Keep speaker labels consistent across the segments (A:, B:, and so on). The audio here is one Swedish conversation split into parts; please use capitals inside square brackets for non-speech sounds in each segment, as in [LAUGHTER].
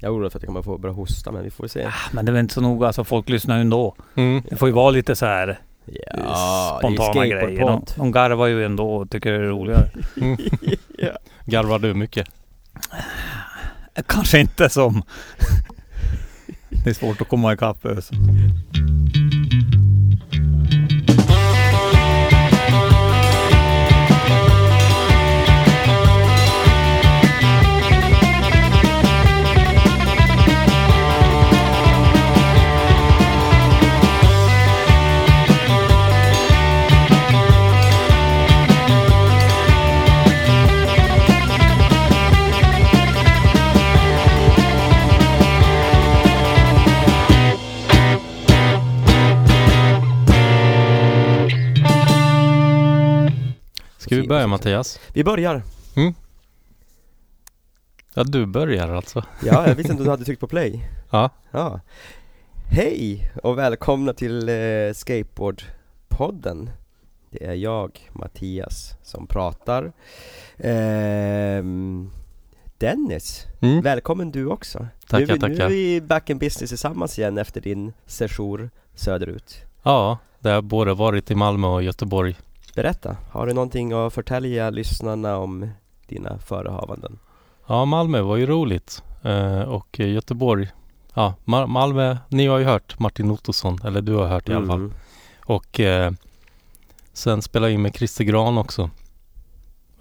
A: Jag är orolig för att jag kommer få börja hosta men vi får se.
B: Ah, Men det är väl inte så noga, alltså folk lyssnar ju ändå.
C: Mm.
B: Det får ju vara lite så här eh,
A: Ja, det är
B: spontana grejer. De,
A: skateboardpodd.
B: de garvar ju ändå och tycker det är roligare.
A: [LAUGHS] Ja.
C: Garvar du mycket?
B: Kanske inte som... [LAUGHS] det är svårt att komma eh, ikapp ös.
C: Ska vi börja Mattias?
A: Vi börjar.
C: Ja, du börjar alltså.
A: Ja, jag visste inte att du hade tryckt på play.
C: Ja.
A: Ja. Hej och välkomna till eh, Skateboardpodden. Det är jag, Mattias, som pratar. Ehm, Dennis,
C: Mm.
A: välkommen du också.
C: Tackar,
A: nu, är vi- Nu
C: tackar.
A: är vi back in business tillsammans igen efter din sejour söderut.
C: Ja, det har både varit i Malmö och Göteborg.
A: Berätta, har du någonting att förtälja lyssnarna om dina förehavanden?
C: Ja, Malmö var ju roligt. Eh, och eh, Göteborg. Ja, Ma- Malmö. Ni har ju hört Martin Ottosson, eller du har hört i
A: Mm.
C: alla fall. Och eh, sen spelade jag in med Christer Gran också.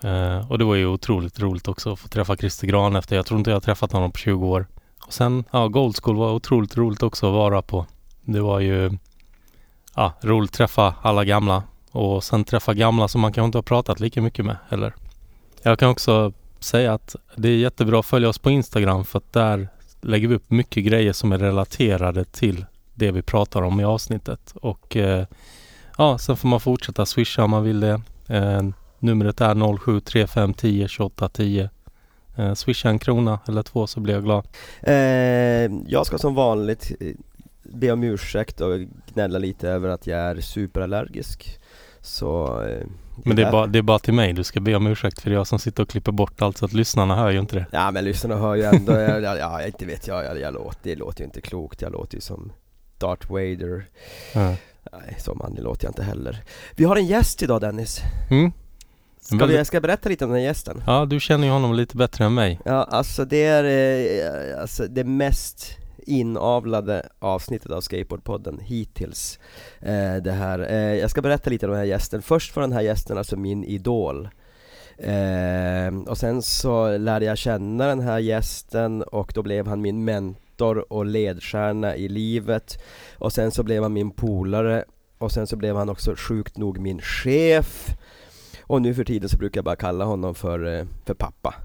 C: Eh, och det var ju otroligt roligt också att få träffa Christer Gran efter. Jag tror inte jag har träffat honom på 20 år. Och sen, ja, Gold School var otroligt roligt också att vara på. Det var ju, ja, roligt att träffa alla gamla. Och sen träffa gamla som man kanske inte har pratat lika mycket med heller. Jag kan också säga att det är jättebra att följa oss på Instagram för att där lägger vi upp mycket grejer som är relaterade till det vi pratar om i avsnittet. Och eh, ja, sen får man fortsätta swisha om man vill det. Eh, numret är 0735102810. Eh, swisha en krona eller två så blir jag glad.
A: Eh, jag ska som vanligt eh, be om ursäkt och gnälla lite över att jag är superallergisk. Så... eh,
C: Men det är,
A: där-
C: bara, det är bara till mig du ska be om ursäkt för det är jag som sitter och klipper bort allt så att lyssnarna hör ju inte det.
A: Ja men lyssnarna hör ju ändå, [LAUGHS] jag, jag, ja, inte vet jag, jag, jag låter, det låter ju inte klokt, jag låter ju som Darth Vader.
C: Ja.
A: Nej, så manlig låter jag inte heller. Vi har en gäst idag Dennis.
C: Mm.
A: Ska
C: Väldigt-
A: vi, jag ska berätta lite om den här gästen.
C: Ja, du känner ju honom lite bättre än mig.
A: Ja, alltså det är eh, alltså det mest inavlade avsnittet av Skateboardpodden hittills eh, Det här, eh, jag ska berätta lite om den här gästen Först var den här gästen alltså min idol eh, Och sen så lärde jag känna den här gästen och då blev han min mentor och ledstjärna i livet Och sen så blev han min polare Och sen så blev han också sjukt nog min chef Och nu för tiden så brukar jag bara kalla honom för, eh, för pappa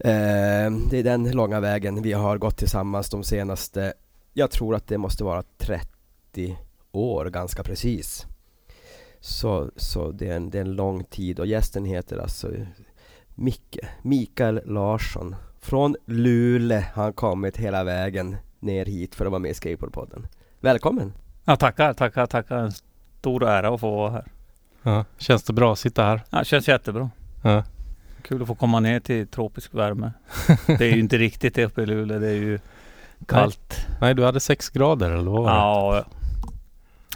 A: Eh, Det är den långa vägen vi har gått tillsammans de senaste, jag tror att det måste vara 30 år ganska precis. Så, så det, är en, det är en lång tid och gästen heter alltså Micke, Mikael Larsson. Från Luleå har han kommit hela vägen ner hit för att vara med i Skateboardpodden. Välkommen!
B: Ja, tackar, tackar, tackar. En stor ära att få vara här.
C: Ja. Känns det bra att sitta här?
B: Ja, det känns jättebra.
C: Ja.
B: Kul att få komma ner till tropisk värme. Det är ju inte riktigt det uppe i Luleå. Det är ju kallt.
C: Nej, du hade sex grader eller vad var det?
B: Ja,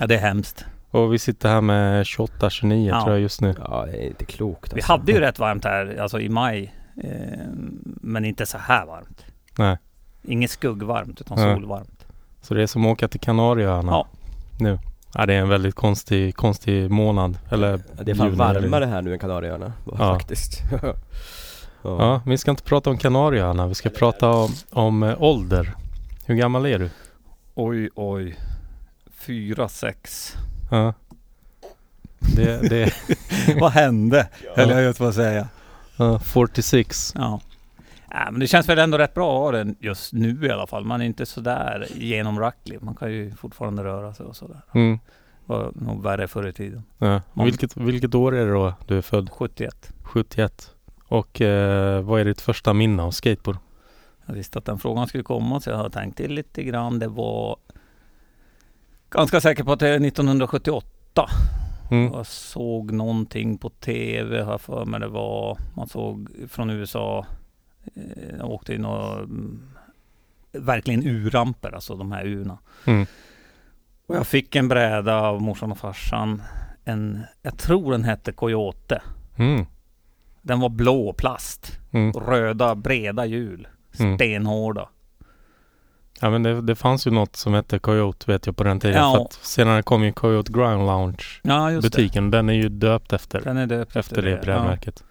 B: ja, det är hemskt.
C: Och vi sitter här med 28-29
B: Ja.
C: tror jag just nu.
A: Ja, det är inte klokt
B: Vi
A: alltså.
B: hade ju rätt varmt här alltså i maj. Eh, men inte så här varmt.
C: Nej.
B: Inget skuggvarmt utan
C: Nej.
B: solvarmt.
C: Så det är som att åka till Kanarieöarna
B: Ja.
C: nu. Ja, det är en väldigt konstig, konstig månad. Eller,
A: Ja, Det är fan
C: juni eller-
A: varmare här nu än Kanarieöarna
C: Ja.
A: faktiskt. [LAUGHS] ja.
C: Ja, vi ska inte prata om Kanarieöarna. Vi ska prata om, om eh, ålder. Hur gammal är du?
B: Oj, oj. Fyra, sex.
C: Ja. Det, det är
B: Vad hände?
C: Höll jag
B: just på att säga.
C: [LAUGHS] ja, 46.
B: Ja. Äh, men det känns väl ändå rätt bra att ha den just nu i alla fall. Man är inte sådär genomracklig. Man kan ju fortfarande röra sig och sådär.
C: Mm.
B: var nog värre förr i tiden.
C: Ja. Och Vilket, vilket år är det då du är född?
B: 71.
C: 71. Och eh, vad är ditt första minne av skateboard?
B: Jag visste att den frågan skulle komma så jag har tänkt till lite grann. Det var ganska säker på att det är 1978.
C: Mm.
B: Jag såg någonting på TV här för mig. Det var, man såg från USA. Eh, jag åkte i några mm, verkligen urramper, alltså de här urna.
C: Mm.
B: Och jag fick en bräda av morsan och farsan. En, jag tror den hette Coyote.
C: Mm.
B: Den var blå plast.
C: Mm.
B: Röda, breda hjul.
C: Mm.
B: Stenhårda.
C: Ja men det, det fanns ju något som hette Coyote vet jag på den tiden.
B: Ja.
C: För att senare kom ju Coyote Ground Lounge
B: Ja, just
C: butiken. Den är ju döpt
B: det.
C: efter,
B: Den är döpt
C: efter det
B: Ja.
C: brädmärket.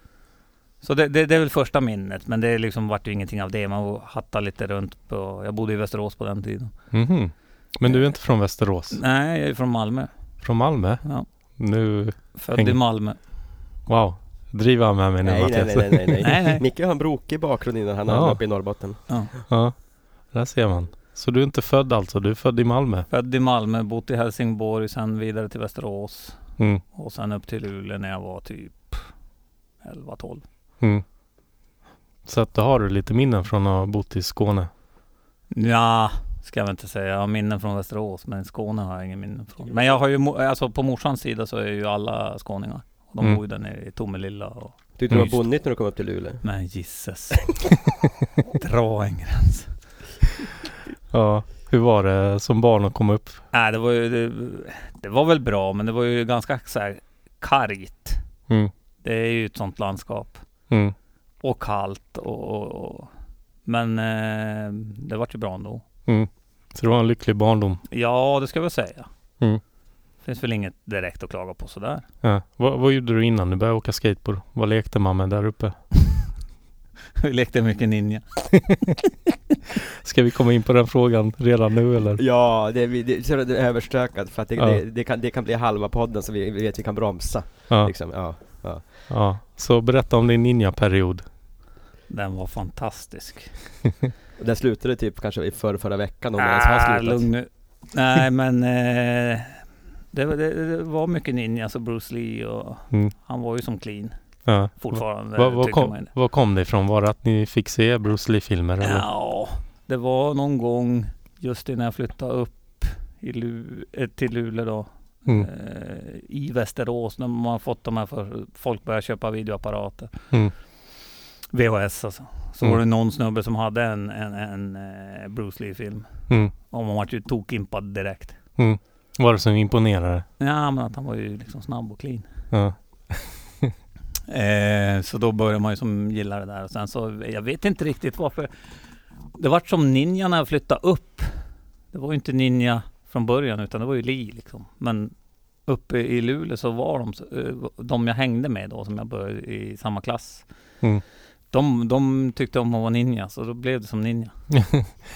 B: Så det, det, det är väl första minnet. Men det liksom vart ju ingenting av det. Man hattade lite runt på... Jag bodde i Västerås på den tiden.
C: Mhm. Men du är inte från Västerås?
B: Nej, jag är från Malmö.
C: Från Malmö?
B: Ja.
C: Nu,
B: Född
C: Häng-
B: i Malmö.
C: wow. Driver han med mig nu
A: Nej nej nej nej,
C: Mattias?
A: nej,
C: [LAUGHS]
A: nej.
B: Nej, nej.
A: Micke har en brokig bakgrund innan han
C: Ja.
A: hamnade uppe i Norrbotten
B: Ja.
C: Ja, där ser man. Så du är inte född alltså? Du är född i Malmö?
B: Född i Malmö, bott i Helsingborg, sen vidare till Västerås.
C: Mm.
B: Och sen upp till Luleå när jag var typ 11-12.
C: Mm. Så att då har du lite minnen från att ha bott i Skåne?
B: Ja, ska jag väl inte säga. Jag har minnen från Västerås, men Skåne har jag ingen minnen från. Men jag har ju, mo- alltså på morsans sida så är ju alla skåningar. Och de
C: Mm.
B: bor ju där nere i Tomelilla och...
A: Tyckte du det
C: Just.
A: var bonnigt när du kom upp till Luleå?
B: Men jisses. Dra en gräns.
C: Ja. Hur var det som barn att komma upp?
B: Nej, det var ju... Det, det var väl bra, men det var ju ganska så här kargt.
C: Mm.
B: Det är ju ett sånt landskap.
C: Mm.
B: och kallt och, och, och men eh, det vart ju bra ändå.
C: mm. Så det var en lycklig barndom?
B: Ja, det ska jag väl säga.
C: Mm.
B: Finns väl inget direkt att klaga på sådär. [LAUGHS]
C: Ja. Vad, vad gjorde du innan du började åka skateboard? Vad lekte man med där uppe?
B: Vi lekte mycket ninja.
C: Ska vi komma in på den frågan redan nu eller?
A: Ja, det, vi- det, så det är överstökat för att det,
C: Ja.
A: det, det, kan, det kan bli halva podden så vi, vi vet vi kan bromsa
C: Ja.
A: liksom. ja.
C: ja. Så berätta om din ninja-period.
B: Den var fantastisk.
A: Och den slutade typ kanske i förra, förra veckan om det ens har
B: Ah,
A: slutat
B: lugn nu. Nej, men eh, det, var- det, det var mycket ninja, så Bruce Lee och
C: Mm.
B: han var ju som clean
C: Ja.
B: fortfarande.
C: Vad vad
B: tycker
C: kom,
B: man.
C: vad kom det ifrån? Var det att ni fick se Bruce Lee-filmer eller?
B: Ja, det var någon gång just innan jag flyttade upp i Lu- eh, till Luleå då.
C: Mm.
B: eh, i Västerås när man har fått de här för folk börjar köpa videoapparater.
C: Mm.
B: VHS alltså. Så
C: Mm.
B: var det någon snubbe som hade en, en, en eh, Bruce Lee-film.
C: Mm.
B: Och man vart ju tokimpad direkt.
C: Var det som imponerade?
B: Ja, men att han var ju liksom snabb och clean.
C: Ja. [LAUGHS]
B: Eh, så då började man ju som gilla det där. Och sen så, jag vet inte riktigt varför. Det vart som ninja när jag flyttade upp. Det var ju inte ninja från början utan det var ju Li liksom. Men uppe i Luleå så var de, så- eh, de jag hängde med då som jag började i samma klass.
C: Mm.
B: De, de tyckte om att vara ninja så då blev det som ninja.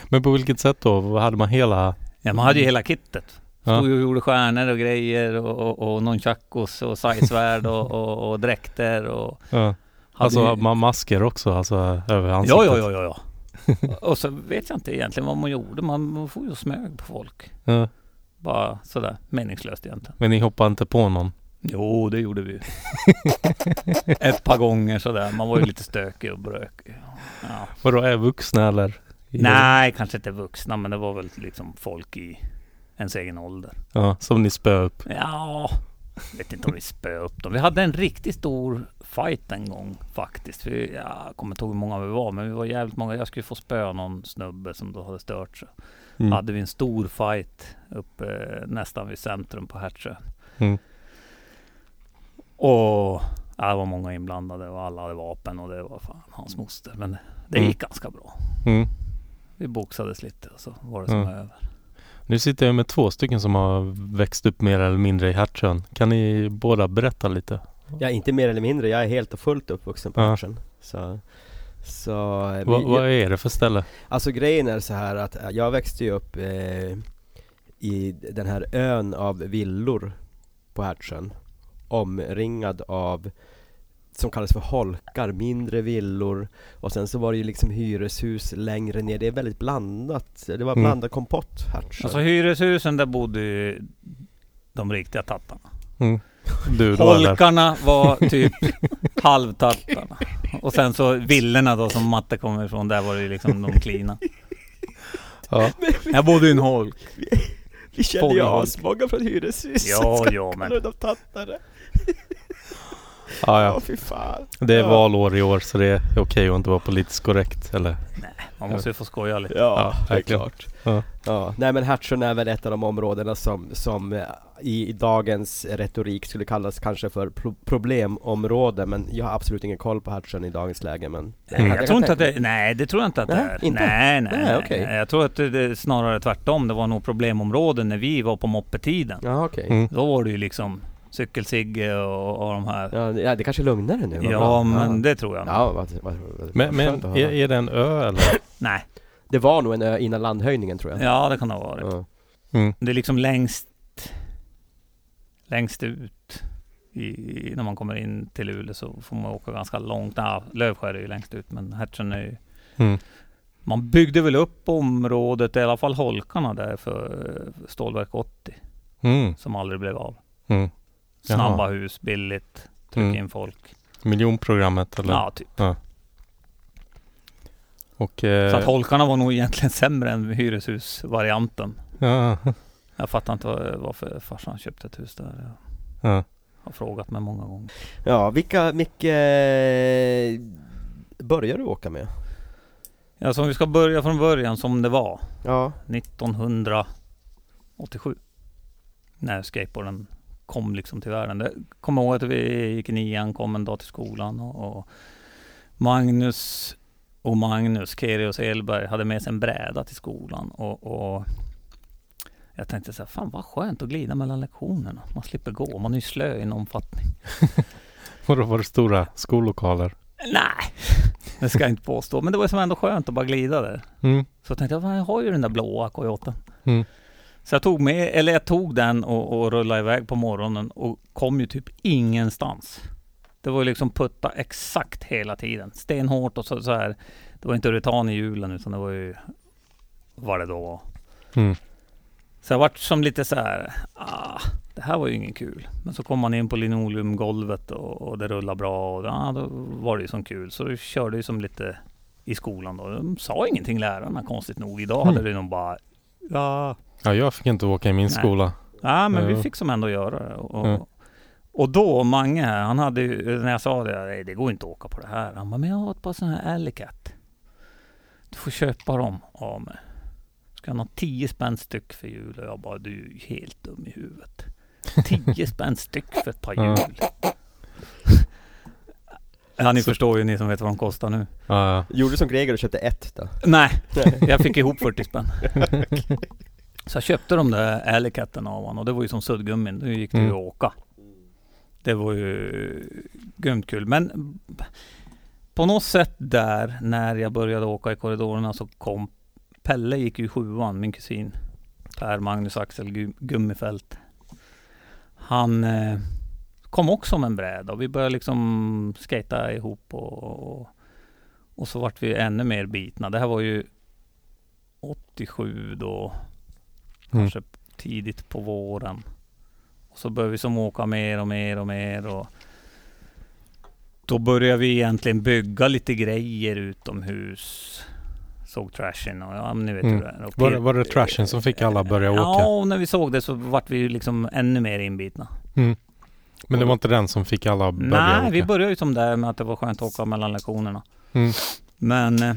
C: Men på vilket sätt då? Vad Hade man hela...
B: Ja, man hade ju hela kittet.
C: Mm. Ja.
B: Stod ju och gjorde stjärnor och grejer och, och, och nunchakos och sajsvärd och, och, och dräkter och
C: Ja.
B: hade
C: Alltså
B: ju-
C: ma- masker också, alltså över ansiktet?
B: Ja, ja, ja, ja, ja. Och så vet jag inte egentligen vad man gjorde. Man man får ju och smög på folk.
C: Ja.
B: Bara sådär meningslöst egentligen.
C: Men ni hoppade inte på någon?
B: Jo, det gjorde vi [LAUGHS] ju. Ett par gånger sådär. Man var ju lite stökig och brökig. Ja.
C: Vadå, är vuxna eller?
B: Nej, kanske inte vuxna, men det var väl liksom folk i ens egen ålder.
C: Ja, som ni spö upp.
B: Ja, vet inte om vi spöade upp dem. Vi hade en riktigt stor fight en gång faktiskt. Vi, jag kommer inte ihåg hur många vi var, men vi var jävligt många. Jag skulle få spöa någon snubbe som då hade stört sig.
C: Mm.
B: hade vi en stor fight uppe eh, nästan vid centrum på Hertsön.
C: Mm.
B: Och ja, Äh, det var många inblandade och alla hade vapen och det var fan hans moster. Men det, det
C: Mm.
B: gick ganska bra.
C: Mm.
B: Vi boxades lite och så var det som
C: Mm.
B: över.
C: Nu sitter jag med två stycken som har växt upp mer eller mindre i Hertsön. Kan ni båda berätta lite?
A: Ja, inte mer eller mindre, jag är helt och fullt uppvuxen på
C: Ja.
A: matchen så, så eh,
C: Va,
A: vi-
C: vad är det för ställe?
A: Alltså grejen är så här att eh, jag växte ju upp eh, i den här ön av villor på Hertsön Omringad av som kallas för holkar, mindre villor och sen så var det ju liksom hyreshus längre ner, det är väldigt blandat Det var
C: Mm.
A: blandad kompott Hertsön
B: Alltså hyreshusen där bodde ju de riktiga tattarna.
C: Mm. Du då eller?
B: Holkarna
C: [LAUGHS]
B: var typ halvtattarna. Och sen så villorna då som Matte kommer ifrån, där var det ju liksom de klina.
C: Ja.
B: Jag bodde i en holk.
A: Vi
B: kände ju Fågelholk.
A: asmånga från hyreshuset
B: Ja, ja men
A: de tattare
C: Ja, ja.
D: fy fan.
C: Det är
D: Ja.
C: valår i år så det är okej att inte vara politiskt korrekt eller?
B: Man måste ju få skoja lite.
D: Ja, det är
C: verkligen.
D: klart.
A: Ja, nej men Hatchen är väl ett av de områdena som, som eh, i, i dagens retorik skulle kallas kanske för pro- problemområde men jag har absolut ingen koll på Hatchen i dagens läge men
B: Nej,
A: kan
B: Mm, jag tror inte att
A: tänka-
B: det, nej, det tror jag inte att det
A: Mm. Nej,
B: är.
A: inte?
B: Nej, nej,
A: Nej,
B: nej.
A: okej.
B: Jag tror att det, det snarare tvärtom. Det var nog problemområden när vi var på moppetiden.
A: Ja okej
C: Mm.
B: Då var det ju liksom Cykelsigge och, och de här.
A: ja, ja det kanske är lugnare nu vad
B: Ja,
A: bra.
B: men
A: ja.
B: det tror jag nog.
A: Ja, vad, vad, vad,
C: Men, men
A: skönt att höra.
C: är, är det en ö eller?
B: Nej,
A: Det var nog en ö innan landhöjningen tror jag
B: ja det kan det ha varit.
A: Ja.
C: Mm.
B: Det är liksom längst Längst ut i, När man kommer in till Luleå så får man åka ganska långt. Ja, Lövskär är ju längst ut men Hertsön är ju
C: Mm.
B: Man byggde väl upp området, i alla fall holkarna där för eh, Stålverk 80
C: Mm.
B: som aldrig blev av.
C: Mm. Jaha.
B: Snabba hus, billigt, trycka
C: Mm.
B: in folk.
C: Miljonprogrammet eller?
B: Ja, typ.
C: Och,
B: Så att
C: eh,
B: holkarna var nog egentligen sämre än hyreshusvarianten.
C: ja,
B: Jag fattar inte var- varför farsan köpte ett hus där. Jag
C: ja.
B: har frågat mig många gånger.
A: ja, vilka, Micke eh, Börjar du åka med?
B: Ja, så om vi ska börja från början som det var.
A: Ja
B: 1987. När skateboarden kom liksom till världen. Det- Kommer ihåg att vi gick i nian, kom en dag till skolan och, och Magnus och Magnus, Kerios Elberg, hade med sig en bräda till skolan och, och jag tänkte så här, fan vad skönt att glida mellan lektionerna. Man slipper gå, man är ju slö i någon omfattning.
C: Och då var det stora skollokaler.
B: Nej, [LAUGHS] det ska jag inte påstå. Men det var som ändå skönt att bara glida där.
C: Mm.
B: Så tänkte jag, "Fan, jag har ju den där blåa Coyoten.
C: Mm.
B: Så jag tog med, eller jag tog den och, och rullade iväg på morgonen och kom ju typ ingenstans. Det var ju liksom putta exakt hela tiden. Stenhårt och så, så här. Det var inte rutan i hjulen utan det var ju vad det då var.
C: Mm.
B: Så jag vart som lite så här, ah, det här var ju ingen kul. Men så kom man in på linoleumgolvet och, och det rullade bra och ah, då var det ju som kul. Så vi körde ju som lite i skolan då. De sa ingenting lärarna konstigt nog. Idag hade
C: Mm.
B: det nog bara, ja,
C: Ja, jag fick inte åka i min
B: Nej.
C: skola.
B: Ja, men
C: Ja.
B: vi fick som ändå göra det. Och,
C: Ja.
B: och då, Mange här, han hade ju, när jag sa det, nej det går inte att åka på det här. Han bara, men jag har ett par sådana här Alicat. Du får köpa dem av mig. Ska han ha 10 spänn styck för jul? Och jag bara, du är ju helt dum i huvudet.
C: [LAUGHS]
B: 10 spänn styck för ett par
C: Ja.
B: hjul. [LAUGHS] Ja, ni
C: Så-
B: förstår ju ni som vet vad de kostar nu.
C: Ja, ja.
A: Gjorde du som Greger och köpte ett då?
B: Nej, jag fick ihop 40 spänn. Så jag köpte de där Alicatten av honom och det var ju som suddgummin. Nu gick det ju
C: Mm.
B: att åka. Det var ju grymt kul. Men på något sätt där när jag började åka i korridorerna så kom Pelle gick ju i sjuan, min kusin. Per Magnus Axel Gu- Gummifält. Han eh, kom också med en bräda och vi började liksom skata ihop och, och, och så vart vi ännu mer bitna. Det här var ju 87 då
C: Mm.
B: kanske tidigt på våren. Och så började vi som åka mer och mer och mer och då började vi egentligen bygga lite grejer utomhus. Såg trashen och ja, men ni vet
C: Mm.
B: hur det är. Och
C: Var, det- var det trashen som fick alla att börja
B: Ja,
C: åka?
B: och när vi såg det så vart vi ju liksom ännu mer inbitna.
C: Men det var inte den som fick alla att börja
B: Nej,
C: åka?
B: vi började ju som där med att det var skönt att åka mellan lektionerna.
C: Mm.
B: Men eh,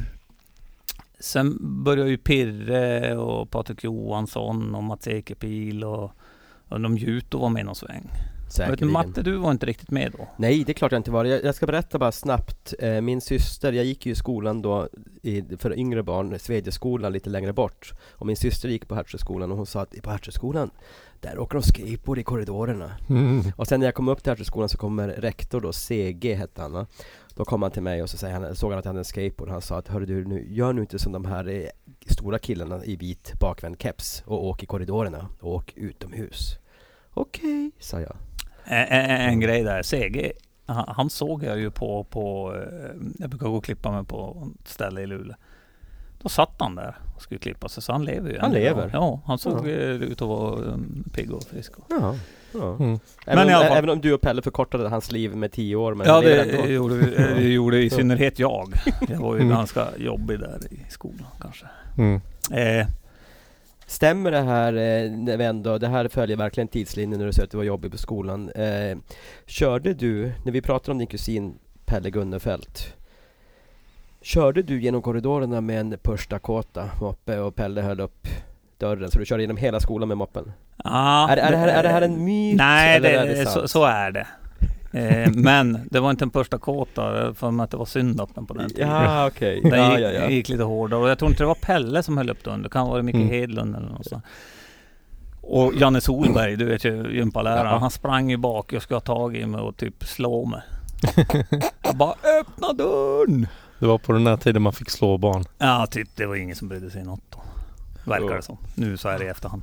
B: sen började ju Pirre och Patrik Johansson och Mats Ekepil och Undrar om Juto var med i någon sväng. Jag Vet,
A: Säkerligen
B: Matte, du var inte riktigt med då?
A: Nej, det är klart jag inte var Jag, jag ska berätta bara snabbt. Eh, min syster, jag gick ju i skolan då i, för yngre barn, Svedjeskolan lite längre bort. Och min syster gick på Hertsöskolan och hon sa att på Hertsöskolan, där åker de skateboard i korridorerna.
C: Mm.
A: Och sen när jag kom upp till Hertsöskolan så kommer rektor då, CG hette han va? Då kom han till mig och så säger han, såg han att jag hade en skateboard han sa att hörru du, nu, gör nu inte som de här eh, stora killarna i vit bakvänd keps och åk i korridorerna, åk utomhus. Okej, sa jag.
B: Ä- ä-
A: Mm.
B: en grej där, CG, han, han såg jag ju på, på, eh, jag brukar gå och klippa mig på ett ställe i Luleå. Då satt han där och skulle klippa sig, så han lever ju.
A: Han
B: än idag.
A: lever?
B: Ja, han såg
A: Ja.
B: eh, ut att vara um, pigg och frisk. och-
A: Ja. ja.
C: Mm.
A: Även,
B: Men i
A: om,
B: alla fall-
A: även om du och Pelle förkortade hans liv med tio år men
B: ja,
A: han lever
B: det
A: ändå.
B: gjorde, vi- eh, det gjorde i
A: Ja.
B: synnerhet jag. Jag var ju
C: Mm.
B: ganska jobbig där i skolan kanske.
C: Mm.
B: Eh,
A: Stämmer det här, eh, när vi ändå, det här följer verkligen tidslinjen när du säger att du var jobbig på skolan. Eh, körde du, när vi pratade om din kusin Pelle Gunnefelt, körde du genom korridorerna med en Push Dakota moppe och Pelle höll upp dörren, så du körde genom hela skolan med moppen?
B: Ja,
A: är, är, det här, är det här en myt?
B: ah, Nej,
A: eller
B: det,
A: är det sant?
B: så, så är det. Eh, men det var inte en första kåta, för mig att det var synd om den på den tiden.
A: Ja, okej.
B: Den
A: Ja,
B: gick,
A: ja, ja.
B: gick lite hårdare och jag tror inte det var Pelle som höll upp den. Det kan vara Micke
C: Mm.
B: Hedlund eller något sånt. Och Janne Solberg, du vet ju gympaläraren,
C: Ja.
B: han sprang ju bak. Jag skulle ha tag i mig och typ slå mig. Jag bara öppna dörren!
C: Det var på den här tiden man fick slå barn.
B: Ja, typ det var ingen som brydde sig något då. Verkar det som. Nu så här i efterhand.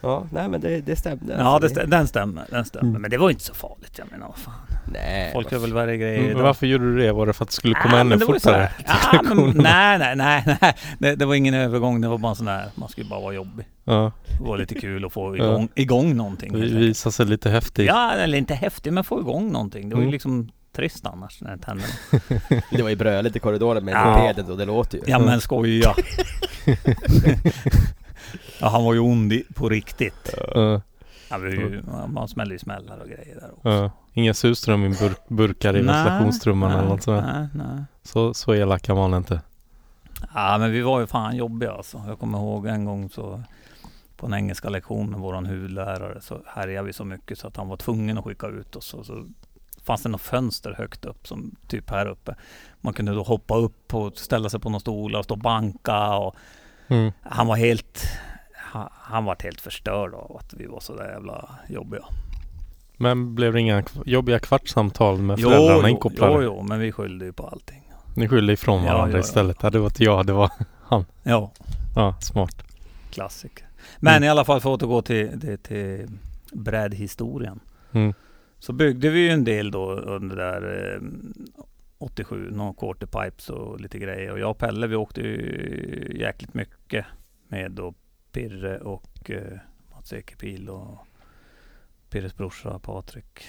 A: Ja, nej men det, det stämde. alltså.
B: Ja, det stä- den stämmer. Den stämmer.
C: Mm.
B: Men det var inte så farligt. Jag menar, vad fan.
A: Nej.
B: Folk har väl värre grejer
C: Mm, Men
B: idag.
C: varför gjorde du det? Var det för att det skulle komma
B: Ah,
C: ännu
B: men det var ju så
C: fortare?
B: här.
C: [LAUGHS]
B: Ah, men, nej, nej, nej, nej. Det, det var ingen övergång. Det var bara en sån här, man skulle bara vara jobbig.
C: Ja,
B: Det var lite kul att få
C: Ja.
B: igång, igång någonting. helt
C: vi
B: enkelt.
C: visade sig lite häftig.
B: Ja, eller inte häftig, men få igång någonting. Det var ju
C: Mm.
B: liksom trist annars när det hände. något.
A: Det var ju bröligt i korridoren med
B: Ja.
A: mopeden då, det låter ju.
B: Ja, men
C: [LAUGHS]
B: skoja! [LAUGHS] ja, han var ju ond i- på riktigt.
C: Ja,
B: Ja, vi, ju-
C: Mm.
B: man smällde ju smällar och grejer där också.
C: ja. eh. Inga surström i burk, burkar
B: Nej,
C: i ventilationstrumman eller
B: nej,
C: något sånt. där.
B: nej, nej.
C: Så, så elak kan man inte.
B: Ja men vi var ju fan jobbiga alltså. Jag kommer ihåg en gång så på en engelska lektion med våran huvudlärare så härjade vi så mycket så att han var tvungen att skicka ut oss. Och så fanns det något fönster högt upp som typ här uppe. Man kunde då hoppa upp och ställa sig på någon stol och stå och banka och
C: Mm.
B: han var helt han, han var helt förstörd av att vi var så där jävla jobbiga.
C: Men blev det inga kv- jobbiga kvartssamtal med
B: Jo,
C: föräldrarna
B: jo, jo,
C: inkopplade?
B: jo, men vi skyllde ju på allting.
C: Ni skyllde ifrån
B: Ja,
C: varandra
B: ja, ja.
C: istället. Ja, det var inte jag, det var... [LAUGHS]
B: Ja,
C: Ja, smart.
B: klassiker. Men
C: Mm.
B: i alla fall för att återgå till, till, till brädhistorien.
C: Mm.
B: Så byggde vi ju en del då under där eh, 87, någon quarter pipes och lite grejer. Och jag och Pelle vi åkte ju jäkligt mycket med då Pirre och eh, Mats Ekepil och Pirres brorsa Patrik.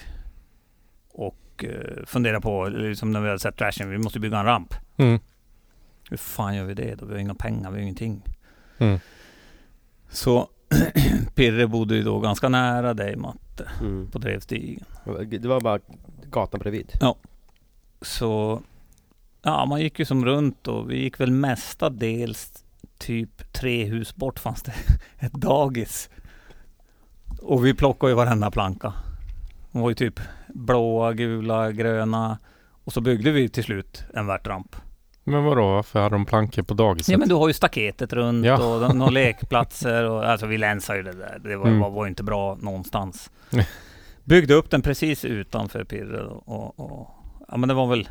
B: Och eh, fundera på, liksom när vi hade sett trashen, vi måste bygga en ramp.
C: Mm.
B: Hur fan gör vi det då? Vi har inga pengar, vi har ingenting.
C: Mm.
B: Så [CLEARS THROAT] Pirre bodde ju då ganska nära dig Matte,
A: Mm.
B: på Drevstigen.
A: Det var bara gatan bredvid.
B: Så ja, man gick ju som runt och vi gick väl mestadels typ tre hus bort fanns det [LAUGHS] ett dagis. Och vi plockade ju varenda planka. De var ju typ blåa, gula, gröna. Och så byggde vi till slut en värtramp.
C: Men vadå, varför hade de plankor på dagiset?
B: Ja men du har ju staketet runt
C: Ja.
B: och de-
C: [LAUGHS]
B: några lekplatser och alltså vi länsade ju det där. Det var,
C: Mm.
B: var, var ju inte bra någonstans.
C: Nej.
B: Byggde upp den precis utanför Pirre och, och ja men det var väl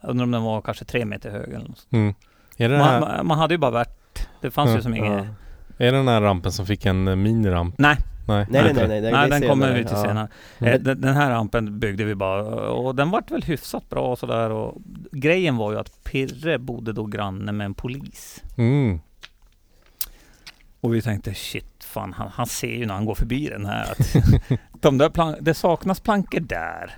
B: jag undrar om den var kanske tre meter hög eller något. sånt.
C: Mm. Är, det den
B: Man,
C: här,
B: man, man hade ju bara värt. Det fanns
C: Ja.
B: ju som inget.
A: Ja.
C: är det den här rampen som fick en eh, miniramp?
B: Nej.
C: Nej,
A: Nej, nej,
C: inte
A: nej, nej,
C: det.
A: det
B: Nej
A: är
B: den
A: senare.
B: kommer vi till
A: Ja.
B: senare.
C: Mm.
B: Eh, Den, den här rampen byggde vi bara och den vart väl hyfsat bra och sådär. och Grejen var ju att Pirre bodde då granne med en polis.
C: Mm.
B: Och vi tänkte shit, fan han, han ser ju när han går förbi den
A: [LAUGHS]
B: här att de där plank- det saknas plankor där.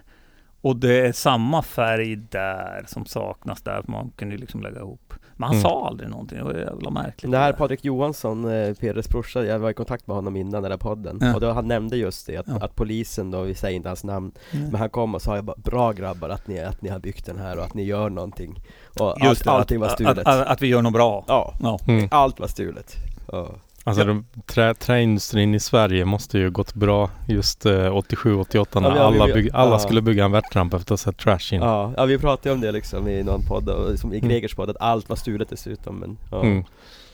B: Och det är samma färg där som saknas där. för Man kunde ju liksom lägga ihop. Men han
C: Mm.
B: sa aldrig någonting. Det var jävla märkligt.
A: Det här
B: där.
A: Patrik Johansson, eh, Peres brorsa, jag var i kontakt med honom innan den där podden
B: Ja.
A: Och då han nämnde just det, att,
B: Ja.
A: att polisen då, vi säger inte hans namn
B: Mm.
A: Men han kom och sa jag bara, bra grabbar att ni, att ni har byggt den här och att ni gör någonting Och
B: Just
A: allt, allting var
B: att,
A: stulet
B: att, att, att vi gör något bra.
A: Ja,
B: Ja.
C: Mm.
A: allt var stulet ja.
C: Alltså
B: Ja.
C: de, trä, träindustrin i Sverige måste ju gått bra just eh, 87-88 när
A: Ja, vi-
C: alla,
A: vi-
C: bygg, alla
A: ja.
C: skulle bygga en värtramp efter att ha sett trash in.
A: Ja, ja, vi pratade om det liksom i någon podd, och, som i
C: Mm.
A: Gregers podd, att allt var stulet dessutom men ja.
C: Mm.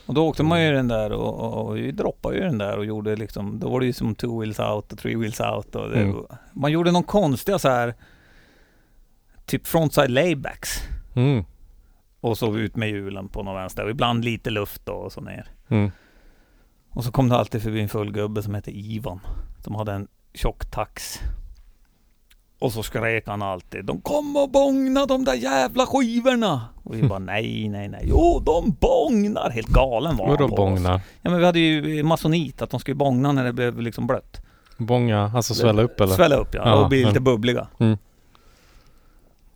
B: Och då åkte
A: Mm.
B: man ju den där och, och, och vi droppade ju den där och gjorde liksom. Då var det ju som two wheels out och three wheels out. Och det,
C: Mm.
B: Man gjorde någon konstiga så här. Typ frontside laybacks.
C: Mm.
B: Och så ut med hjulen på någon vänster och ibland lite luft då och så ner.
C: Mm.
B: Och så kom det alltid förbi en full gubbe som hette Ivan. Som hade en tjock tax. Och så skrek han alltid De kommer och bångna de där jävla skivorna! Och vi bara nej, nej, nej. Jo, de bångnar! Helt galen var
C: Vadå
B: han på oss.
C: bångnar?
B: Ja men vi hade ju masonit att de skulle bångna när det blev liksom blött.
C: Bånga, alltså svälla upp eller?
B: Svälla upp ja,
C: Ja,
B: och bli
C: men-
B: lite bubbliga.
C: Mm.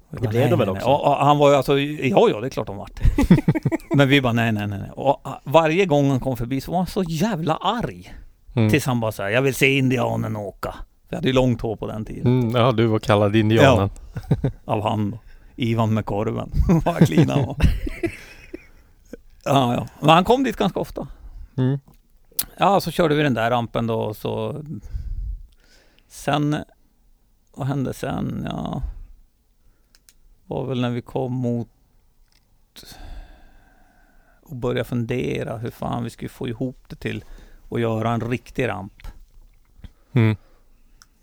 A: Det blev de väl också?
B: Ja, ja, han var ju alltså, ja ja det är klart de vart. Men vi bara nej nej nej. nej. Och ah, varje gång han kom förbi så var han så jävla arg.
C: Mm.
B: Tills han bara såhär, jag vill se indianen åka. Vi hade ju långt hår på den tiden.
C: Mm, ja, du var kallad indianen.
B: Av han då. Ivan med korven. [LAUGHS] Vad clean han var. Ja, ja. Men han kom dit ganska ofta.
C: Mm.
B: Ja, så körde vi den där rampen då och så... Sen... Vad hände sen? Ja... var väl när vi kom mot... Och började fundera hur fan vi skulle få ihop det till att göra en riktig ramp.
C: Mm.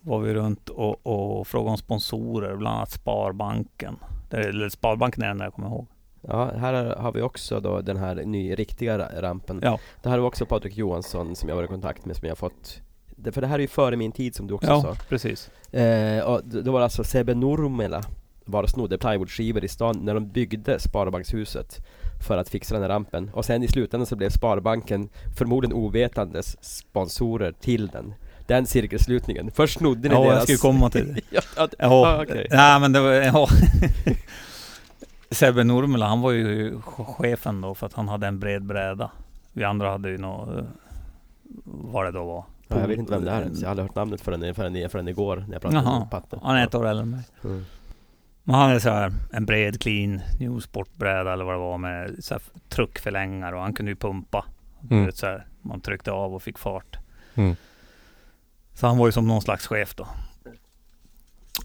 B: Var vi runt och, och frågade om sponsorer, bland annat Sparbanken. Det- Eller Sparbanken är den där jag kommer ihåg.
A: Ja, här har vi också då den här ny, riktiga ra- rampen.
B: Ja.
A: Det här var också Patrik Johansson som jag var i kontakt med som jag har fått det- för det här är ju före min tid som du också sa.
B: Ja, precis.
A: Eh, och d- det var alltså Sebe Nurmela var och snodde plywoodskivor i stan när de byggde Sparbankshuset för att fixa den här rampen. Och sen i slutändan så blev Sparbanken förmodligen ovetandes sponsorer till den. Den cirkelslutningen. Först snodde ni
B: Ja, jag
A: deras...
B: skulle komma
A: [LAUGHS]
B: till det.
A: ja, ja, d-
B: Ja, eh,
A: Ah, okej.
B: nej men det var, ja. [LAUGHS] Sebbe Normula, han var ju ch- chefen då för att han hade en bred bräda. Vi andra hade ju nå, eh, vad det då var.
A: ja, jag vet inte vem det är, så jag har aldrig hört namnet förrän, förrän, förrän igår när jag pratade
B: Jaha.
A: med Patte.
B: Han är ett år äldre än mig.
A: Mm.
B: Men han är så här en bred clean new sportbräda eller vad det var med så här truckförlängare och han kunde ju pumpa. Du
C: Mm.
B: Vet, så här, man tryckte av och fick fart.
C: Mm.
B: Så han var ju som någon slags chef då.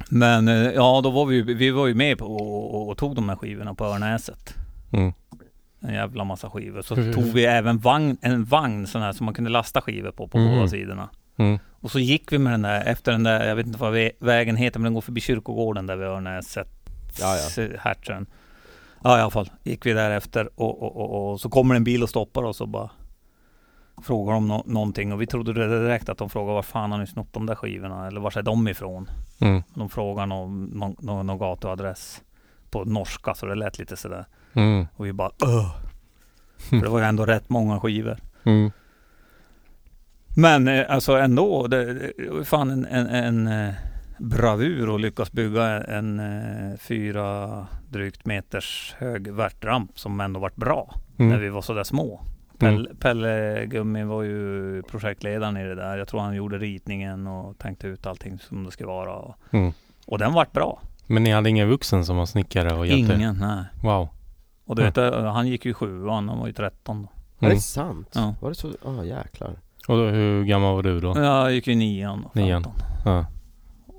B: Men eh, ja, då var vi, ju- vi var ju med på och, och, och tog de här skivorna på Örnäset.
C: Mm.
B: En jävla massa skivor. Så
C: Hur-
B: tog vi även vagn, en vagn sån här som man kunde lasta skivor på, på
C: Mm.
B: båda sidorna.
C: Mm.
B: Och så gick vi med den där, efter den där, jag vet inte vad vä- vägen heter, men den går förbi kyrkogården där vid Örnäset.
A: Ja,
B: Hertsön. Ja, i alla fall. Gick vi därefter och, och, och, och så kommer en bil och stoppar oss och bara frågar om nå- någonting. Och vi trodde direkt att de frågade var fan har ni snott de där skivorna? Eller var är de ifrån?
C: Mm.
B: De frågar någon, någon, någon, någon gatuadress på norska, så det lät lite sådär.
C: Mm.
B: Och vi bara
A: [LAUGHS]
B: öh. För det var ju ändå rätt många skivor.
C: Mm.
B: Men eh, alltså ändå, det, det- fan en, en, en eh, bravur och lyckas bygga en eh, fyra drygt meters hög värtramp som ändå varit bra
C: Mm.
B: när vi var sådär små.
C: Mm.
B: Pelle, Pelle Gummi var ju projektledaren i det där. Jag tror han gjorde ritningen och tänkte ut allting som det skulle vara. Och,
C: Mm.
B: och den vart bra.
C: Men ni hade ingen vuxen som var snickare och hjälpte?
B: Ingen, nej.
C: Wow.
B: Och du vet, eh, han gick ju sjuan, han var ju 13 då.
A: Är
C: Mm.
A: det sant?
B: Ja.
A: Var det så? Ah jäklar.
C: Och då, hur gammal var du då?
B: Jag gick ju nian och
C: Nian.
B: 15.
C: Ja.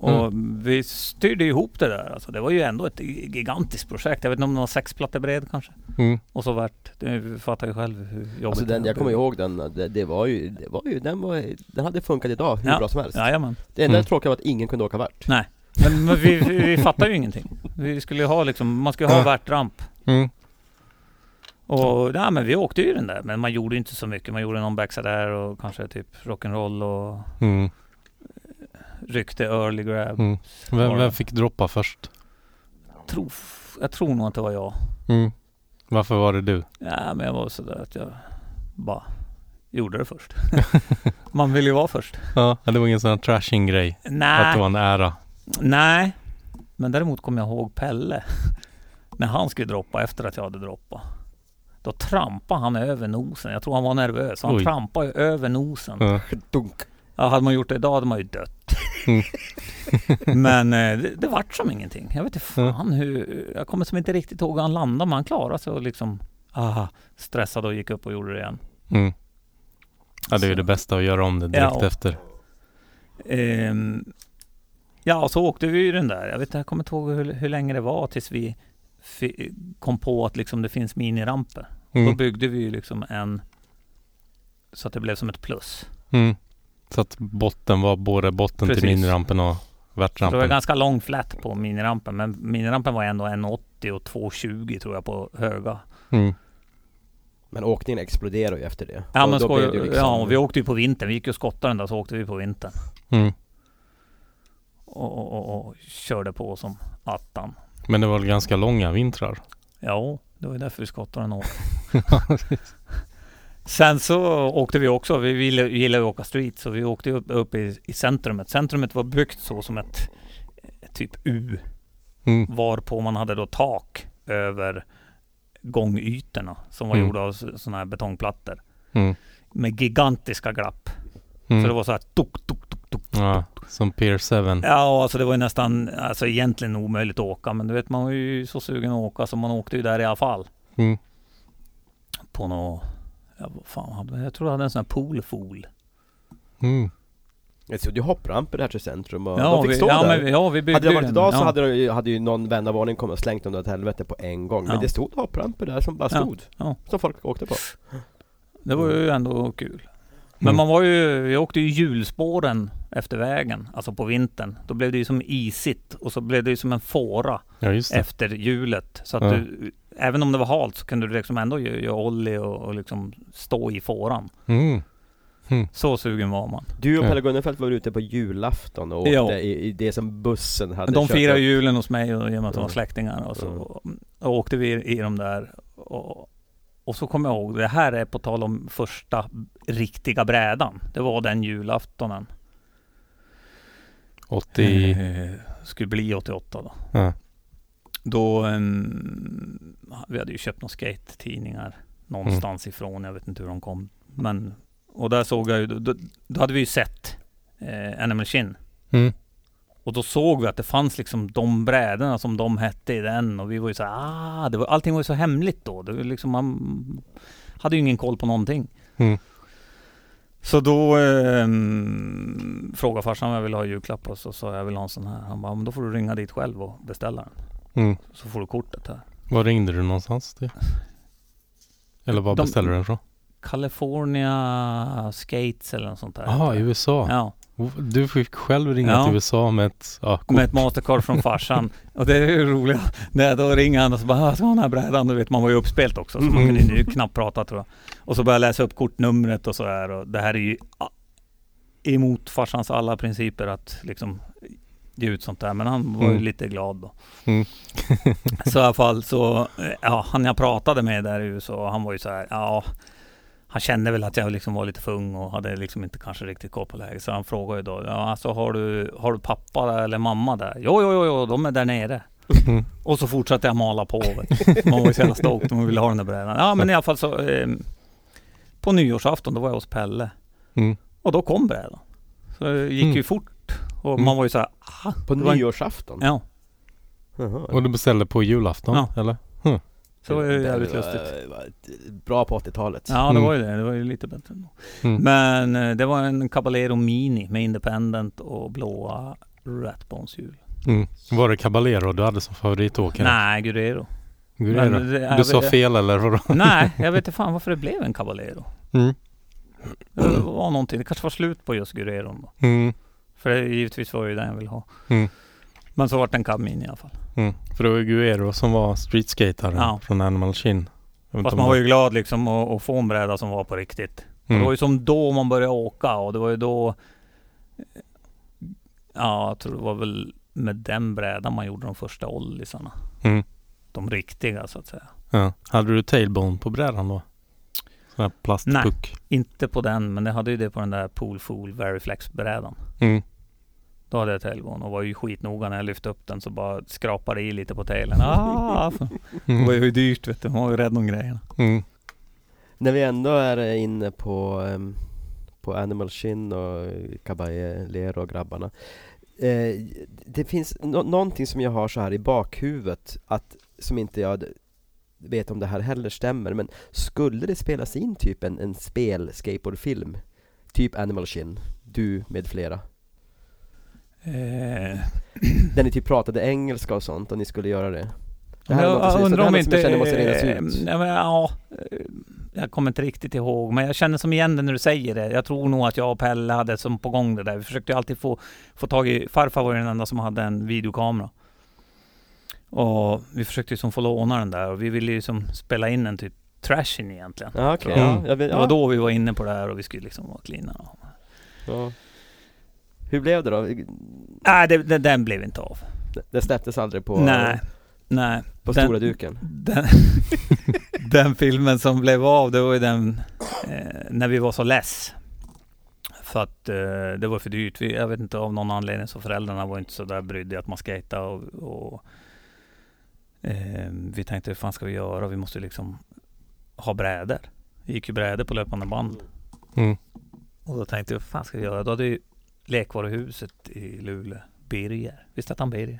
C: Mm.
B: Och vi styrde ihop det där. Alltså, det var ju ändå ett gigantiskt projekt. Jag vet inte om det var sex plattor bred kanske.
C: Mm.
B: Och så vart, du fattar ju själv hur jobbigt
A: Alltså den,
B: det
A: jag kommer ihåg den, det, det var ju, det var ju, den var, den hade funkat idag hur
B: Ja.
A: bra som helst
B: Jajamän.
A: Det enda
C: Mm.
A: tråkiga var att ingen kunde åka vart
B: Men, men vi, vi, vi fattar ju ingenting. Vi skulle ju ha liksom, man skulle ju ha
C: Ja.
B: värtramp.
C: Mm.
B: Och nej, men vi åkte ju den där. Men man gjorde ju inte så mycket. Man gjorde någon backsa där och kanske typ rock'n'roll och
C: Mm.
B: ryckte early grab.
C: Mm. Vem,
B: Var
C: vem
B: det?
C: fick droppa först?
B: Jag, tror, f- jag tror nog att det var jag.
C: Mm. Varför var det du?
B: Ja, men jag var sådär att jag bara gjorde det
C: [LAUGHS]
B: först. man vill ju vara först.
C: Ja, det var ingen sån här trashing grej.
B: Äh.
C: Att det
B: Nej,
C: var en ära.
B: nej. Men däremot kommer jag ihåg Pelle. [LAUGHS] När han skulle droppa efter att jag hade droppat. Då trampade han över nosen. Jag tror han var nervös. Han
C: Oj.
B: trampade ju över nosen. Ja.
C: Ja.
A: Dunk!
B: hade man gjort det idag hade man ju dött. [LAUGHS]
C: Mm.
B: men eh, det, det vart som ingenting. Jag vet inte fan hur... Jag kommer som inte riktigt ihåg hur han landade. Men han klarade sig och liksom... Aha, stressade och gick upp och gjorde det igen.
C: Mm. Ja, det är ju
B: Så.
C: det bästa att göra om det direkt
B: Ja.
C: efter.
B: Ehm, ja, och så åkte vi ju den där. Jag, vet, jag kommer inte ihåg hur, hur länge det var tills vi fi- kom på att liksom det finns miniramper. Då
C: Mm.
B: byggde vi ju liksom en så att det blev som ett plus.
C: Mm. Så att botten var både botten till
B: Precis.
C: minirampen och
B: Så det var
C: värtrampen.
B: ganska lång flat på minirampen, men minirampen var ändå 1,80 och 2,20 tror jag på höga.
C: Mm.
A: Men åkningen exploderade ju efter det
B: Ja,
A: Och
B: men
A: då
B: skoj,
A: blev det ju liksom-
B: ja och vi åkte ju på vintern. Vi gick ju och skottade den där, så åkte vi på vintern.
C: Mm.
B: Och, och, och, och körde på som attan.
C: Men det var väl ganska långa vintrar?
B: Ja, det var ju därför vi skottade den åt.
C: [LAUGHS]
B: [LAUGHS] Sen så åkte vi också, vi ville, vi gillar ju att åka street, så vi åkte upp, upp i, i centrumet. Centrumet var byggt så som ett eh, typ U.
C: Mm.
B: varpå man hade då tak över gångytorna som var
C: Mm.
B: gjorda av sådana här betongplattor
C: Mm.
B: med gigantiska glapp. Så det
C: Mm.
B: var så här tok, tok, tok, tok.
C: Ja, som Pier 7.
B: Ja, alltså det var ju nästan, alltså egentligen omöjligt att åka, men du vet man var ju så sugen att åka så man åkte ju där i alla fall.
C: Mm.
B: På nå ja, vad fan hade jag? Jag tror jag hade en sån här poolfool.
C: Mm.
A: Jag såg ju hoppramper här till centrum och
B: Ja,
A: de fick
B: vi,
A: stå
B: ja,
A: där
B: men, vi- ja, vi byggde
A: Hade det
B: ju
A: varit
B: den.
A: idag så
B: ja.
A: hade, det, ju- hade ju någon vän av ordning kommit och slängt dem där åt helvete på en gång Men
B: Ja.
A: det stod hoppramper där som bara
B: Ja,
A: stod
B: ja.
A: Som folk åkte på
B: Det var ju ändå kul. Men
C: Mm.
B: man var ju, jag åkte ju hjulspåren efter vägen, alltså på vintern. Då blev det ju som isigt och så blev det ju som en fåra
C: Ja, just det.
B: efter hjulet. Så att
C: Ja.
B: du, även om det var halt så kunde du liksom ändå gö- göra ollie och, och liksom stå i fåran.
C: Mm.
B: Så sugen var man.
A: Du och
C: Ja.
A: Pelle Gunnefelt var väl ute på julafton och åkte
B: Ja.
A: i, i det som bussen hade
B: Men de
A: kört
B: firade
A: upp.
B: julen hos mig och, i och med att de var
A: Mm.
B: släktingar. Och så och åkte vi i de där. Och, och så kommer jag ihåg, det här är på tal om första riktiga brädan. Det var den julaftonen.
C: 80...
B: Eh, skulle bli 88 då.
C: Ja.
B: Då, ehm, vi hade ju köpt några skate-tidningar någonstans
A: Mm.
B: ifrån, jag vet inte hur de kom. Men, och där såg jag ju, då, då hade vi ju sett eh, Animal Chin.
C: Mm.
B: Och då såg vi att det fanns liksom de brädorna som de hette i den och vi var ju så här, ah, det var, allting var ju så hemligt då. Det var liksom, man hade ju ingen koll på någonting.
C: Mm.
B: Så då ehm, frågade farsan om jag ville ha julklapp och så sa jag, jag vill ha en sån här. Han bara, men då får du ringa dit själv och beställa den.
C: Mm.
B: Så får du kortet här.
C: Var ringde du någonstans till? Eller var
B: De-
C: beställde du den från?
B: California Skates eller något sånt där.
C: Jaha, i USA.
B: Ja,
C: Du fick själv ringa
B: Ja.
C: till USA med ett ja, kort.
B: med ett Mastercard från farsan. och det är ju roligt. När då ringer han och så bara, "Ah, ska han ha den här brädan? Du vet, man var ju uppspelt också. Så man
C: Mm.
B: kunde ju knappt prata tror jag. Och så började jag läsa upp kortnumret och så här. Och det här är ju ah, emot farsans alla principer att liksom ge ut sånt där. Men han var ju
C: Mm.
B: lite glad då.
C: Mm.
B: [LAUGHS] så i alla fall så, eh, ja, han jag pratade med där i USA, han var ju så här, ja, han kände väl att jag liksom var lite för ung och hade liksom inte kanske riktigt koll på läget. Så han frågade ju då, ja alltså har du, har du pappa där eller mamma där? Jo, jo, jo, jo de är där nere. [LAUGHS]
C: Mm.
B: Och så fortsatte jag mala på. vet du. Man var ju så jävla stoked, man ville ha den där brädan. Ja, men i alla fall så, eh, på nyårsafton då var jag hos Pelle.
C: Mm.
B: Och då kom brädan. Så det gick ju
C: Mm.
B: fort. Och
C: Mm.
B: man var ju så här,
A: På
B: Det var en-
A: nyårsafton?
B: ja.
A: Jaha.
C: Och du beställde på julafton,
B: Ja.
C: eller?
B: Så det var ju jävligt
A: var- Mm.
B: lustigt.
A: var ett- eh, Bra på 80-talet
B: Ja, det
C: Mm.
B: var ju det. Det var ju lite bättre ändå.
C: Mm.
B: Men eh, det var en Caballero Mini med Independent och blåa Ratbones-hjul.
C: Mm. Var det Caballero du hade som favoritåkare?
B: Nej, Guerrero.
C: Hur är
B: Men
C: det?
B: det-
C: Du
B: jag
C: sa
B: vet-
C: fel eller vadå?
B: Nej, jag
C: [LAUGHS]
B: vet inte fan varför det blev en Caballero.
C: Mm.
B: Det var någonting. Det kanske var slut på just Guerrero då.
C: Mm.
B: För det, givetvis var det ju den jag ville ha.
C: Mm.
B: Men så vart det en Cab Mini i alla fall.
C: Mm. För det var ju Guero som var streetskataren
B: Ja.
C: från Animal Chin. Jag vet
B: Fast
C: inte
B: man
C: om
B: var
C: det-
B: ju glad liksom att, att få en bräda som var på riktigt. Och Det var
C: Mm.
B: ju som då man började åka och det var ju då... eh, Ja, jag tror det var väl med den brädan man gjorde de första ollisarna.
C: Mm.
B: De riktiga så att säga.
C: Ja. Hade du tailbone på brädan då? Sån här plastpuck?
B: Inte på den, men jag hade ju det på den där Pool Fool Veriflex-brädan.
C: Mm.
B: Då hade jag tailbone och var ju skitnoga när jag lyfte upp den så bara skrapade i lite på [LAUGHS] tailen. Ah, fan. det var
C: Mm.
B: ju dyrt vet du, man var ju rädd om grejerna.
C: Mm.
A: När vi ändå är inne på, ehm, på Animal Shin och Caballero och grabbarna eh, Det finns nå- någonting som jag har så här i bakhuvudet att, som inte jag d- vet om det här heller stämmer men skulle det spelas in typ en, en spel-skateboardfilm? Typ Animal Shin, du med flera
B: Eh,
A: Där ni typ pratade engelska och sånt och ni skulle göra det? Det här är något
B: jag
A: som- det här
B: undrar
A: är
B: om
A: något som
B: inte...
A: jag känner måste redas
B: eh,
A: ut.
B: ja, men, ja, eh, jag kommer inte riktigt ihåg, men jag känner som igen det när du säger det. Jag tror nog att jag och Pelle hade som på gång det där. Vi försökte ju alltid få, få tag i... Farfar var ju den enda som hade en videokamera. Och vi försökte ju som få låna den där och vi ville ju som spela in en typ trashin egentligen.
A: Ja okej,
C: Mm.
A: ja, jag vet,
B: Det var
A: ja.
B: då vi var inne på det här och vi skulle liksom vara cleana.
A: ja Hur blev det då?
B: Nej, det, det, den blev inte av.
A: Det släpptes aldrig på,
B: Nej, nej.
A: på
B: Den-
A: stora duken?
B: Den, [LAUGHS] den filmen som blev av, det var ju den eh, när vi var så less. För att eh, det var för dyrt. Vi, jag vet inte av någon anledning så föräldrarna var inte så där brydda att man skejtade och, och Eh, vi tänkte, hur fan ska vi göra? Vi måste ju liksom ha brädor. Det gick ju brädor på löpande band.
C: Mm.
B: Och då tänkte jag, vad fan ska vi göra? Då hade ju lekvaruhuset i Luleå, Birger. Visst hette han Birger?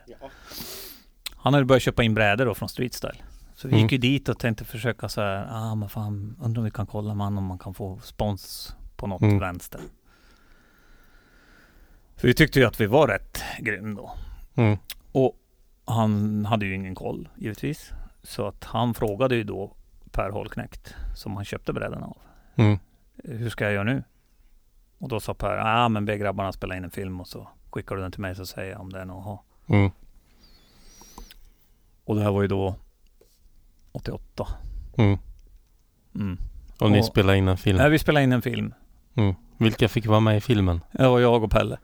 B: Han hade börjat köpa in brädor då från Street Style. Så vi
C: Mm.
B: gick ju dit och tänkte försöka så här, ah men fan, undrar om vi kan kolla man om man kan få spons på något
C: Mm.
B: vänster. För vi tyckte ju att vi var rätt grym då.
C: Mm.
B: Han hade ju ingen koll givetvis. Så att han frågade ju då Per Holknekt som han köpte brädorna av
C: Mm.
B: hur ska jag göra nu? Och då sa Per, ah, men be grabbarna spela in en film och så skickar du den till mig så säger jag om det är något att ha.
C: Mm.
B: Och det här var ju då 88.
C: Mm.
B: Mm.
C: Och ni
B: Och-
C: spelade in en film.
B: Nej, vi spelade in en film.
C: Vilka fick vara med i filmen? [LAUGHS]
B: Det var jag och Pelle.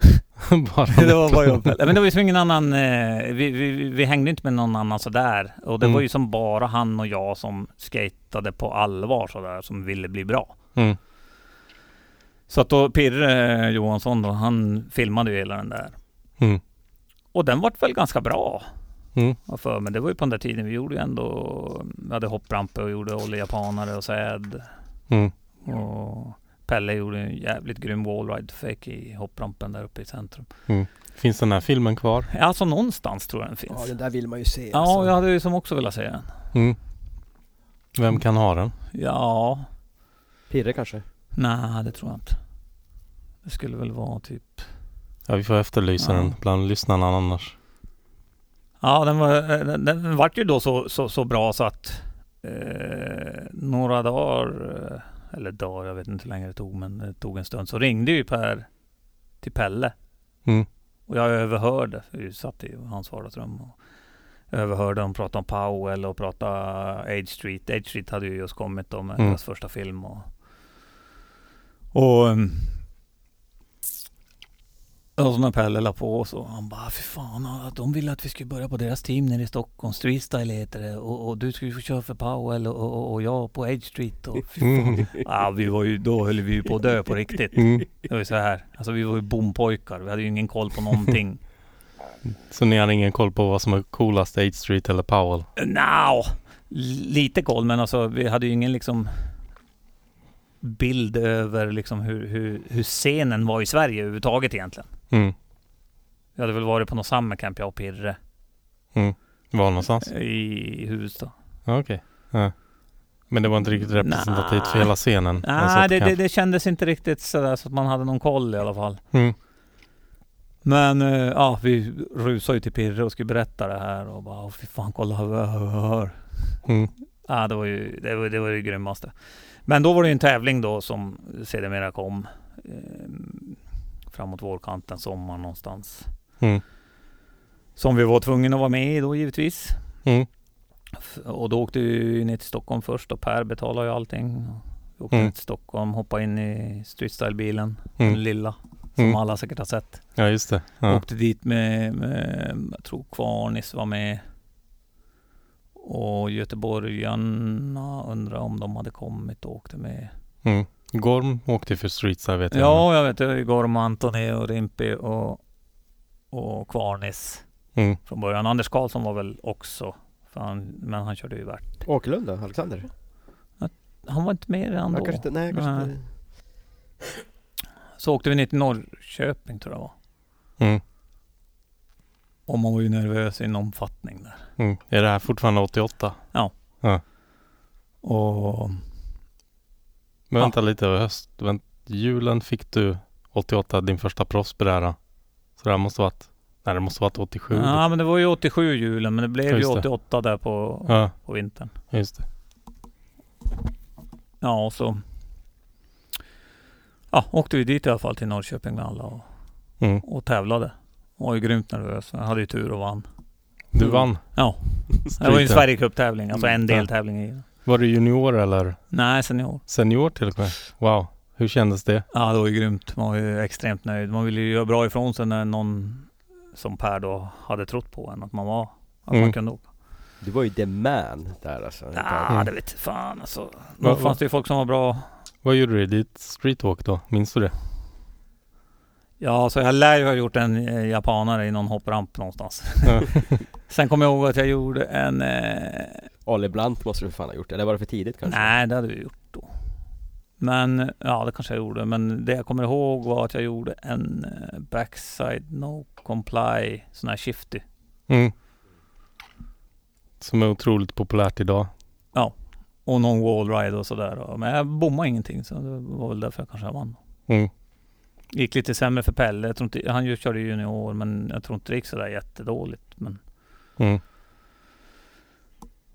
C: Bara
B: [LAUGHS] det var
C: ni
B: bara
C: två.
B: jag och Pelle. Men det var ju som ingen annan, eh, vi, vi, vi- vi hängde inte med någon annan sådär. Och det
C: Mm.
B: var ju som bara han och jag som skatade på allvar sådär, som ville bli bra.
C: Mm.
B: Så att då Pirre eh, Johansson då, han filmade ju hela den där.
C: Mm.
B: Och den vart väl ganska bra.
C: Mm.
B: har för mig. Det var ju på den där tiden vi gjorde ju ändå, vi hade hoppramper och gjorde oljejapanare och säd.
C: Mm.
B: Och Pelle gjorde en jävligt grym wallride fake i hopprampen där uppe i centrum.
C: Finns den här filmen kvar?
B: Alltså någonstans tror jag den
A: Ja
B: finns.
A: den där vill man ju se alltså.
B: Ja, jag hade ju som också velat se den.
C: Mm. Vem kan ha den?
B: Ja,
A: Pirre kanske?
B: nej det tror jag inte. Det skulle väl vara typ
C: Ja, vi får efterlysa
B: Ja.
C: den bland lyssnarna annars.
B: Ja, den, var, eh, den, den vart ju då så, så, så bra så att eh, några dagar, eh, eller dagar, jag vet inte hur länge det tog, men det tog en stund, så ringde ju Per till Pelle.
C: Mm.
B: Och jag överhörde, för vi satt i hans vardagsrum. Och jag överhörde dem prata om Powell och prata Age Street. Age Street hade ju just kommit då med
C: Mm.
B: deras första film. Och, och, ehm, och så när Pelle la på så han bara, fy fan, ah, de ville att vi skulle börja på deras team nere i Stockholm. Streetstyle heter det. Och, och du skulle få köra för Powell och, och, och jag på Age Street. Och, fy fan.
C: Mm.
B: Ja, vi var ju, då höll vi ju på att dö på riktigt.
C: Mm.
B: Det var ju så här. Alltså vi var ju bompojkar. Vi hade ju ingen koll på någonting.
C: Så ni har ingen koll på vad som är coolast, 8 Street eller Powell?
B: Nja, lite koll men alltså vi hade ju ingen liksom bild över liksom hur, hur, hur scenen var i Sverige överhuvudtaget egentligen.
C: Mm.
B: Jag hade väl varit på någon summercamp jag och Pirre
C: Var någonstans?
B: i Huvudstad.
C: Ja, Okej. Ja. Men det var inte riktigt representativt för hela scenen?
B: Nej,
C: Alltså,
B: det,
C: kan-
B: det, det kändes inte riktigt sådär så att man hade någon koll i alla fall.
C: Mm.
B: Men eh, ja, vi rusade ju till Pirre och skulle berätta det här och bara, "Åh, fy fan kolla [LAUGHS] hör, hör.
C: Mm.
B: Ja, det var ju det, var, det, var det grymmaste. Men då var det ju en tävling då som sedermera kom eh, framåt vårkanten, sommar någonstans.
C: Mm.
B: Som vi var tvungna att vara med i då givetvis.
C: Mm.
B: F- Och då åkte vi ner till Stockholm först och Per betalade ju allting. Vi åkte
C: Mm.
B: ner till Stockholm, hoppade in i streetstyle-bilen, den
C: Mm.
B: lilla, som
C: Mm.
B: alla säkert har sett.
C: Ja, just det. Ja.
B: Åkte dit med, med, jag tror Kvarnis var med. Och göteborgarna undrar om de hade kommit och åkte med.
C: Mm. Gorm åkte ju för Streets här vet jag.
B: Ja, jag vet. Det var ju Gorm, Antoni och Rimpi och, och Kvarnis
C: Mm.
B: från början. Anders Karlsson var väl också, för han, men han körde ju värt.
A: Åkerlund då, Alexander?
B: Han var inte med redan
A: Ja,
B: då.
A: kanske inte, nej kanske
B: Nej.
A: inte
B: Så åkte vi ner till Norrköping tror jag det var.
C: Mm.
B: Och man var ju nervös i en omfattning där.
C: Mm. Är det här fortfarande 88?
B: Och
C: Men
B: Ja.
C: vänta lite, höst, vänt, julen fick du 88, din första proffsbräda. Så det här måste varit, nej det måste varit 87.
B: Ja men det var ju 87 julen men det blev ju
C: Just det.
B: 88 där på,
C: ja
B: på vintern.
C: just det.
B: Ja och så ja, åkte vi dit i alla fall till Norrköping med alla och,
C: Mm.
B: och tävlade. Jag var ju grymt nervös. Jag hade ju tur och vann.
C: Du
A: Mm.
C: vann.
B: Ja, det var ju en
C: Streeten.
B: Sverigecup-tävling. Alltså en
C: Mm.
B: deltävling i
C: Var du junior eller
B: Nej, senior.
C: senior till och med? Wow, hur kändes det?
B: Ja, det var ju grymt. Man var ju extremt nöjd. Man ville ju göra bra ifrån sig när någon som Per då hade trott på en att man var, att man
C: Mm.
B: kunde åka.
A: Du var ju the man där alltså
B: Ja, det vet fan alltså. Då
C: Vad-
B: fanns det ju folk som var bra.
C: Vad gjorde du i ditt streetwalk då? Minns du det?
B: alltså, Ja, så jag lär ju ha gjort en eh, japanare i någon hoppramp någonstans.
C: Ja.
B: [LAUGHS] Sen kommer jag ihåg att jag gjorde en... Eh,
A: Olli Blunt måste du för fan ha gjort, eller var det för tidigt kanske?
B: nej, det hade vi gjort då. Men, ja det kanske jag gjorde. Men det jag kommer ihåg var att jag gjorde en eh, backside no comply, sån här shifty.
C: Mm. Som är otroligt populärt idag.
B: Och någon wallride och sådär. Och- Men jag bommade ingenting så det var väl därför jag kanske vann.
C: Mm.
B: Gick lite sämre för Pelle. Jag tror inte, han ju körde junior men jag tror inte det gick sådär jättedåligt. Men
C: Mm.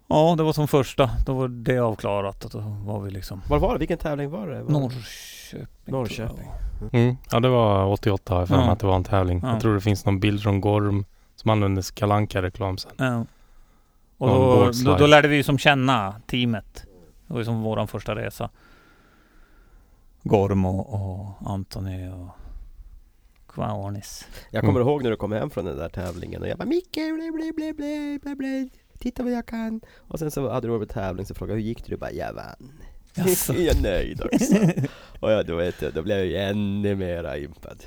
B: ja, det var som första. Då var det avklarat och då var vi liksom
A: Var var det? Vilken tävling var det? Var...
B: Norrköping. tror jag.
A: Norrköping.
C: Mm. Ja, det var 88 har jag för mig
B: Ja.
C: att det var en tävling.
B: Ja.
C: Jag tror det finns någon bild från Gorm som användes i Kalle Anka reklam sen.
B: Ja. Och
C: Ja, en
B: då,
C: boardslide.
B: då, då lärde vi ju som känna teamet. Det var ju som våran första resa. Gorm och, och Antoni och Kvaornis.
A: Jag kommer
C: Mm.
A: ihåg när du kom hem från den där tävlingen och jag bara Micke, blä, blä, blä, blä, blä, blä. Titta vad jag kan! Och sen så hade du varit på tävling så frågade jag hur gick det? Du bara, jag vann! [LAUGHS]
B: Jaså.
A: jag är nöjd också! och jag, då vet jag, då blev jag ju ännu mera impad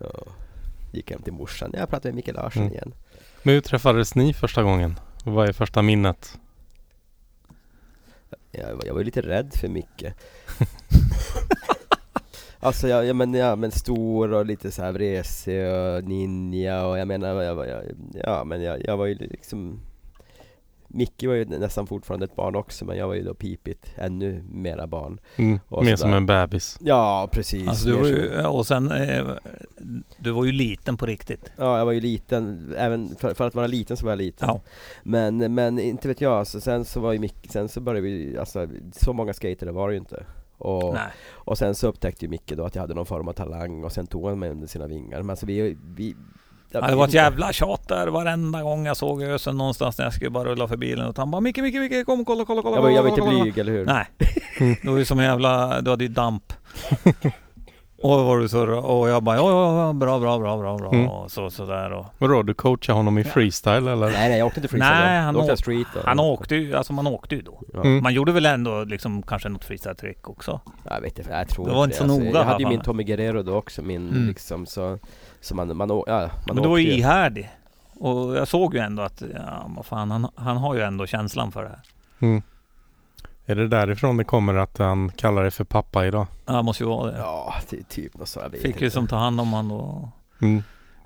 A: ja. Gick hem till morsan, jag pratade med Micke Larsson
C: Mm.
A: igen
C: Men hur träffades ni första gången? Och Vad är första minnet?
A: jag, var- jag var ju lite rädd för [LAUGHS] Micke Alltså jag, jag, men, ja, men stor och lite såhär vresig och ninja och jag menar, jag, var- jag, ja men jag, jag var ju liksom Micke var ju nästan fortfarande ett barn också men jag var ju då pipigt, ännu mera barn
C: Mm.
A: Och
C: Mer
A: sådär.
C: som en bebis.
A: Ja precis
B: Alltså du
A: mer
B: var
A: som-
B: ju, och sen, eh, du var ju liten på riktigt.
A: Ja, jag var ju liten, även för, för att vara liten så var jag liten
B: Ja.
A: Men, men inte vet jag, så sen så var ju Micke, sen så började vi, alltså så många skater var det ju inte och,
B: Nej.
A: och sen så upptäckte ju Micke då att jag hade någon form av talang och sen tog han mig under sina vingar Men alltså vi, vi jag
B: Ja, det var ett
A: vet inte.
B: jävla tjat där varenda gång jag såg Ösen någonstans när jag skulle bara rulla för bilen. Och han bara Micke, Micke, Micke, kom kolla, kolla, kolla.
A: Jag var, jag var inte
B: kolla, kolla, kolla."
A: blyg, eller hur?
B: Nej. Du var ju som en jävla, du hade ju damp. och då var du surra och jag bara ja, ja, ja, bra, bra, bra, bra, bra
C: Mm.
B: och så, sådär och.
C: Vadå, du coachade honom i
B: Ja.
C: freestyle eller?
A: nej, nej jag åkte inte freestyle
B: Nej,
A: då.
B: han,
A: Då åkte
B: åkte,
A: jag street då.
B: han åkte ju, alltså man åkte ju då.
A: ja.
C: Mm.
B: Man gjorde väl ändå liksom kanske något freestyle-trick också.
A: Jag vet inte, jag tror
B: Det var inte så noga,
A: Jag hade ju
B: va?
A: min Tommy Guerrero då också, min
B: Mm.
A: liksom så Så man, man, å- ja, man
B: Men du var
A: åkte
B: ju ihärdig. Och jag såg ju ändå att, ja vad fan, han, han har ju ändå känslan för det här.
C: Mm. Är det därifrån det kommer att han kallar dig för pappa idag?
B: Han måste ju vara det.
A: Ja, ty- typ något så, jag vet
B: Fick
A: inte.
B: ju som ta hand om han då.
C: Mm.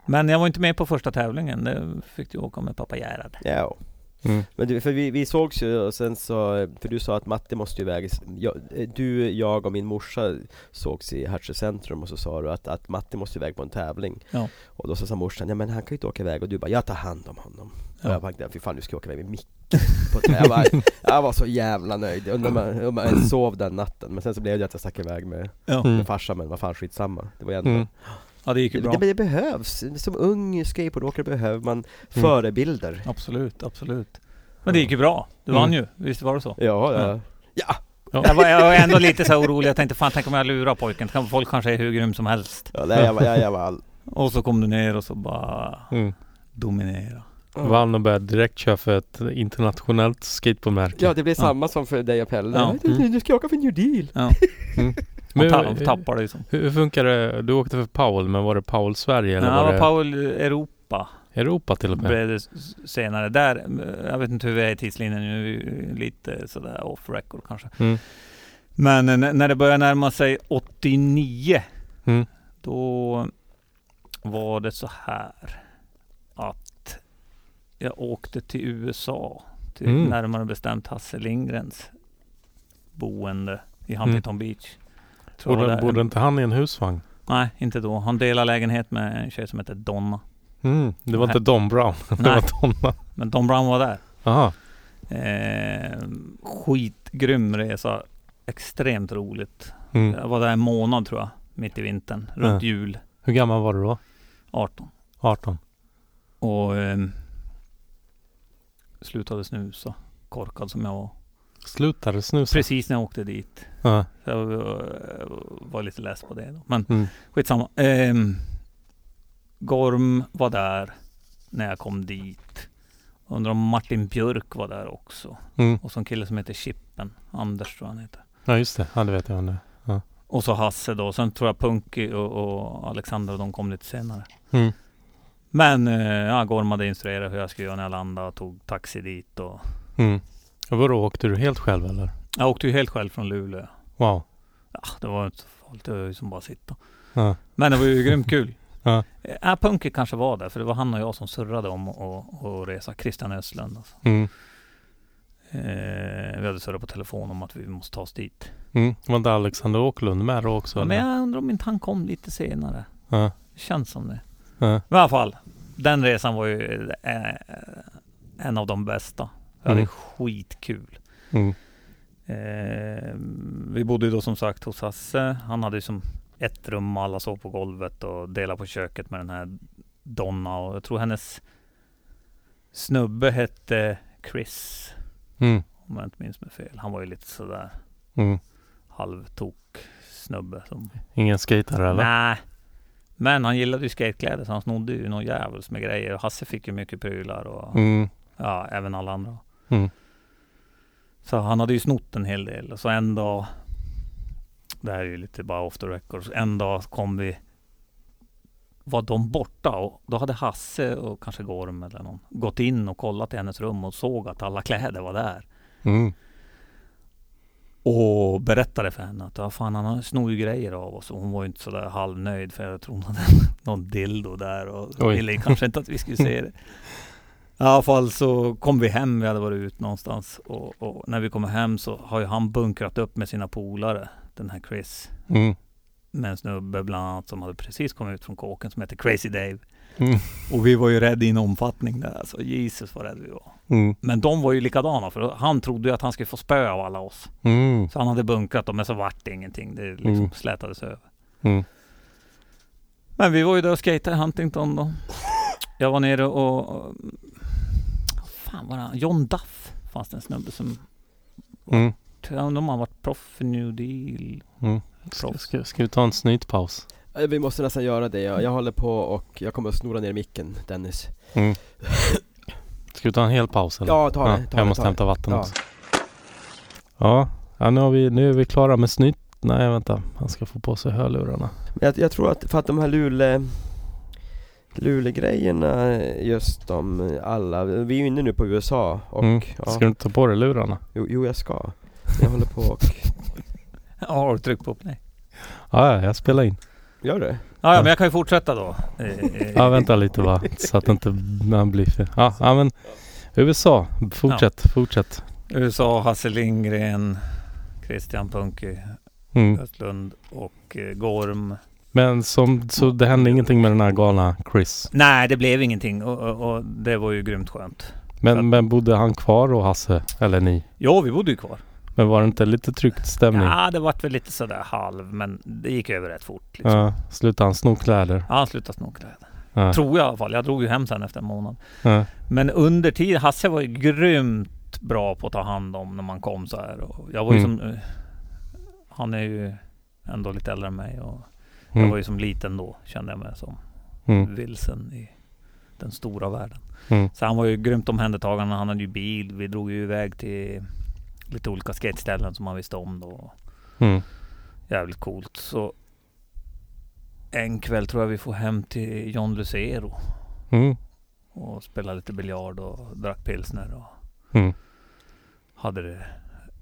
B: Men jag var inte med på första tävlingen. Det fick du åka med pappa Gerhard.
A: Ja,
C: Mm.
A: Men du, för vi, vi sågs ju och sen så, för du sa att Matti måste ju iväg, jag, du, jag och min morsa sågs i Hertsö centrum och så sa du att, att Matti måste iväg på en tävling
B: Ja.
A: Och då så sa morsan, ja men han kan ju inte åka iväg och du bara, jag tar hand om honom
B: Ja.
A: Och jag bara, fy fan du ska åka iväg med Micke på tävling." jag, bara, jag var så jävla nöjd, undrar om jag- om jag ens sov den natten Men sen så blev det att jag stack iväg med,
B: Ja,
C: Mm.
A: med farsan men vad fan skitsamma Det var ju ändå
C: Mm.
B: ja det gick ju
A: det,
B: bra.
A: det, det behövs, som ung skateboardåkare behöver man förebilder
B: Absolut, absolut. Men det gick ju bra. Du vann ju. Visst var det så?
A: Ja, ja,
B: Ja.
C: Ja.
B: Jag var, jag var ändå lite så här orolig. Jag tänkte fan, tänk om jag lurar pojken. Kan- Folk kanske är hur grym som helst.
A: ja nej, jag, var- jag, jag var all...
B: Och så kom du ner och så bara
C: Mm.
B: dominera.
C: Vann och började direkt köra för ett internationellt skateboardmärke.
A: Ja, det blir samma som för dig och Pelle.
B: Ja.
A: Du, du,
C: Mm.
A: du ska åka för New Deal.
B: Man liksom.
C: Men
B: ta,
C: hur-
B: tappar det ju som.
C: Hur, hur funkar det? Du åkte för Powell, men var det Powell Sverige eller
B: Ja,
C: var
B: var
C: det
B: Paul eh, Europa
C: Europa till och med?
B: blev det s- senare. Där, eh, jag vet inte hur vi är i tidslinjen nu. Vi är ju Lite sådär off record kanske.
C: Mm.
B: Men eh, när det börjar närma sig 89
C: Mm.
B: Då var det så här att jag åkte till USA, till
C: Mm.
B: närmare bestämt Hasse Lindgrens boende i
C: Mm.
B: Huntington Beach. Tror
C: Bodde,
B: jag
C: bodde inte han i en husvagn?
B: Nej, inte då. Han delar lägenhet med en tjej som heter Donna.
C: Mm. Det var
B: Nej.
C: inte Don Brown, [LAUGHS] det
B: Nej,
C: var Donna.
B: men Don Brown var där.
C: Aha.
B: Eh, skitgrym resa. Extremt roligt.
C: Mm.
B: Jag var där en månad tror jag, mitt i vintern, runt jul
C: Hur gammal var du då?
B: 18.
C: 18?
B: Och ehm, slutade snusa. Korkad som jag var.
C: Slutade snusa?
B: Precis när jag åkte dit.
C: Ja.
B: Så Jag eh, var lite less på det då. Men
C: Mm.
B: skitsamma. Ehm, Gorm var där när jag kom dit. Undrar om Martin Björk var där också.
C: Mm.
B: Och så en kille som heter Chippen. Anders tror jag han heter.
C: Ja, just det. Ja, det vet jag nu.
B: Och så Hasse då. Sen tror jag Punky och, och Alexander och de kom lite senare.
C: Mm.
B: Men eh, ja, Gorm hade instruerat hur jag skulle göra när jag landade och tog taxi dit och
C: Mm. Och vadå, åkte du helt själv eller?
B: Jag åkte ju helt själv från Luleå.
C: Wow.
B: Ja, det var ju inte så farligt, det var ju som bara att sitta.
C: Ja.
B: Men det var ju grymt kul.
C: [LAUGHS] Ja.
B: Ja, Punke kanske var där, för det var han och jag som surrade om att att resa. Christian Östlund alltså.
C: Mm.
B: eh, Vi hade surrat på telefon om att vi måste ta oss dit.
C: Mm. Var inte Alexander Åkerlund med då också?
B: Ja, men
C: eller?
B: jag undrar om inte han kom lite senare.
C: Ja.
B: Det känns som det.
C: Ja.
B: Men i alla fall, den resan var ju eh, en av de bästa. Jag hade
C: Mm.
B: skitkul.
C: Mm.
B: Eh, vi bodde ju då som sagt hos Hasse. Han hade ju som ett rum och alla sov på golvet och delade på köket med den här Donna och jag tror hennes snubbe hette Chris.
C: Mm.
B: Om jag inte minns mig fel. Han var ju lite sådär
C: Mm.
B: halvtok snubbe som...
C: Ingen skejtare eller?
B: Nej. Men han gillade ju skatekläder så han snodde ju någon djävuls med grejer. Och Hasse fick ju mycket prylar och
C: Mm.
B: ja, även alla andra.
C: Mm.
B: Så han hade ju snott en hel del. Och Så en dag, det här är ju lite bara off the record, Så en dag kom vi, var de borta och då hade Hasse och kanske Gorm eller någon gått in och kollat i hennes rum och såg att alla kläder var där.
C: Mm.
B: Och berättade för henne att ja, fan, han snor ju grejer av oss. Och hon var ju inte sådär halvnöjd för jag tror hon hade [LAUGHS] någon dildo där och
C: Oj.
B: ville kanske inte att vi skulle se det. I alla fall så kom vi hem, vi hade varit ut någonstans. Och, och när vi kommer hem så har ju han bunkrat upp med sina polare, den här Chris.
C: Mm.
B: Med en snubbe bland annat som hade precis kommit ut från kåken som heter Crazy Dave.
C: Mm.
B: Och vi var ju rädda i en omfattning där alltså. Jesus vad rädda vi var.
C: Mm.
B: Men de var ju likadana för han trodde ju att han skulle få spö av alla oss.
C: Mm.
B: Så han hade bunkrat dem, men så vart det ingenting. Det liksom
C: Mm.
B: slätades över.
C: Mm.
B: Men vi var ju där och skejtade i Huntington då. Jag var nere och... och fan var det han? John Duff fanns det en snubbe som...
C: Mm.
B: Jag undrar om han varit proff i New Deal.
C: Ska, ska, ska vi ta en snytpaus?
A: Eh, Vi måste nästan göra det, jag, jag håller på och jag kommer att snora ner micken Dennis
C: Mm. Ska vi ta en hel paus eller?
A: Ja, ta det, ta det,
C: jag måste
A: ta det.
C: hämta vatten
A: Ja.
C: också. Ja, ja nu, har vi, nu är vi klara med snytt. Nej vänta, han ska få på sig hörlurarna.
A: Men jag, jag tror att, för att de här Lule Lulegrejerna, just de alla, vi är ju inne nu på USA och
C: Mm. Ska du
A: ja,
C: inte ta på dig lurarna?
A: jo, jo jag ska Jag håller på och,
B: Ja, har du tryckt på play?
C: Ja, ja, jag spelar in.
A: gör det?
B: Ja, ja,
C: Ja.
B: men jag kan ju fortsätta då. Eh, eh,
C: Ja, vänta lite bara så att inte man blir för... Ja, ja men USA. Fortsätt, fortsätt.
B: USA, Hasse Lindgren, Christian Punky,
C: Mm.
B: Östlund och eh, Gorm.
C: Men som, så det hände ingenting med den här galna Chris.
B: Nej, det blev ingenting och, och, och det var ju grymt skönt.
C: Men, men bodde han kvar och Hasse? Eller ni?
B: Ja, vi bodde ju kvar.
C: Men var det inte lite tryckt stämning?
B: Ja, det vart väl lite sådär halv, men det gick över rätt fort. Liksom.
C: Ja, slutade han sno kläder?
B: Ja, han slutade sno kläder.
C: Ja.
B: Tror jag i alla fall. Jag drog ju hem sen efter en månad.
C: Ja.
B: Men under tiden, Hasse var ju grymt bra på att ta hand om när man kom så här. Och jag var ju
C: Mm.
B: som... eh, Han är ju ändå lite äldre än mig och jag var
C: Mm.
B: ju som liten då, kände jag mig som.
C: Mm.
B: Vilsen i den stora världen.
C: Mm.
B: Så han var ju grymt omhändertagande. Han hade ju bil. Vi drog ju iväg till lite olika skateställen som han visste om då.
C: Mm.
B: Jävligt coolt. Så en kväll tror jag vi får hem till John Lucero
C: Mm.
B: och spela lite biljard och drack pilsner och
C: Mm.
B: hade det.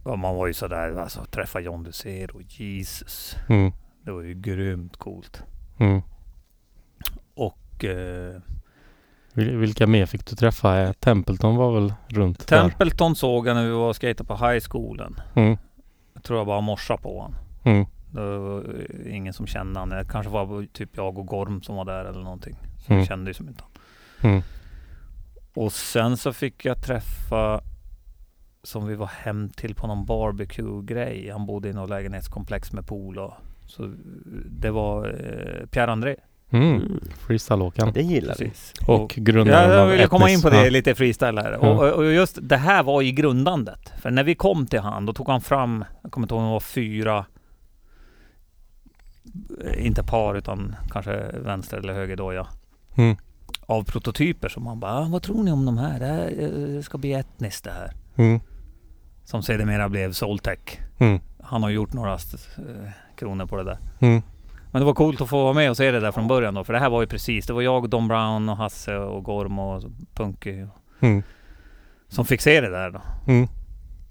B: Ja, man var ju sådär, alltså träffa John Lucero, Jesus.
C: Mm.
B: Det var ju grymt coolt.
C: Mm.
B: Och, eh,
C: Vil- Vilka mer fick du träffa? Eh, Templeton var väl runt där?
B: Templeton såg jag när vi var och skejtade på high schoolen.
C: Mm.
B: Jag tror jag bara morsade på honom.
C: Mm.
B: Det var eh, ingen som kände honom. Det kanske var typ jag och Gorm som var där eller någonting. Så
C: Mm.
B: jag kände ju som inte honom.
C: Mm.
B: Och sen så fick jag träffa som vi var hem till på någon barbecue-grej. Han bodde i något lägenhetskomplex med pool och så det var eh, Pierre André.
C: Mm. Freestyleåkaren.
A: Det gillar vi
B: Precis.
C: Och grundaren
B: Ja, jag
C: av
B: ville komma in
C: Etnis.
B: på det
C: Ja.
B: lite freestyle här.
C: Ja.
B: Och, och just det här var i grundandet. För när vi kom till han, då tog han fram, jag kommer inte ihåg om det var fyra, eh, inte par utan kanske vänster eller höger då ja.
C: Mm.
B: Av prototyper som han bara, "Ah, vad tror ni om de här? Det här eh, ska bli etniskt det här.
C: Mm.
B: Som sedermera blev Soltech.
C: Mm.
B: Han har gjort några st- eh, kronor på det där.
C: Mm.
B: Men det var coolt att få vara med och se det där från början då. För det här var ju precis, det var jag, Don Brown och Hasse och Gorm och Punky och,
C: Mm.
B: som fick se det där då.
C: Mm.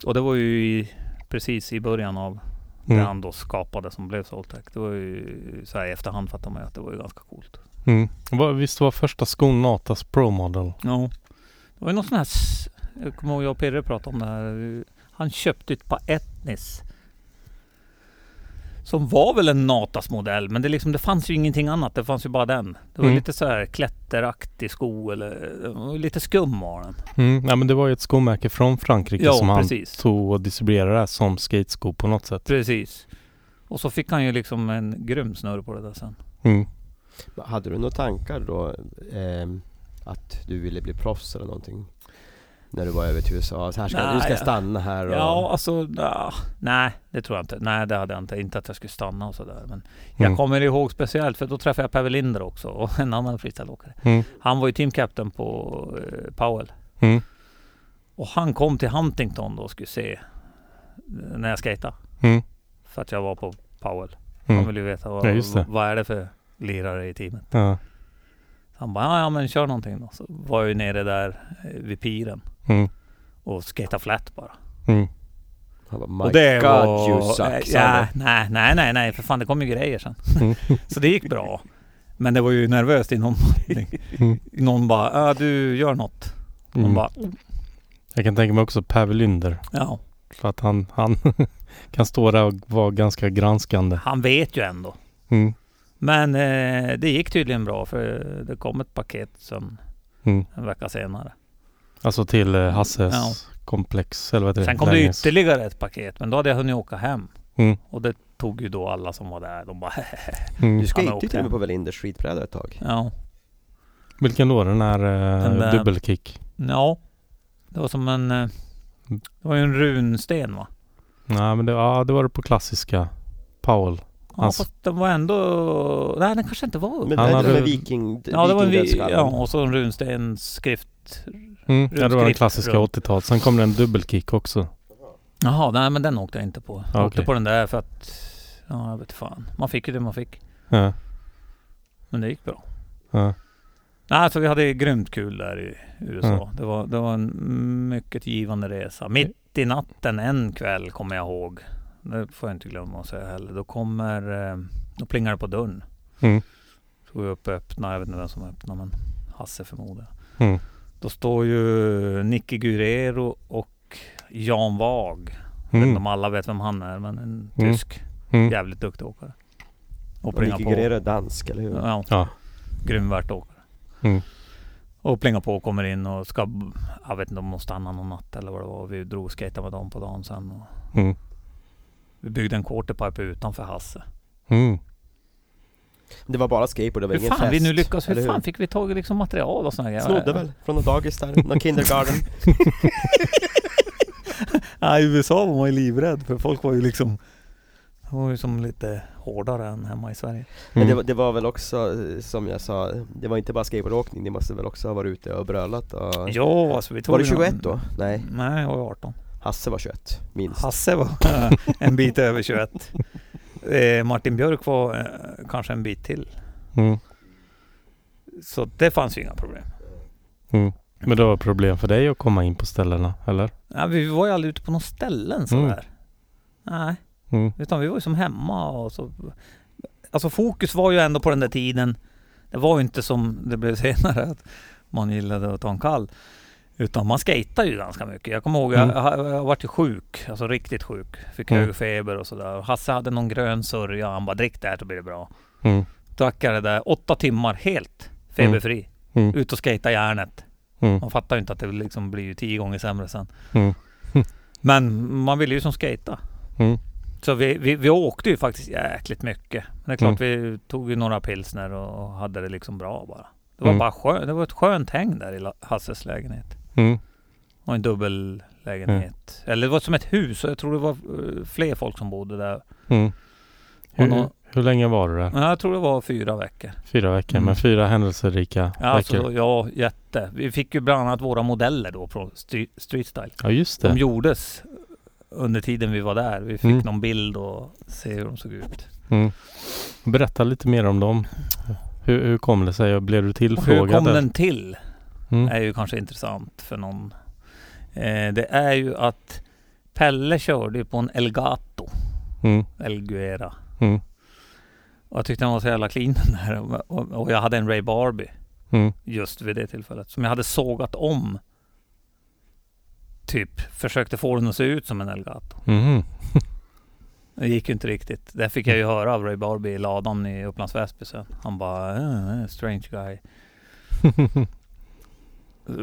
B: Och det var ju i, precis i början av det
C: Mm.
B: han då skapade som blev Soltech. Det var ju så här i efterhand fattar man ju att det var ju ganska coolt.
C: Mm. Vad- Visst var första skon Natas Pro Model?
B: Ja. Det var ju någon sån här... s- Jag kommer ihåg jag och Pirre pratade om det här. Han köpte ett par Etnis. Som var väl en Natas modell men det, liksom, det fanns ju ingenting annat. Det fanns ju bara den. Det var
C: Mm.
B: lite så här klätteraktig sko eller... den var Lite skum var den.
C: Mm. Ja, men det var ju ett skomärke från Frankrike som
B: Ja
C: han
B: precis.
C: tog och distribuerade som skatesko på något sätt.
B: Precis. Och så fick han ju liksom en grym snurr på det där sen.
C: Mm.
A: Hade du några tankar då? ehm, att du ville bli proffs eller någonting? När du var över till USA? Så här ska,
B: Nej,
A: du ska
B: ja.
A: stanna här och...
B: Ja alltså... ah, nej det tror jag inte. Nej det hade jag inte. Inte att jag skulle stanna och sådär. Men
C: Mm.
B: jag kommer ihåg speciellt för då träffade jag Per Welinder också och en annan freestyleåkare.
C: Mm.
B: Han var ju teamkapten på eh, Powell.
C: Mm.
B: Och han kom till Huntington då och skulle se eh, när jag skejtade.
C: Mm.
B: För att jag var på Powell. Han
C: Mm.
B: ville ju veta vad,
C: Ja, just det.
B: vad är det för lirare i teamet.
C: Ja.
B: Han bara, "Ja, ja men kör någonting då. Så var jag ju nere där eh, vid piren
C: Mm.
B: och skejtade flat bara.
C: Mm.
A: Han bara, My
B: och det
A: God
B: var...
A: you suck! sa han
B: Eh, ja,
A: då.
B: nej, nej, nej, nej, för fan det kom ju grejer sen.
C: Mm.
B: Så det gick bra. Men det var ju nervöst i någon [LAUGHS]
C: Mm.
B: Någon bara, "Ja, du gör något. Hon
C: Mm.
B: bara,
C: Jag kan tänka mig också Per Welinder.
B: ja.
C: För att han, han [LAUGHS] kan stå där och vara ganska granskande.
B: Han vet ju ändå.
C: Mm.
B: Men eh, det gick tydligen bra för det kom ett paket sen
C: Mm.
B: en vecka senare.
C: Alltså till eh, Hasses
B: Ja.
C: komplex eller vad heter det?
B: Sen kom det
C: Länges.
B: ytterligare ett paket men då hade jag hunnit åka hem.
C: Mm.
B: Och det tog ju då alla som var där. De bara
C: Mm.
A: Du
B: Han
A: skejtade ju
B: åkte.
A: till och med på Velinders skidbräda ett tag
B: ja.
C: Vilken då? Den här eh,
B: Den där-
C: dubbelkick?
B: ja. Det var som en... eh, Det var ju en runsten va?
C: Nej men det, ja, det var det på klassiska. Powell.
B: Ja,
C: Alltså-
B: fast den var ändå... Nej den kanske inte var upp.
A: Men
C: Han
A: den
C: hade-
A: hade... viking...
B: Ja, det var en, vi-
A: vikingdödsskallen.
B: ja, och så en runstensskrift.
C: Mm. Ja, det var den
B: Rundskrift
C: klassiska
B: runt.
C: 80-talet. Sen kom det en dubbelkick också.
B: Jaha, nej men den åkte jag inte på. Jag
C: Ja,
B: åkte
C: okej.
B: på den där för att... Ja, jag vet fan. Man fick ju det man fick.
C: Ja.
B: Men det gick bra.
C: Ja.
B: Nej, alltså vi hade grymt kul där i USA. Det, var, det var en mycket givande resa. Mitt i natten en kväll kommer jag ihåg. Det får jag inte glömma att säga heller. Då kommer... eh, Då plingar det på dörren.
C: Mm.
B: Så går jag upp och öppnar. Jag vet inte vem som öppnar men Hasse förmodar jag.
C: Mm.
B: Då står ju Nicky Guerrero och Jan Wag. Jag vet inte
C: Mm.
B: om alla vet vem han är men en
C: Mm.
B: tysk
C: Mm.
B: jävligt duktig åkare. Och
A: Och
B: plingar
A: Nicky
B: på.
A: Guerrero är dansk, eller hur?
B: Ja.
C: Ja.
B: Grym värtåkare.
C: Mm.
B: Och plingar på och kommer in och ska... Jag vet inte om de stannade någon natt eller vad det var. Vi drog och skejtade med dem på dagen sen. Och
C: Mm.
B: vi byggde en quarterpipe utanför Hasse.
C: Mm.
A: Det var bara skateboard, det var
B: Hur
A: ingen
B: fan
A: fest
B: vi nu lyckas?
A: eller
B: Hur fan fick vi tag i liksom material och såna grejer?
A: Snodde väl från något dagis där, någon kindergarten
B: Ja, I USA var man ju livrädd för folk var ju liksom... De var ju som lite hårdare än hemma i Sverige.
A: Men det,
C: Mm.
A: var- det var väl också, eh, som jag sa, det var inte bara skateboardåkning, ni måste väl också ha varit ute och brölat och...
B: Ja, alltså vi tog
A: var du
B: ju någon-
A: 21 då? Nej,
B: Nej, jag var 18.
A: Hasse var 21, minst
B: Hasse var eh, en bit över 21. Eh, Martin Björk var eh, kanske en bit till.
C: Mm.
B: Så det fanns ju inga problem.
C: Mm. Men det var problem för dig att komma in på ställena, eller?
B: Nej, vi var ju aldrig ute på några ställen sådär. Nej,
C: Mm.
B: utan vi var ju som hemma och så. Alltså fokus var ju ändå på den där tiden. Det var ju inte som det blev senare att man gillade att ta en kall. Utan man skejtade ju ganska mycket. Jag kommer ihåg,
C: Mm.
B: jag, jag, jag vart ju sjuk. Alltså riktigt sjuk. Fick
C: Mm.
B: hög feber och sådär. Hasse hade någon grön sörja. Han bara drick det här så blir det bra.
C: Mm.
B: drack jag det där åtta timmar helt feberfri.
C: Mm. Mm.
B: Ut och skejta järnet.
C: Mm.
B: Man fattar ju inte att det liksom blir ju tio gånger sämre sen.
C: Mm.
B: Men man ville ju som skejta.
C: Mm.
B: Så vi, vi, vi åkte ju faktiskt jäkligt mycket. Men det är klart
C: Mm.
B: vi tog ju några pilsner och hade det liksom bra bara. Det var
C: Mm.
B: bara skönt. Det var ett skönt häng där i La- Hasses lägenhet.
C: Mm.
B: Och en dubbel lägenhet. Eller det var som ett hus och jag tror det var eh, fler folk som bodde där.
C: Mm.
B: Och
C: Hur,
B: nå-
C: hur länge var du där?
B: Men jag tror det var fyra veckor.
C: Fyra veckor,
B: Mm.
C: men fyra händelserika
B: Ja, alltså,
C: veckor.
B: ja, jätte. Vi fick ju bland annat våra modeller då från Stre- Street Style.
C: Ja, just
B: De
C: det.
B: gjordes under tiden vi var där. Vi fick
C: Mm.
B: någon bild och se hur de såg ut.
C: Mm. Berätta lite mer om dem. Hur, hur kom det sig? Blev du
B: Och hur
C: tillfrågad?
B: kom
C: eller?
B: den till?
C: Mm.
B: är ju kanske intressant för någon. Eh, det är ju att Pelle körde ju på en Elgato,
C: Mm.
B: Elguera.
C: Mm.
B: Och jag tyckte den var så jävla clean [LAUGHS] den där. Och, och jag hade en Ray Barbie
C: Mm.
B: just vid det tillfället. Som jag hade sågat om. Typ försökte få den att se ut som en Elgato.
C: Mhm.
B: Det gick ju inte riktigt. Det fick jag ju höra av Ray Barbie i ladan i Upplands Väsby sen. Han bara eh, “Strange
C: [LAUGHS]
B: guy”.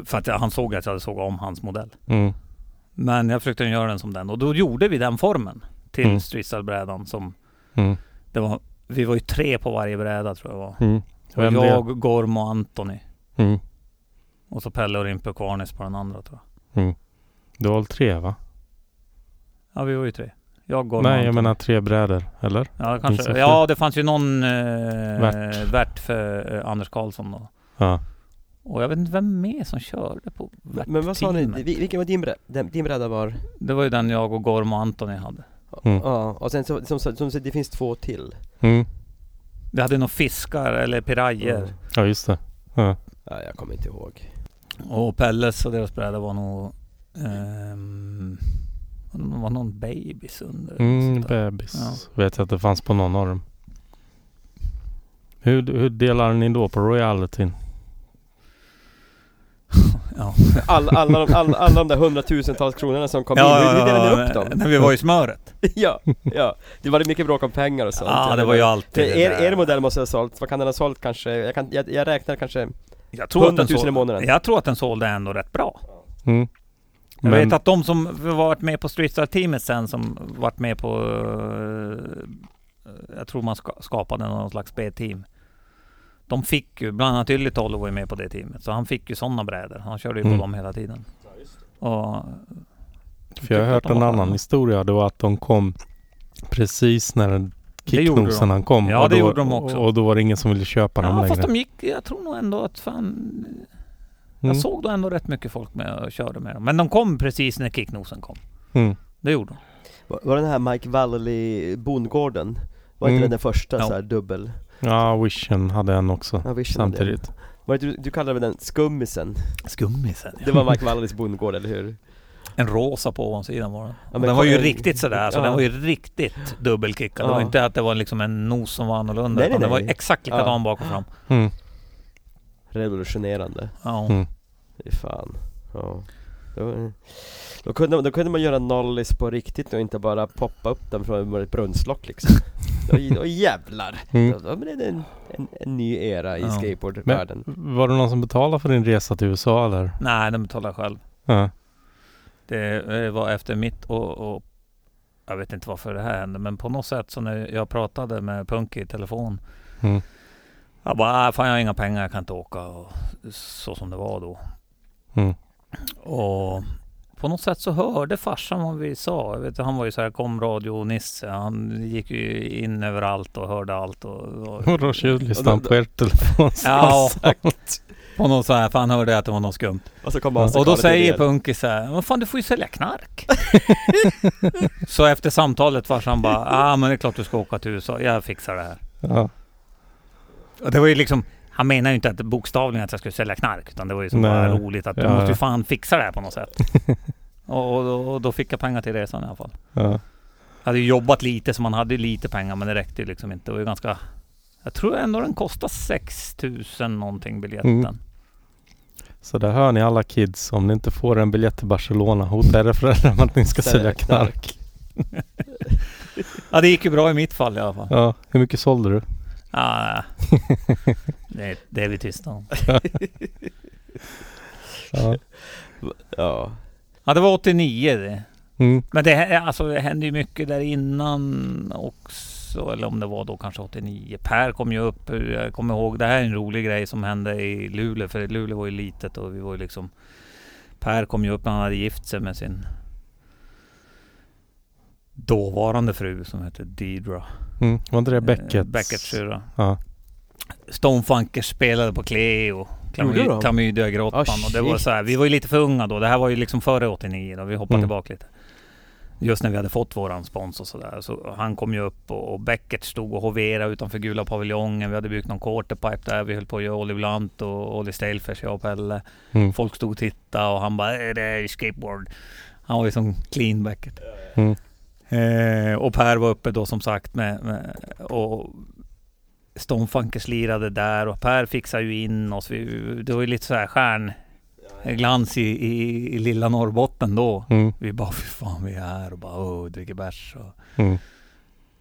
B: För att jag, han såg att jag hade sågat om hans modell.
C: Mm.
B: Men jag försökte göra den som den och då gjorde vi den formen till
C: Mm.
B: mm. brädan som
C: Mm.
B: det var. Vi var ju tre på varje bräda tror jag det var.
C: Mm.
B: Och
C: Vem det är?
B: jag, Gorm och Antoni.
C: Mm.
B: Och så Pelle och Rimpe och Kvarnis på den andra tror jag.
C: mm. Du har tre va?
B: Ja vi var ju tre. Jag, Gorm och
C: Nej, jag
B: Antoni.
C: menar tre brädor, eller?
B: Ja,
C: minns
B: kanske.
C: efter.
B: ja det fanns ju någon eh,
C: Värt.
B: värt för eh, Anders Karlsson då.
C: Ja.
B: Och jag vet inte vem mer som körde på
A: Men vad sa ni,
B: värtteamet.
A: Vi- vilken var din, brä- den- din bräda var?
B: Det var ju den jag och Gorm och Antoni hade.
C: Mm.
A: Ja, och sen så, som, som, som det finns två till
C: Mm.
B: Vi hade nog fiskar eller pirajer.
A: Mm.
C: ja, just det. Ja.
A: Ja, jag kommer inte
B: [LAUGHS]
A: ihåg
B: Och Pelles och deras bräda var nog... ehm, det var någon babys under. eller något
C: Mm,
B: sånt där.
C: bebis. Vet jag att det fanns på någon av dem. Hur, hur delar ni då på royalityn?
B: [LAUGHS] ja.
A: All, alla, de, alla, alla de där hundratusentals kronorna som kom in, hur, hur delade ni upp
B: när-
A: dem?
B: När vi var i smöret.
A: [LAUGHS] ja, ja, det var mycket bråk om pengar och
B: Ja,
A: sånt
B: det var ju alltid
A: För er,
B: där.
A: er modell måste ha sålt, vad kan den ha sålt kanske? Jag, kan, jag, jag räknar kanske
B: jag tror, att
A: 100
B: den
A: 000 i
B: sålde,
A: månaden
B: jag tror att den sålde ändå rätt bra.
C: Mm.
B: Jag
C: Men-
B: vet att de som varit med på Streetstar-teamet sen, som varit med på... eh, jag tror man ska, skapade någon slags B-team. De fick ju, bland annat Ylitollo var ju med på det teamet. Så han fick ju sådana brädor. Han körde ju på
C: Mm.
B: dem hela tiden. Och
C: För jag har
B: tyckte
C: hört
B: att
C: en
B: de var
C: annan
B: bra.
C: historia. Det var att de kom precis när
B: Det gjorde de.
C: kicknosen kom.
B: Ja,
C: och
B: det
C: då,
B: gjorde de också.
C: Och då var det ingen som ville köpa dem
B: Ja
C: längre.
B: fast de gick, jag tror nog ändå att fan... Jag
C: Mm.
B: såg då ändå rätt mycket folk med och körde med dem. Men de kom precis när kicknosen kom.
C: Mm.
B: Det gjorde de.
A: Var, var den här Mike Valley bondgården? Var inte
C: Mm.
A: den den första
B: Ja.
A: så här dubbel?
C: Ja, Wishen hade en också.
A: Ja, visst var det.
C: Samtidigt.
A: Var det, du, du kallade väl den skummisen?
C: alltså.
B: Skummisen.
A: Det
B: [LAUGHS]
A: var Mike Valleys bondgård, eller hur?
B: En rosa på ovansidan var den.
A: men
B: Och den var ju
A: kom-
B: riktigt sådär, så
A: Ja.
B: den var ju riktigt dubbelkickad. Det var
A: Ja.
B: inte att det var liksom en nos som var annorlunda.
A: Nej,
B: utan
A: nej,
B: den var ju
A: nej.
B: exakt likadan
A: Ja.
B: bak och fram.
C: Mm.
A: Revolutionerande,
B: Ja.
C: Mm.
A: fy fan ja. då, då, kunde, man- då kunde man göra nollis på riktigt och inte bara poppa upp den från ett brunnslock
B: [LAUGHS]
A: liksom Då, då jävlar! Då,
C: Mm.
A: då blev det en, en, en ny era i
B: Ja.
A: skateboardvärlden
C: Var det någon som betalade för din resa till USA eller?
B: Nej, den betalade jag själv.
C: Ja.
B: Det eh, var efter mitt och, och... Jag vet inte varför det här hände, men på något sätt så när jag pratade med Punky i telefon
C: Mm.
B: Jag bara, "Ah, fan jag har inga pengar, jag kan inte åka. Och så som det var då.
C: Mm.
B: Och på något sätt så hörde farsan vad vi sa. Jag vet, han var ju så här, kom radio Nisse. Han gick ju in överallt och hörde allt. Och, och,
C: Och då tjuvlyssnade
A: Och då-
C: på er telefon.
B: ja, på något så här, för han hörde att det var något skumt.
A: Och så kom Hansa
B: och då
A: Karla till
B: säger
A: er.
B: Punky så här, vad fan du får ju sälja [LAUGHS] knark. så efter samtalet farsan bara, ja ah, men det är klart du ska åka till USA, jag fixar det här.
C: Ja.
B: Och det var ju liksom han menar ju inte att bokstavligen att jag skulle sälja knark utan det var ju så
C: Nej.
B: bara roligt att du
C: Ja,
B: måste ju
C: ja.
B: fan fixa det här på något [LAUGHS] sätt. och, och, då- och då fick jag pengar till resan i alla fall.
C: Ja.
B: Jag hade ju jobbat lite så man hade ju lite pengar men det räckte ju liksom inte. Det var ju ganska... Jag tror ändå den kostar 6 000 någonting biljetten.
C: Mm. Så där hör ni alla kids. Om ni inte får en biljett till Barcelona, hota era föräldrar med att ni ska
A: Sälja
C: sälja knark.
B: Ja det gick ju bra i mitt fall i alla fall.
C: Ja. Hur mycket sålde du?
B: Ja, det, det är vi tysta om.
C: Ja.
A: Ja,
B: Ja det var 89 det.
C: Mm.
B: Men det, alltså, det hände ju mycket där innan också. Eller om det var då kanske 89. Per kom ju upp. Jag kommer ihåg. Det här är en rolig grej som hände i Luleå. För Luleå var ju litet och vi var ju liksom... Per kom ju upp när han hade gift sig med sin dåvarande fru som hette Deidra.
C: Mm. Var inte det
B: Eh,
C: Beckett?
B: Becketts syrra.
C: Ja.
B: Stonefunkers spelade på Cleo.
A: Gjorde de?
B: Klamydiagrottan.
A: Ah,
B: och det var
A: shit.
B: så här, vi var ju lite för unga då. Det här var ju liksom före 89 då. Vi hoppar
C: Mm.
B: tillbaka lite. Just när vi hade fått våran spons och sådär. Så han kom ju upp och, och Beckert stod och hoverade utanför gula paviljongen. Vi hade byggt någon quarterpipe där. Vi höll på att göra Olly Blunt och Olly Stalefers, jag och Pelle.
C: Mm.
B: Folk stod och tittade och han bara "Eh, det är skateboard. Han var ju som clean Beckert.
C: Mm.
B: Eh, och Per var uppe då som sagt med, med och Stonefunkers lirade där och Per fixade ju in oss. Vi, det var ju lite så här stjärnglans i, i, i lilla Norrbotten då.
C: Mm.
B: Vi bara fy fan vi är här och bara oh, dricker bärs och
C: Mm.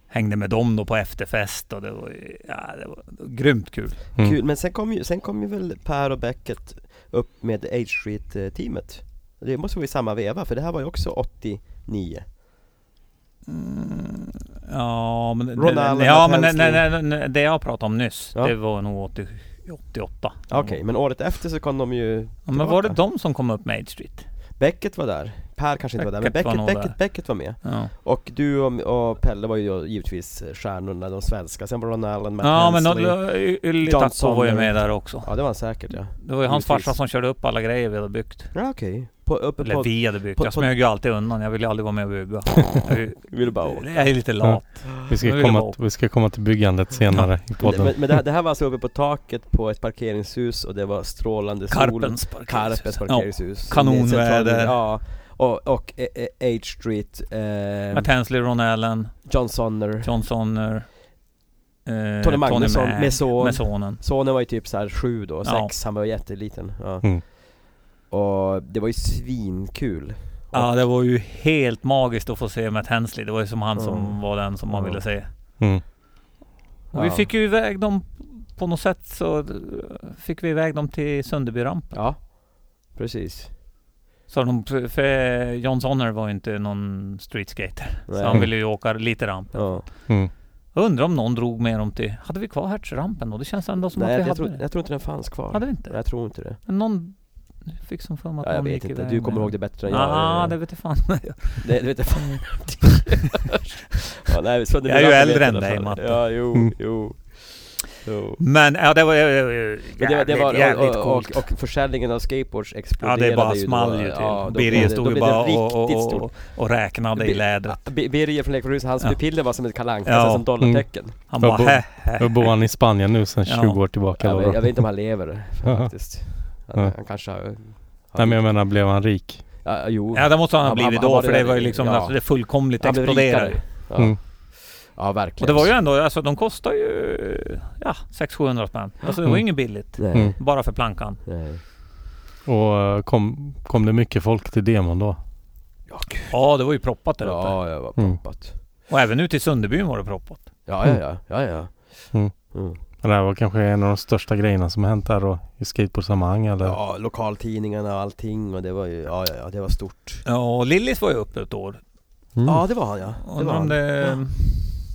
B: hängde med dem då på efterfest och det var, ju- ja, det var grymt kul.
C: Mm.
A: Kul, men sen kom, ju, sen kom ju väl Per och Beckett upp med H Street eh, teamet Det måste vara i samma veva, för det här var ju också 89
B: Mm, ja men,
A: Ron Allen,
B: det, ja,
A: Matt
B: men nej,
A: Hensley.
B: nej, nej, nej, det jag pratade om nyss,
A: Ja.
B: det var nog 80, 88.
A: Okej, men året efter så kom de ju
B: Ja, men var det
A: tillbaka.
B: de som kom upp med Maid Street?
A: Beckett var där, Per kanske inte var där, men
B: Beckett var
A: Beckett,
B: nog
A: Beckett,
B: där.
A: Beckett var med
B: Ja,
A: Och du och, och Pelle var ju då givetvis eh, stjärnorna, de svenska, sen var Ron Allen, Matt
B: ja men
A: Hensley.
B: då- Y- Ylli
A: John
B: Takko var ju
A: Sonner.
B: med där också.
A: Ja det var han säkert ja
B: Det var ju hans
A: Givetvis.
B: farsa som körde upp alla grejer vi hade byggt.
A: Ja okej, på, uppe
B: Eller
A: på...
B: vi hade byggt.
A: på-
B: Jag
A: på-
B: smög ju alltid undan. Jag ville aldrig vara med
A: [LAUGHS]
B: och bygga. Jag är ju-
A: Vill bara åka.
B: Jag är lite lat.
C: Vi,
B: Nu är
C: ska
B: det
C: komma,
B: bra.
C: vi ska komma till byggandet senare i podden.
A: Men, men det, här, det här var alltså uppe på taket på ett parkeringshus och det var strålande sol
B: Karpens
A: Karpens
B: parkeringshus.
A: parkeringshus
B: kanonväder.
A: Ja, och, och eh, eh, H Street,
B: Ja.
A: eh,
B: Matt Hensley, Ron Allen,
A: John Sonner,
B: John Sonner. eh,
A: Tony Magnusson
B: Mack
A: med son.
B: Med sonen.
A: Sonen var ju typ såhär sju då,
B: Ja.
A: sex, han var ju jätteliten ja.
C: Mm.
A: Och det var ju svinkul
B: Ja det var ju helt magiskt att få se Matt Hensley. Det var ju som han
A: Mm.
B: som var den som man
A: Mm.
B: ville se.
C: Mm.
B: Och vi
A: Ja.
B: fick ju iväg dem på något sätt så eh, fick vi iväg dem till Sunderbyrampen.
A: Ja, precis
B: Så de, för John Sonner var ju inte någon streetskater.
A: Nej.
B: Så han ville ju åka lite ramp.
A: ja.
C: Mm.
B: Undrar om någon drog med dem till... Hade vi kvar Hertzrampen då? Det känns ändå som
A: Nej,
B: att vi
A: jag,
B: hade
A: tror,
B: det.
A: jag tror inte den fanns kvar
B: Hade vi inte?
A: Nej, Jag tror inte det
B: Men någon... Jag fick som för mig att
A: ja, Jag
B: någon
A: vet
B: gick
A: inte,
B: iväg
A: du kommer
B: med
A: ihåg
B: dem.
A: det bättre än jag
B: Ja, det vet jag fan. [LAUGHS]
A: Det, det vet jag fan
B: Mm.
A: ja, nej, så det
B: Jag är ju
A: blir
B: äldre
A: vet
B: än
A: jag
B: dig,
A: fan.
B: Matte.
A: Ja, jo,
C: Mm.
A: jo, jo.
B: Men ja, det var ju jävligt,
A: Men det, var- det var,
B: jävligt
A: och,
B: coolt.
A: och, och försäljningen av skateboards
B: ja,
A: exploderade
B: det bara
A: ju då.
B: small ju till.
A: Ja, då blev
B: Birger
A: det-
B: stod
A: då
B: ju
A: blev det
B: bara och,
A: riktigt
B: och,
A: stort.
B: och, och räknade i
A: Bi-
B: lädret.
A: B- Birger från Lekfullhuset, hans
B: Ja.
A: pupiller var som ett kalanka,
B: Ja. Mm.
A: alltså som dollartecken
B: Han
C: Jag
B: bara
C: bor-
B: hä,
C: Nu bor han i Spanien nu sedan
B: Ja.
C: 20 år tillbaka.
A: jag,
C: eller
A: vet,
C: vad?
A: jag vet inte om han lever faktiskt Han,
C: Ja.
A: han kanske har...
C: Nej men jag menar, blev han rik?
A: ja, jo.
B: Ja det måste han ha
A: Han- han-
B: blivit
A: han
B: då
A: var
B: för det
A: redan-
B: var ju liksom
A: ja.
B: alltså, det fullkomligt
A: Han blev
B: exploderade.
A: rikare. Ja.
C: Mm.
A: ja, verkligen
B: Och det var ju ändå, alltså de kostar ju ja 600-700 spänn. Alltså det var ju
C: Mm.
B: inget billigt.
A: Nej,
C: Mm.
B: Bara för plankan.
A: nej
C: Och eh, kom, kom det mycket folk till demon då?
A: Ja, gud
B: Ja det var ju proppat där uppe.
A: Ja, jag var
C: Mm.
A: proppat
B: Och även ute i Sunderbyn var det proppat.
A: Ja, ja, ja, ja, ja.
C: Mm.
A: Mm.
C: Det här var kanske en av de största grejerna som hänt där då i skateboardsammanhang eller?
A: Ja, lokaltidningarna och allting och det var ju, ja, ja, ja det var stort.
B: Ja och Lillis var ju uppe ett år.
C: Mm.
A: Ja, det var han ja. Det var
B: Undrar om
A: han.
B: det...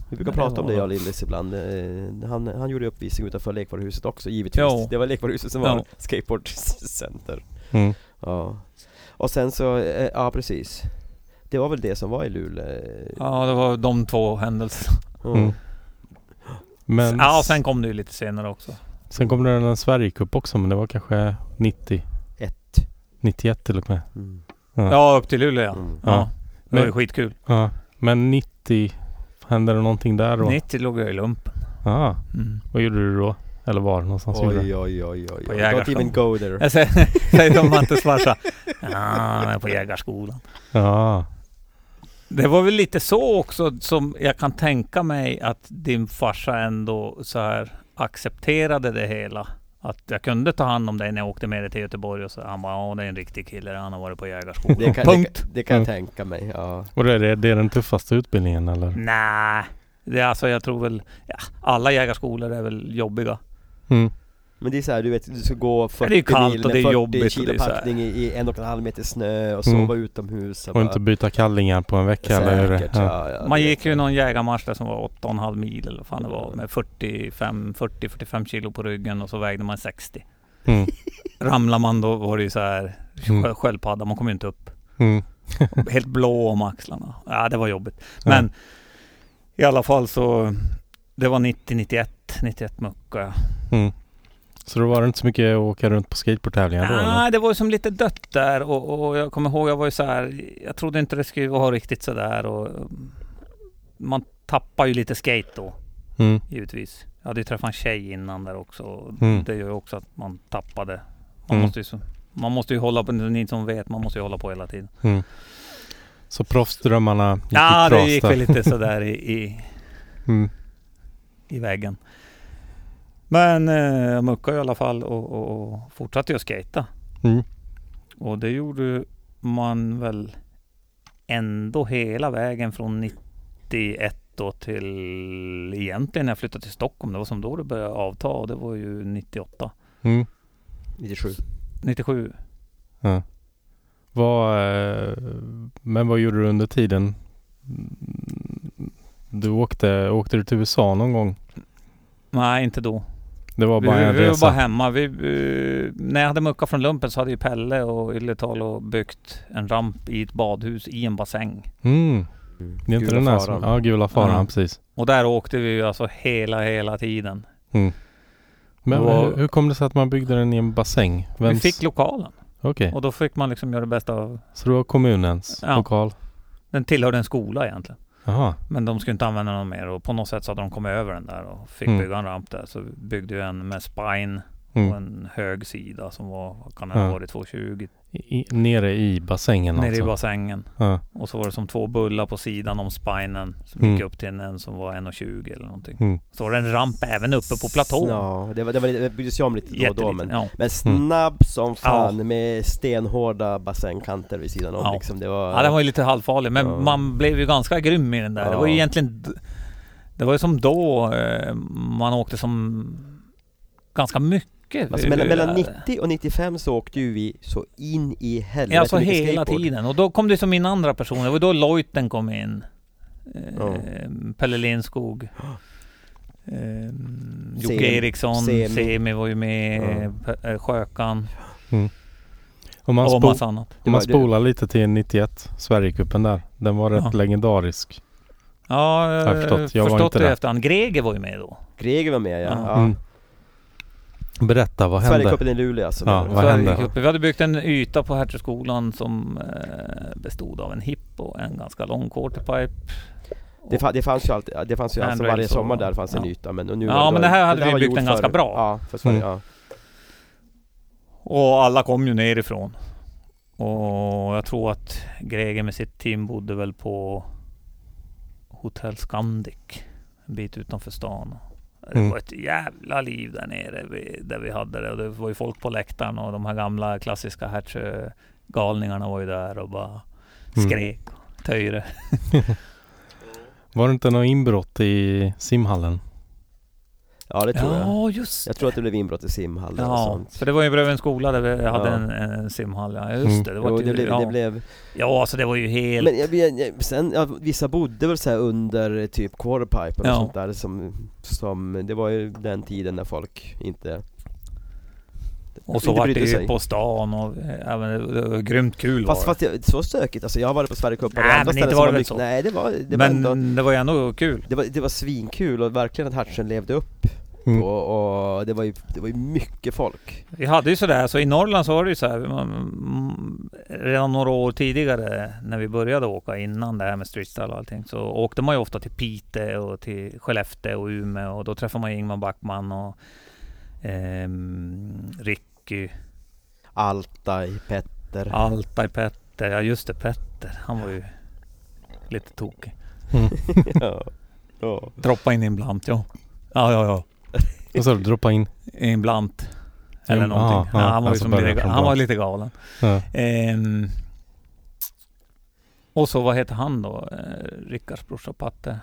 A: Vi brukar
B: Ja,
A: prata
B: det
A: om
B: var
A: det jag och
B: han.
A: Lillis ibland. Eh, Han, han gjorde uppvisning utanför lekvaruhuset också givetvis.
B: Jo.
A: Det var lekvaruhuset som var
B: Jo.
A: [LAUGHS] skateboardcenter.
C: Mm.
A: Ja. Och sen så, eh, ja precis. Det var väl det som var i Luleå. eh,
B: Ja det var de två händelserna.
A: mm.
C: Mm. Men
B: Ja och sen kom det ju lite senare också.
C: sen kom det en Sverigecup också men det var kanske 90,
A: Ett.
C: 91 till och med.
A: Mm.
B: Ja upp till Luleå ja.
A: Mm.
B: ja. Det var ju
C: Men-
B: skitkul.
C: Ja. Men 90, hände det någonting där då?
B: 90 låg jag i lumpen.
C: Ja. [LAUGHS]
B: Mm.
C: Vad gjorde du då? Eller var någonstans? gjorde
A: Oj,
C: du?
A: oj, oj, oj, oj.
B: På
A: Don't
B: Jägarsson.
A: even go there.
B: Jag säger säger som Mattes farsa. Ja, han är på jägarskolan.
C: Ja.
B: Det var väl lite så också som jag kan tänka mig att din farsa ändå så här accepterade det hela. Att jag kunde ta hand om dig när jag åkte med dig till Göteborg och så han bara ja det är en riktig kille, han har varit
A: [LAUGHS]
B: på jägarskolan.
A: Det kan, det,
B: Punkt!
A: kan- det kan jag
C: Mm.
A: tänka mig. Ja.
C: Och det är, det- det är den tuffaste utbildningen eller?
B: Nej, det är alltså jag tror väl, ja, alla jägarskolor är väl jobbiga.
C: Mm.
A: Men det är så här, du vet, du ska gå 40
B: det är kallt
A: mil
B: och det
A: med
B: är
A: 40
B: jobbigt och det
A: kilo
B: är så här.
A: packning i, i en och en halv meter snö och
C: Mm.
A: sova utomhus
C: Och
A: bara-
C: inte byta kallingar på en vecka eller hur det
A: Säkert,
C: ja.
A: ja, ja,
B: Man
A: det
B: gick
A: vet
B: ju
A: jag.
B: någon jägarmarsch där som var 8,5 mil eller vad fan det var med 45-40-45 kilo på ryggen och så vägde man 60.
C: Mm.
B: Ramlar man då var det ju så här
C: Mm.
B: sjö- sköldpadda, man kom ju inte upp.
C: Mm.
B: Helt blå om axlarna. Ja, det var jobbigt. Men i alla fall så, det var 90, 91, 91 muckade jag.
C: Mm. Så då var det inte så mycket att åka runt på skateboardtävlingar då? eller?
B: Nej, det var ju som lite dött där och, och jag kommer ihåg, jag var ju så här, jag trodde inte det skulle vara riktigt så där och um, man tappar ju lite skate då
C: Mm.
B: givetvis. Jag hade ju träffat en tjej innan där också. och
C: Mm.
B: Det gör ju också att man tappade. Man,
C: Mm.
B: måste ju, så- man måste ju hålla på, ni som vet, man måste ju hålla på hela tiden.
C: Mm. Så proffsdrömmarna gick
B: Ja,
C: i
B: det
C: kras
B: gick
C: där.
B: väl lite sådär i, i,
C: Mm.
B: i väggen. Men eh, jag muckade i alla fall och, och, och fortsatte ju att skata.
C: Mm.
B: Och det gjorde man väl ändå hela vägen från 91 då till egentligen när jag flyttade till Stockholm. Det var som då det började avta och det var ju 98.
C: Mm.
A: 97.
B: 97.
C: Ja. Vad, eh, men vad gjorde du under tiden? Mm, Du åkte, åkte du till USA någon gång?
B: Nej, inte då.
C: Det var
B: Vi,
C: bara en
B: vi var
C: resa?
B: bara hemma. Vi, eh, när jag hade muckat från lumpen så hade ju Pelle och Ylletalo byggt en ramp i ett badhus i en bassäng.
C: mm. Det är inte
A: Gula
C: den här
A: faran.
C: som... Ja, gula faran,
B: Ja.
C: precis.
B: Och där åkte vi ju alltså hela, hela tiden.
C: Men
B: Det var-
C: hur, hur kom det sig att man byggde den i en bassäng?
B: Vi
C: Vems?
B: fick lokalen
C: Okej,
B: och då fick man liksom göra det bästa av...
C: så det var kommunens
B: Ja.
C: lokal?
B: Den tillhörde en skola egentligen.
C: Jaha.
B: Men de skulle inte använda den mer och på något sätt så hade de kommit över den där och fick
C: Mm.
B: bygga en ramp där. Så vi byggde ju en med spine och
C: Mm.
B: en hög sida som var, vad kan det ha
C: Ja.
B: varit, 220
C: I, i- nere i bassängen
B: nere i
C: alltså?
B: bassängen.
C: ja.
B: Och så var det som två bullar på sidan om spinen som
C: Mm.
B: gick upp till en, en som var 1,20 eller någonting.
C: Mm.
B: Så var det en ramp även uppe på platån.
A: Ja, det, var, det, var, lite- det byggdes ju om lite då och då
B: Jätteliten,
A: men
B: ja.
C: Mm.
A: Men snabb som fan
B: Ja.
A: med stenhårda bassängkanter vid sidan om
B: Ja.
A: liksom, det var...
B: ja, den var ju lite halvfarlig men
A: Ja.
B: man blev ju ganska grym i den där. Det var ju
A: Ja.
B: egentligen... d- Det var ju som då eh, man åkte som ganska mycket.
A: Alltså mellan, mellan 90 och 95 så åkte ju vi så in i helvete
B: Ja, alltså
A: mycket
B: hela
A: skateboard.
B: tiden. Och då kom det som min andra person. Det var då Lojten kom in. Eh,
A: Ja. [GASPS]
B: Pelle Lindskog. Eh,
A: Sem-
B: Jocke Eriksson.
A: Semi.
B: Semi. var ju med.
A: Ja.
B: eh, Pe- eh, Sjökan.
C: Om man,
B: och
C: spo-
B: massa annat.
A: Det
C: om
A: var-
C: man
A: det-
C: spolar lite till 91, Sverigecupen där. Den var rätt
B: Ja.
C: legendarisk.
B: Ja, jag
C: jag
B: har
C: har förstått. Jag var
B: förstått
C: inte
B: det i
C: där.
B: efterhand. Greger var ju med då.
A: Greger var med ja,
B: Ja.
A: ja.
C: Mm. Berätta, vad hände?
A: Sverigecupen i Luleå alltså
C: Ja,
A: menar du?
C: Vad
B: Så
C: hände?
B: gick jag upp. Vi hade byggt en yta på Hertugskolan som eh, bestod av en hipp och en ganska lång quarterpipe.
A: det, fa- det fanns ju alltid, det fanns ju alltså
B: Handrails
A: varje
B: och-
A: sommar där fanns en
B: liksom. ja.
A: yta men och nu
B: Ja,
A: var
B: men det här hade vi
A: var
B: byggt
A: gjort
B: en ganska
A: för-
B: bra.
A: Ja, för Sverige,
C: Mm.
A: ja.
B: Och alla kom ju nerifrån. Och jag tror att Greger med sitt team bodde väl på Hotell Scandic. En bit utanför stan. Det
C: Mm.
B: var ett jävla liv där nere vi, där vi hade det. Och det var ju folk på läktaren och de här gamla klassiska Hertsö-galningarna var ju där och bara
C: Mm.
B: skrek och töjde.
C: Var det inte något inbrott i simhallen?
A: ja, det tror jag
B: Ja, just
A: Jag tror att det blev inbrott i simhallen och
B: Ja,
A: sånt
B: för det var ju bredvid en skola där vi hade
A: Ja.
B: en, en simhall. Ja,
C: Mm.
B: just det. Det var
A: Jo,
B: ett-
A: det blev,
B: ja.
A: det blev
B: ja, alltså det var ju helt...
A: Men jag, jag, jag, sen, ja, vissa bodde väl så här under eh, typ quarterpipe och
B: Ja.
A: sånt där som, som, det var ju den tiden när folk inte
B: Och så
A: inte
B: var det
A: brydde
B: ju
A: sig.
B: på stan och eh, ja, men det, det var grymt kul
A: Fast,
B: var
A: fast jag, så stökigt, alltså jag har varit på Sverigecupen
B: Nej,
A: och andra
B: men
A: ställen
B: inte
A: som
B: var
A: var
B: det väl
A: mycket,
B: så.
A: nej det var, det
B: det.
A: var
B: Men
A: ändå
B: det var ju ändå kul.
A: det var, det var svinkul och verkligen att Hertzen levde upp
C: Mm.
A: och, och det var ju, det var ju mycket folk
B: Vi hade ju sådär, så i Norrland så var det ju såhär, man- mm, redan några år tidigare när vi började åka innan det här med streetstyle och allting, så åkte man ju ofta till Piteå och till Skellefteå och Umeå och då träffade man ju Ingmar Backman och ehm, Ricky,
A: Altaj, Petter
B: Altaj, Petter, ja just det Petter, han var ju lite tokig.
A: [LAUGHS]
C: Mm.
A: ja. Ja.
B: Droppa in ibland, ja. Ja, ja, ja.
C: Och så droppa in.
B: ibland. Eller
C: Ja,
B: någonting. Ja,
C: ja,
B: han, var ju
C: alltså
B: som
C: börja
B: lite,
C: från
B: han
C: början.
B: var lite galen.
C: Ja.
B: Ehm, och så vad heter han då? Eh, Rickards brorsa Patte.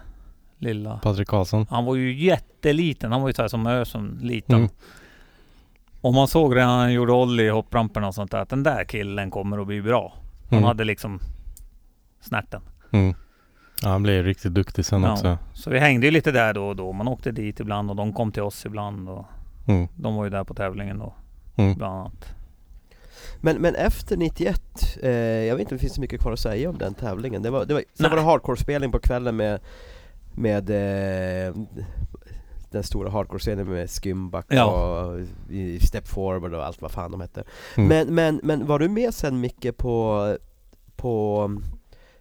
B: Lilla.
C: Patrik Karlsson.
B: Han var ju jätteliten. Han var ju så här som Ösen, liten.
C: Mm.
B: Och man såg redan när han gjorde ollie i hoppramperna och sånt där. Att den där killen kommer att bli bra. Han
C: Mm.
B: hade liksom snärten.
C: Mm. Ja, han blev ju riktigt duktig sen
B: Ja.
C: också.
B: Så vi hängde ju lite där då och då. Man åkte dit ibland och de kom till oss ibland. Och
C: Mm.
B: de var ju där på tävlingen då.
C: Mm.
B: Bland annat.
A: Men, men efter 91, eh, jag vet inte om det finns så mycket kvar att säga om den tävlingen. Det var, det var, sen
B: Nej.
A: var det hardcore-spelning på kvällen med, med eh, den stora hardcore-scenen med Skymback
B: Ja.
A: och i- Step Forward och allt vad fan de hette
C: Mm.
A: men, men, men var du med sen Micke på, på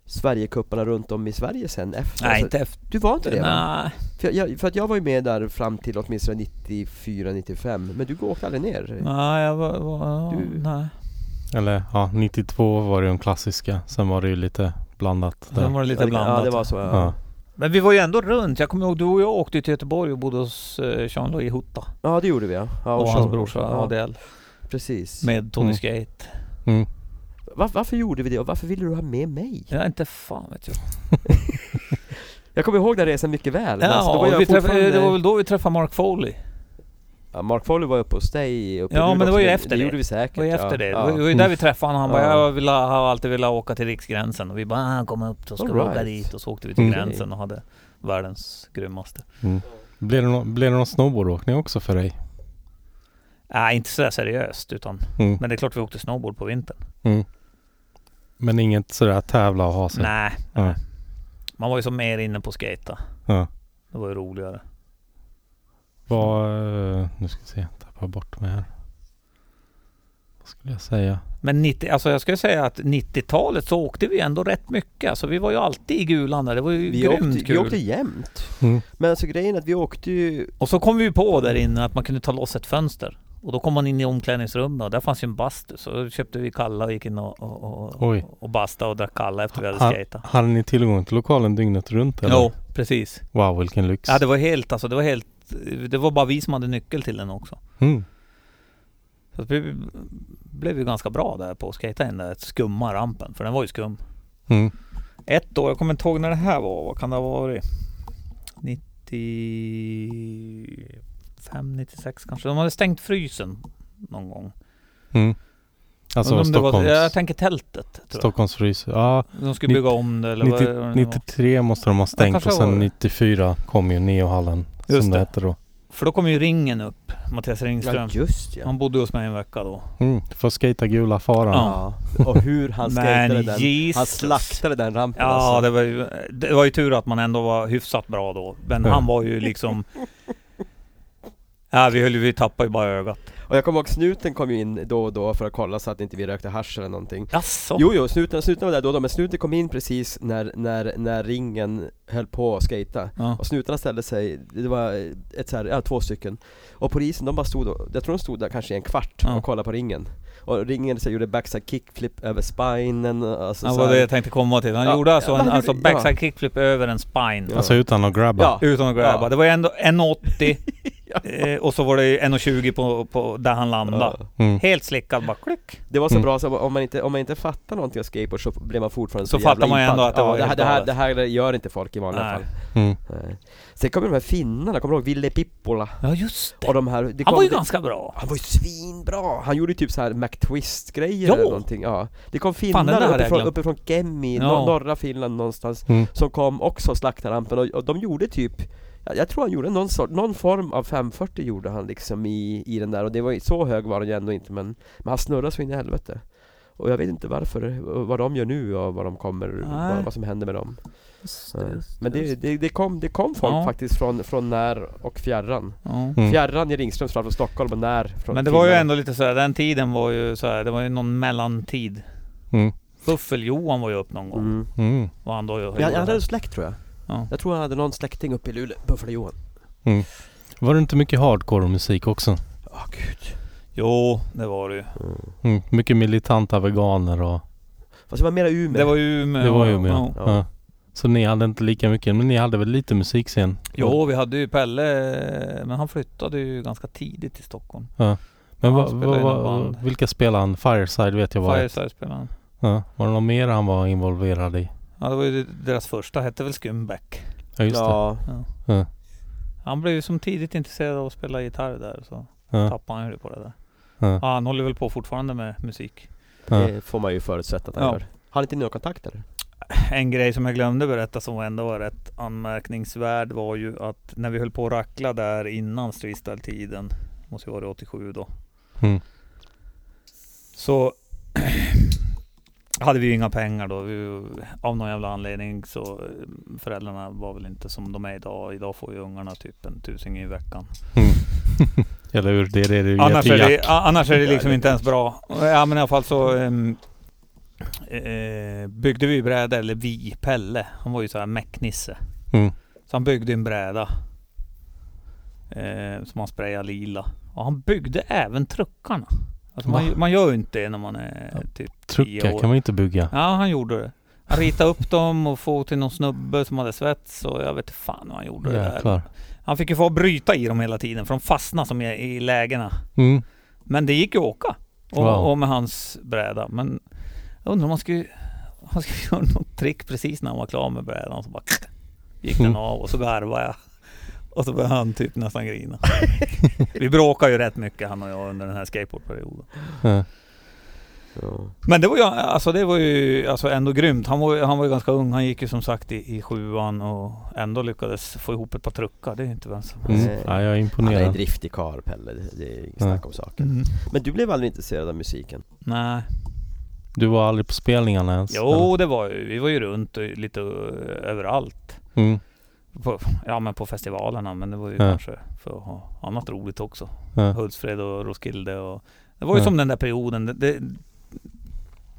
A: Sverigekupparna runt om i Sverige sen efter?
B: Nej,
A: Alltså,
B: inte efter.
A: Du var inte det va?
B: Nej,
A: För, jag, för att jag var ju med där fram till åtminstone 94-95 Men du åkte aldrig ner?
B: nej, jag var... var
A: Du-
B: nej.
C: Eller ja, 92 var det de klassiska. Sen var det ju lite blandat där.
B: Sen var det lite
A: ja, det-
B: blandat.
A: Ja, det var så
C: Ja.
A: ja.
B: Men vi var ju ändå runt. Jag kommer ihåg, du och jag åkte ju till Göteborg och bodde hos eh, Jean-Louis Hutta
A: ja, det gjorde vi ja, ja
B: och
A: så-
B: hans brorsa
A: ja,
B: ADL
A: Precis
B: med Tony
C: Mm.
B: Skate.
C: Mm.
A: Var, Varför gjorde vi det och varför ville du ha med mig?
B: Ja, inte fan vet jag.
A: Jag kommer ihåg den resan mycket väl men alltså,
B: Ja,
A: då var jag
B: vi träffade,
A: fortfarande-
B: det var väl då vi träffade Mark Foley.
A: Ja, Mark Foley var uppe hos dig uppe i
B: Ja,
A: Luleå
B: men det var
A: också.
B: ju efter
A: Det
B: det.
A: gjorde vi säkert
B: Det var ju efter
A: ja.
B: det.
A: Ja. Mm.
B: Det var ju där vi träffade honom. Han bara,
A: Ja.
B: jag vill, ha- har alltid velat åka till riksgränsen. Och vi bara, ah, kom upp då ska vi
A: Alright.
B: åka dit. Och så åkte vi till
C: Mm.
B: gränsen och hade världens grymmaste.
C: Blev, det nå- blev det någon snowboardåkning också för dig?
B: Nej, Äh, inte sådär seriöst utan...
C: Mm.
B: Men det är klart vi åkte snowboard på vintern.
C: Men inget sådär att tävla och ha sig?
B: Nej,
C: Ja.
B: nej. Man var ju som mer inne på att skata.
C: Ja.
B: Det var ju roligare.
C: Vad... eh, Nu ska vi se. Tappar bort mig här. Vad skulle jag säga?
B: Men 90, alltså jag skulle säga att 90-talet så åkte vi ändå rätt mycket. Alltså vi var ju alltid i Gulan där. Det var ju
A: vi,
B: grymt
A: åkte,
B: kul.
A: vi åkte jämt
C: Mm.
A: Men alltså grejen är att vi åkte ju
B: Och så kom vi ju på där inne att man kunde ta loss ett fönster. Och då kom man in i omklädningsrummet och där fanns ju en bastu. Så då köpte vi kalla och gick in och, och, och,
C: Oj.
B: och basta och drack kalla efter vi hade
C: Ha-
B: skejtat.
C: Hade ni tillgång till lokalen dygnet runt eller?
B: Jo, precis.
C: Wow, vilken lyx.
B: Ja det var helt, alltså det var helt Det var bara vi som hade nyckel till den också.
C: Mm.
B: Så vi blev ju ganska bra där på att skejta in den där skumma rampen. För den var ju skum.
C: Mm.
B: Ett år, jag kommer inte ihåg när det här var. Vad kan det ha varit? 95, 96 kanske. De hade stängt frysen någon gång.
C: Mm. Alltså
B: Undrar om det var-
C: Stockholms...
B: Jag tänker tältet. Tror jag.
C: Stockholmsfrys. Ja,
B: De skulle bygga om det eller vad-
C: 90
B: vad det nu var.
C: 93 måste de ha stängt
B: kanske
C: och
B: var
C: sen
B: det.
C: 94 kom ju Neohallen
B: Just
C: som det
B: det.
C: hette då.
B: För då kom ju ringen upp. Mattias
A: Ja
B: Ringström.
A: just ja
B: Han bodde hos mig en vecka då.
C: Mm. För att skejta gula faran.
B: Ja.
A: Och hur han skejtade
B: [LAUGHS] Men
A: den Han
B: Jesus.
A: slaktade den rampen
B: Ja,
A: alltså.
B: det var, ju, det var ju tur att man ändå var hyfsat bra då. Men
C: Ja.
B: han var ju liksom... Ja, vi, höll, vi tappade ju bara ögat.
A: Och jag kommer ihåg snuten kom ju in då och då för att kolla så att inte vi rökte hasch eller någonting
B: Jaså?
A: Jo, jo, snuten, snuten var där då, och då men snuten kom in precis när, när, när ringen höll på att skata
B: Ja.
A: Och snutarna ställde sig, det var ett så här, ja, två stycken Och polisen de bara stod och, jag tror de stod där kanske i en kvart
B: Ja.
A: och kollade på ringen Och ringen så här, gjorde backside kickflip över spinen och alltså,
B: Ja,
A: så
B: det var
A: här-
B: det jag tänkte komma till. Han
A: Ja,
B: gjorde alltså
A: ja,
B: en
A: han
B: alltså
A: gjorde- ja.
B: backside kickflip över en spine.
A: Ja.
C: Alltså utan att grabba.
A: Ja.
B: Utan att grabba.
A: Ja.
B: Det var ju ändå 1,80
A: [LAUGHS] Ja.
B: eh, och så var det ju 1,20 på, på där han landade.
A: Ja.
C: Mm.
B: Helt slickad bara klick.
A: Det var så
C: Mm.
A: bra så om man inte, om man inte fattar någonting av skateboard så blev man fortfarande
B: Så
A: jävla
B: fattar man ju
A: impad.
B: ändå att det
A: ja,
B: var
A: det, här,
B: helt
A: det, här,
B: galet.
A: det här gör inte folk i vanliga
B: Nej.
A: fall
C: Mm.
A: Nej. Eh, Sen kom ju de här finnarna, kommer du ihåg Ville Pippola?
B: Ja just det.
A: Och de här, det
B: han
A: kom-
B: var ju
A: det-
B: ganska bra.
A: Han var ju svinbra! Han gjorde ju typ så här McTwist-grejer
B: Ja.
A: eller någonting, ja Det kom
B: den där
A: finnar
B: hade jag
A: uppifrån,
B: glömt.
A: uppifrån Kemi,
B: Ja.
A: nor- norra Finland någonstans
C: Mm.
A: Som kom också och slaktade rampen och, och de gjorde typ jag, jag tror han gjorde någon, sort, någon form av 540 gjorde han liksom i, i den där och det var ju- så hög var den ju ändå inte men, men han snurrade så in i helvete Och jag vet inte varför, och vad de gör nu och vad de kommer,
B: Nej.
A: vad, vad som händer med dem
B: Just
A: Nej.
B: det, just
A: Men det,
B: just
A: det, det, kom, det kom folk
B: Ja.
A: faktiskt från, från när och fjärran
B: Ja.
C: Mm.
A: Fjärran i Ringströms framför Stockholm och när från
B: Men det var ju
A: Finland.
B: ändå lite såhär, den tiden var ju såhär, det var ju någon mellantid.
C: Mm.
B: Buffel-Johan var ju upp någon gång.
A: Mm.
C: Mm.
B: Och han då ju
A: Men han, han hade en släkt tror jag.
B: Ja.
A: Jag tror han hade någon släkting uppe i Luleå, Buffalo-Johan.
C: Var det inte mycket hardcore musik också?
A: Ja, gud.
B: Jo, det var det ju.
C: Mm. Mycket militanta veganer och...
A: Fast det var mera Umeå.
B: Det var ju med,
C: Det var ju med. Ja.
A: Ja.
C: Så ni hade inte lika mycket, men ni hade väl lite musikscen?
B: Jo, vi hade ju Pelle, men han flyttade ju ganska tidigt till Stockholm.
C: Men
B: han
C: vad-
B: spelade i
C: vad-
B: något
C: vad-
B: band.
C: vilka spelade han? Fireside vet jag var ett.
B: Fireside spelade han.
C: Ja. Var det något mer han var involverad i?
B: Ja, det var ju deras första, hette väl Skumbeck.
C: Ja just det.
A: ja.
C: Ja.
B: Han blev ju som tidigt intresserad av att spela gitarr där, så
C: Ja.
B: tappade han ju det på det där.
C: Ja.
B: Ja, han håller väl på fortfarande med musik.
C: Ja.
A: det får man ju förutsätta att han
B: Ja.
A: gör. Har han inte några kontakter?
B: En grej som jag glömde berätta som ändå var rätt anmärkningsvärd var ju att när vi höll på att rackla där innan freestyle-tiden, måste ju vara 87 då.
C: Mm.
B: Så [CLEARS THROAT] hade vi ju inga pengar då. Vi, av någon jävla anledning så eh, föräldrarna var väl inte som de är idag. Idag får ju ungarna typ en tusing i veckan.
C: [LAUGHS] Eller hur? Det är det du ger
B: Annars
C: till
B: är,
C: Jack.
B: det, a- annars är det liksom inte ens bra. Ja men i alla fall så ehm, eh, byggde vi bräda, eller vi, Pelle. Han var ju så här mäcknisse.
C: Mm.
B: Så han byggde en bräda. Eh, som han sprayade lila. Och han byggde även truckarna. Alltså man,
C: Va?
B: man gör ju inte det när man är typ
C: Truckar
B: år.
C: kan man ju inte bygga.
B: Ja, han gjorde det. Han ritade upp dem och få till någon snubbe som hade svets och jag vet inte fan hur han gjorde det där.
C: Jäklar.
B: Han fick ju få bryta i dem hela tiden för de fastnade som i, i lägena.
C: Mm.
B: Men det gick ju att åka. Och,
C: Wow.
B: och med hans bräda. Men jag undrar om han skulle, han skulle [LAUGHS] göra något trick precis när han var klar med brädan. Så bara gick den
C: Mm.
B: av och så garvade jag. Och så började han typ nästan grina. [LAUGHS] Vi bråkade ju rätt mycket han och jag under den här skateboardperioden.
C: Ja. Mm.
A: Ja.
B: Men det var ju, alltså det var ju alltså ändå grymt. Han var, ju- han var ju ganska ung. Han gick ju som sagt i, i sjuan och ändå lyckades få ihop ett par truckar. Det är ju inte vem som helst.
C: Mm. Ja, jag
A: Han
C: är
A: är en
C: imponerad.
A: driftig karl Pelle, det, det är inget
C: Ja.
A: snack om saken
B: Mm.
A: Men du blev aldrig intresserad av musiken?
B: Nej.
C: Du var aldrig på spelningarna ens?
B: Jo, det var ju. Vi var ju runt och lite eh, överallt.
C: eller? Mm.
B: På, ja men på festivalerna men det var ju
C: Ja.
B: kanske för att ha annat roligt också.
C: Ja.
B: Hultsfred och Roskilde och Det var ju
C: Ja.
B: som den där perioden. Det, det,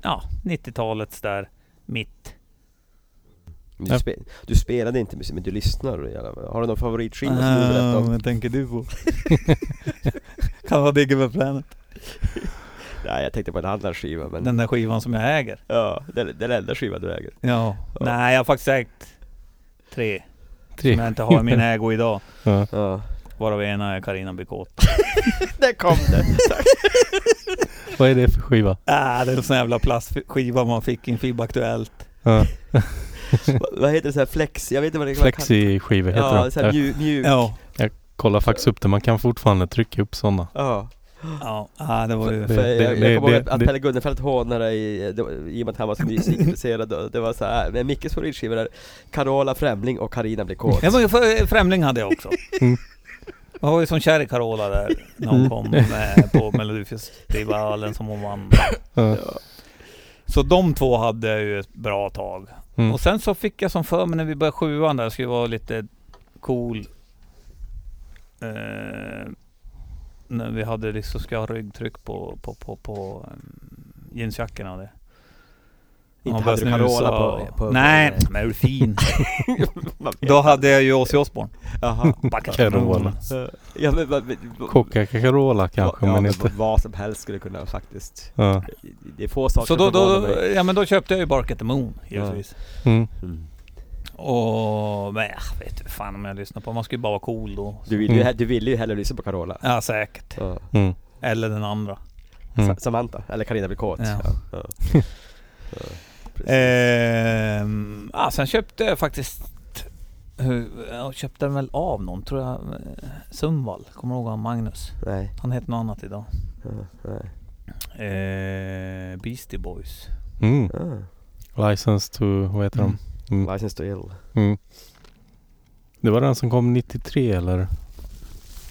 B: ja, 90-talets där mitt.
A: Du,
C: Ja.
A: spe, du spelade inte musik, men du lyssnar i alla fall. Har du någon favoritskiva som du vill berätta om?
B: tänker du på? [LAUGHS] kan vara Digge med Planet.
A: Nej jag tänkte på en annan skiva men
B: Den där skivan som jag äger.
A: Ja, det är den enda skiva du äger
B: Ja. Nej, jag har faktiskt ägt tre.
C: Tre.
B: Som jag inte har i min ägo idag.
C: Ja.
A: Ja
B: Varav ena är Carina Bicot.
A: [LAUGHS] Där kom den!
C: Vad är det för skiva?
B: Ah, det är en sån jävla plastskiva man fick i en FIB-aktuellt.
C: Ja.
A: Va- [LAUGHS] vad heter det såhär flex? Jag vet inte vad det vad det kallas.
C: Flexi-skivor heter
A: Ja,
C: de.
A: såhär
C: Jag
A: mjuk, mjuk Ja,
B: Ja.
C: kollar faktiskt upp det. Man kan fortfarande trycka upp sådana.
A: ja.
B: Ja, ah, det var ju...
A: För
C: det-
A: jag,
C: det-
A: jag kommer ihåg
C: det-
A: att
C: det-
A: Pelle Gunnarfelt hånade i, det var- i och med att han var så musikintresserad och det var såhär, men Mickes favoritskivor är Carola Främling och Carina blir kåt
B: Jag var ju fr- främling hade jag också.
C: [LAUGHS] Mm.
B: Jag var ju som kär i Carola där när hon
C: Mm.
B: kom med på Melodifestivalen som hon vann.
C: Ja.
B: Så de två hade jag ju ett bra tag.
C: Mm.
B: Och sen så fick jag som för mig när vi började sjuan där, jag skulle vara lite cool. Eh, när vi hade liksom, ska ha ryggtryck på, på, på, på um, jeansjackorna och det.
A: Inte
B: Man
A: hade du
B: började snusa
A: Carola på,
B: och-
A: på, på [LAUGHS]
B: Nej, men jag är ju fin. Då hade jag ju Ozzy Osbourne.
A: Jaha
C: Carola.
A: Ja men, vad- vad-
C: Coca Carola kanske,
A: ja,
C: men
A: men
C: inte...
A: vad som helst skulle kunna faktiskt
C: Ja.
A: Det är få saker
B: Så då,
A: som förvånar
B: då,
A: mig
B: ja, men då köpte jag ju Bark at the Moon givetvis.
C: Mm.
A: Mm.
B: Och men jag vet inte fan om jag lyssnar på Man skulle bara vara cool då.
A: du, vill ju,
C: Mm.
A: du ville ju hellre lyssna på Carola
B: Ja säkert.
A: ja.
C: Mm.
B: Eller den andra.
C: Mm.
A: Sa- Samantha, eller Carina blir kåt
B: Ja.
A: Ja. Ja. Ja, precis.
B: Ehm, ja, sen köpte jag faktiskt hur- jag köpte den väl av någon tror jag. Eh, Sundvall. Kommer du ihåg han Magnus?
A: Nej,
B: Han heter något annat idag.
A: ja, nej.
B: Eh, Beastie Boys.
C: Mm.
A: Ja.
C: License to... Vad heter
B: Mm.
C: de? Mm.
A: License to ill
C: Mm. Det var den som kom 93 eller?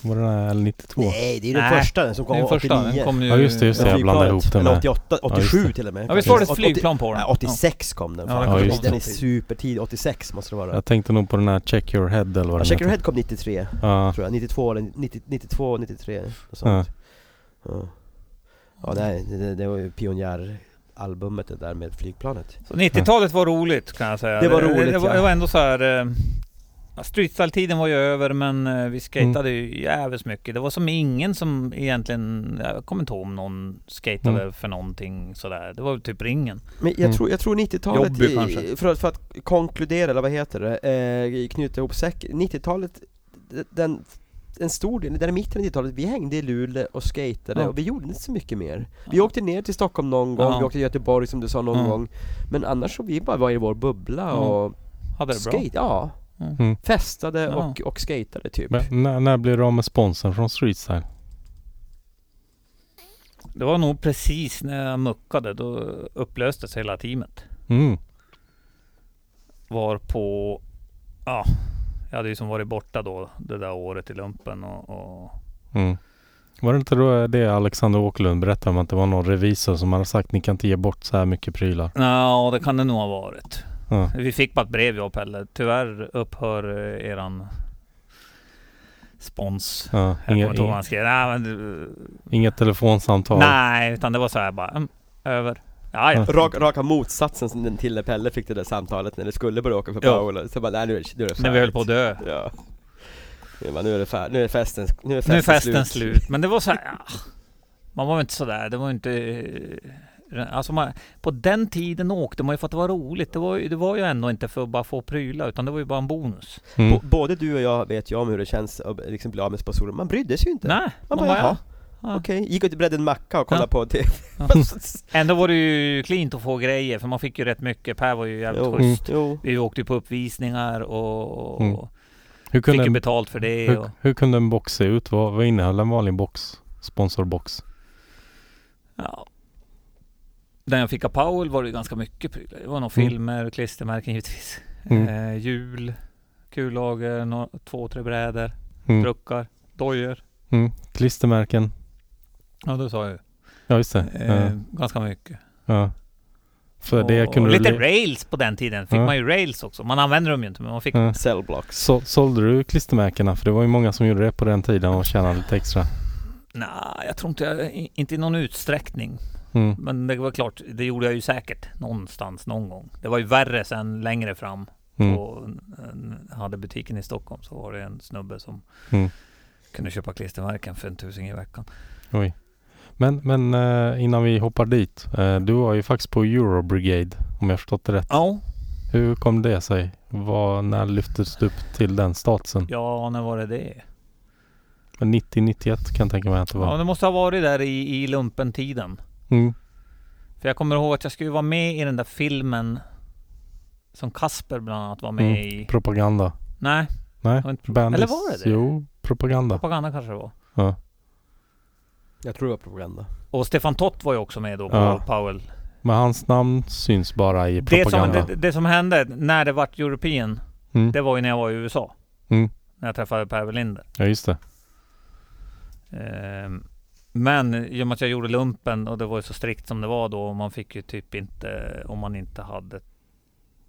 C: Var det den här, eller 92?
A: Nej, det är den
B: Nej,
A: första den som kom
B: Den första,
A: 89
B: den kom ju...
C: Ja just det, just det. Jag
A: Flygplanet.
C: blandade ihop den
A: Eller
C: med.
A: 88,
C: just
A: 87
C: det.
A: till och med
B: Ja visst var det ett
A: 80
B: flygplan på den?
A: Nej, 86 kom den
B: Ja,
A: fram.
C: den kom
A: Den är
B: 86.
A: supertid, 86 måste det vara
C: Jag tänkte nog på den här Check Your Head eller vad
A: ja,
C: den
A: Check Your
C: heter.
A: Head kom 93
C: Ja.
A: tror jag, 92 eller 90, 92, 93 och sånt. Ja. ja, nej, det, det var ju pionjäralbumet det där med flygplanet
B: Så 90-talet var roligt kan jag säga.
A: Det var roligt,
B: Det, var,
A: ja.
B: det var ändå så här... eh, ja, Streetstyle-tiden var ju över men eh, vi skatade
A: Mm.
B: ju jävligt mycket. Det var som ingen som egentligen... Jag kommer inte ihåg om någon skatade
C: Mm.
B: för någonting sådär. Det var väl typ ringen.
A: Men jag
C: Mm.
A: tror, jag tror 90-talet,
B: Jobbig
A: i-
B: kanske.
A: för, att- för att konkludera, eller vad heter det, eh, knyta ihop säck, 90-talet, d- den, en stor del, där i mitten av 90-talet, vi hängde i Luleå och skatade
B: Ja.
A: och vi gjorde inte så mycket mer. Vi
B: Ja.
A: åkte ner till Stockholm någon gång,
B: Ja.
A: vi åkte till Göteborg som du sa någon
B: Ja.
A: gång, men annars så vi bara var i vår bubbla
B: Ja.
A: och
B: Hade det bra.
A: skate, ja.
B: Mm.
C: Mm.
A: Festade
B: Ja.
A: och, och skatade typ.
C: Men när, när blev du av med sponsorn från Streetstyle?
B: Det var nog precis när jag muckade. Då upplöstes hela teamet.
C: Mm.
B: Var på... Ja, jag hade ju som varit borta då det där året i lumpen och... och
C: Mm. Var det inte då det Alexander Åkerlund berättade om att det var någon revisor som hade sagt ni kan inte ge bort så här mycket prylar?
B: Ja, det kan det nog ha varit.
C: Ja.
B: Vi fick bara ett brev jag och Pelle. Tyvärr upphör eh, eran spons.
C: Ja,
B: Jag kommer
C: inga,
B: inte ihåg vad
C: inga,
B: han skrev. Nej, men, du-
C: inget telefonsamtal?
B: nej, utan det var så här bara. Mm, över. Ja, ja.
C: Ja.
A: Rak, raka motsatsen som till när Pelle fick det där samtalet när det skulle börja åka för
B: Ja.
A: Paolo, så bara nej nu är det, nu är det färdigt.
B: När vi höll på att dö.
A: Ja. Nu bara, nu är det färdigt, nu är festen, nu är festen,
B: Nu är festen slut. Men det var så här, ja. Man var ju inte sådär, det var ju inte... eh, Alltså man, på den tiden åkte man ju för att det var roligt. Det var, ju- det var ju ändå inte för att bara få prylar, utan det var ju bara en bonus.
C: Mm.
A: B- både du och jag vet ju om hur det känns att liksom bli av med sponsorer, man brydde sig ju inte.
B: Nej,
A: man bara, jaha,
B: ja.
A: okej, gick ut och bredde en macka och kollade
B: Ja.
A: på TV. [LAUGHS]
B: Ja. Ändå var det ju klint att få grejer, för man fick ju rätt mycket. Per var ju jävligt
A: jo,
B: schysst.
A: jo.
B: Vi åkte ju på uppvisningar och, och
C: Mm. Hur,
B: fick
C: kunde
B: ju
C: en,
B: betalt för det. Och,
C: hur, hur kunde en box se ut? Vad, vad innehöll en vanlig box? Sponsorbox?
B: ja. När jag fick av Paul var det ju ganska mycket prylar. Det var några
C: Mm.
B: filmer, klistermärken givetvis.
C: Mm.
B: Eh, hjul, kullager, nå- två, tre brädor,
C: Mm.
B: truckar, dojor.
C: Mm. Klistermärken?
B: Ja, det sa jag ju.
C: Ja, just det.
B: Eh,
C: Ja.
B: Ganska mycket.
C: Ja. För det
B: och,
C: kunde
B: och
C: du...
B: lite
C: le-
B: rails på den tiden. Fick
C: Ja.
B: man ju rails också. Man använde dem ju inte, men man fick
C: Ja.
A: Cellblocks.
C: Så, sålde du klistermärkena? För det var ju många som gjorde det på den tiden och tjänade lite extra.
B: Nej, jag tror inte jag, i- inte i någon utsträckning.
C: Mm.
B: Men det var klart, det gjorde jag ju säkert någonstans någon gång. Det var ju värre sen längre fram
C: Mm.
B: och en- hade butiken i Stockholm så var det en snubbe som
C: Mm.
B: kunde köpa klistermärken för en tusing i veckan.
C: Oj. Men, men eh, innan vi hoppar dit. eh, Du var ju faktiskt på Euro Brigade om jag förstått det rätt.
B: Ja,
C: Hur kom det sig? Vad, när lyftes du upp till den statusen?
B: ja när var det det?
C: 90-91 kan jag tänka mig att det
B: Ja,
C: var.
B: det måste ha varit där i, i lumpentiden.
C: Mm.
B: För jag kommer ihåg att jag skulle vara med i den där filmen som Kasper bland annat var med
C: Mm.
B: i.
C: Propaganda.
B: Nej,
C: Nej,
B: det var inte pro-
C: Bandits.
B: eller var det det?
C: Jo, propaganda.
B: propaganda kanske det var.
C: Ja.
A: Jag tror det var propaganda.
B: Och Stefan Tott var ju också med då på
C: Ja.
B: Powell.
C: Men hans namn syns bara i
B: Det som,
C: propaganda.
B: det, det som hände när det vart European,
C: Mm.
B: det var ju när jag var i USA.
C: Mm.
B: När jag träffade Per Welinder.
C: Ja, just det.
B: Ehm, Men i och med att jag gjorde lumpen och det var ju så strikt som det var då. och Man fick ju typ inte, om man inte hade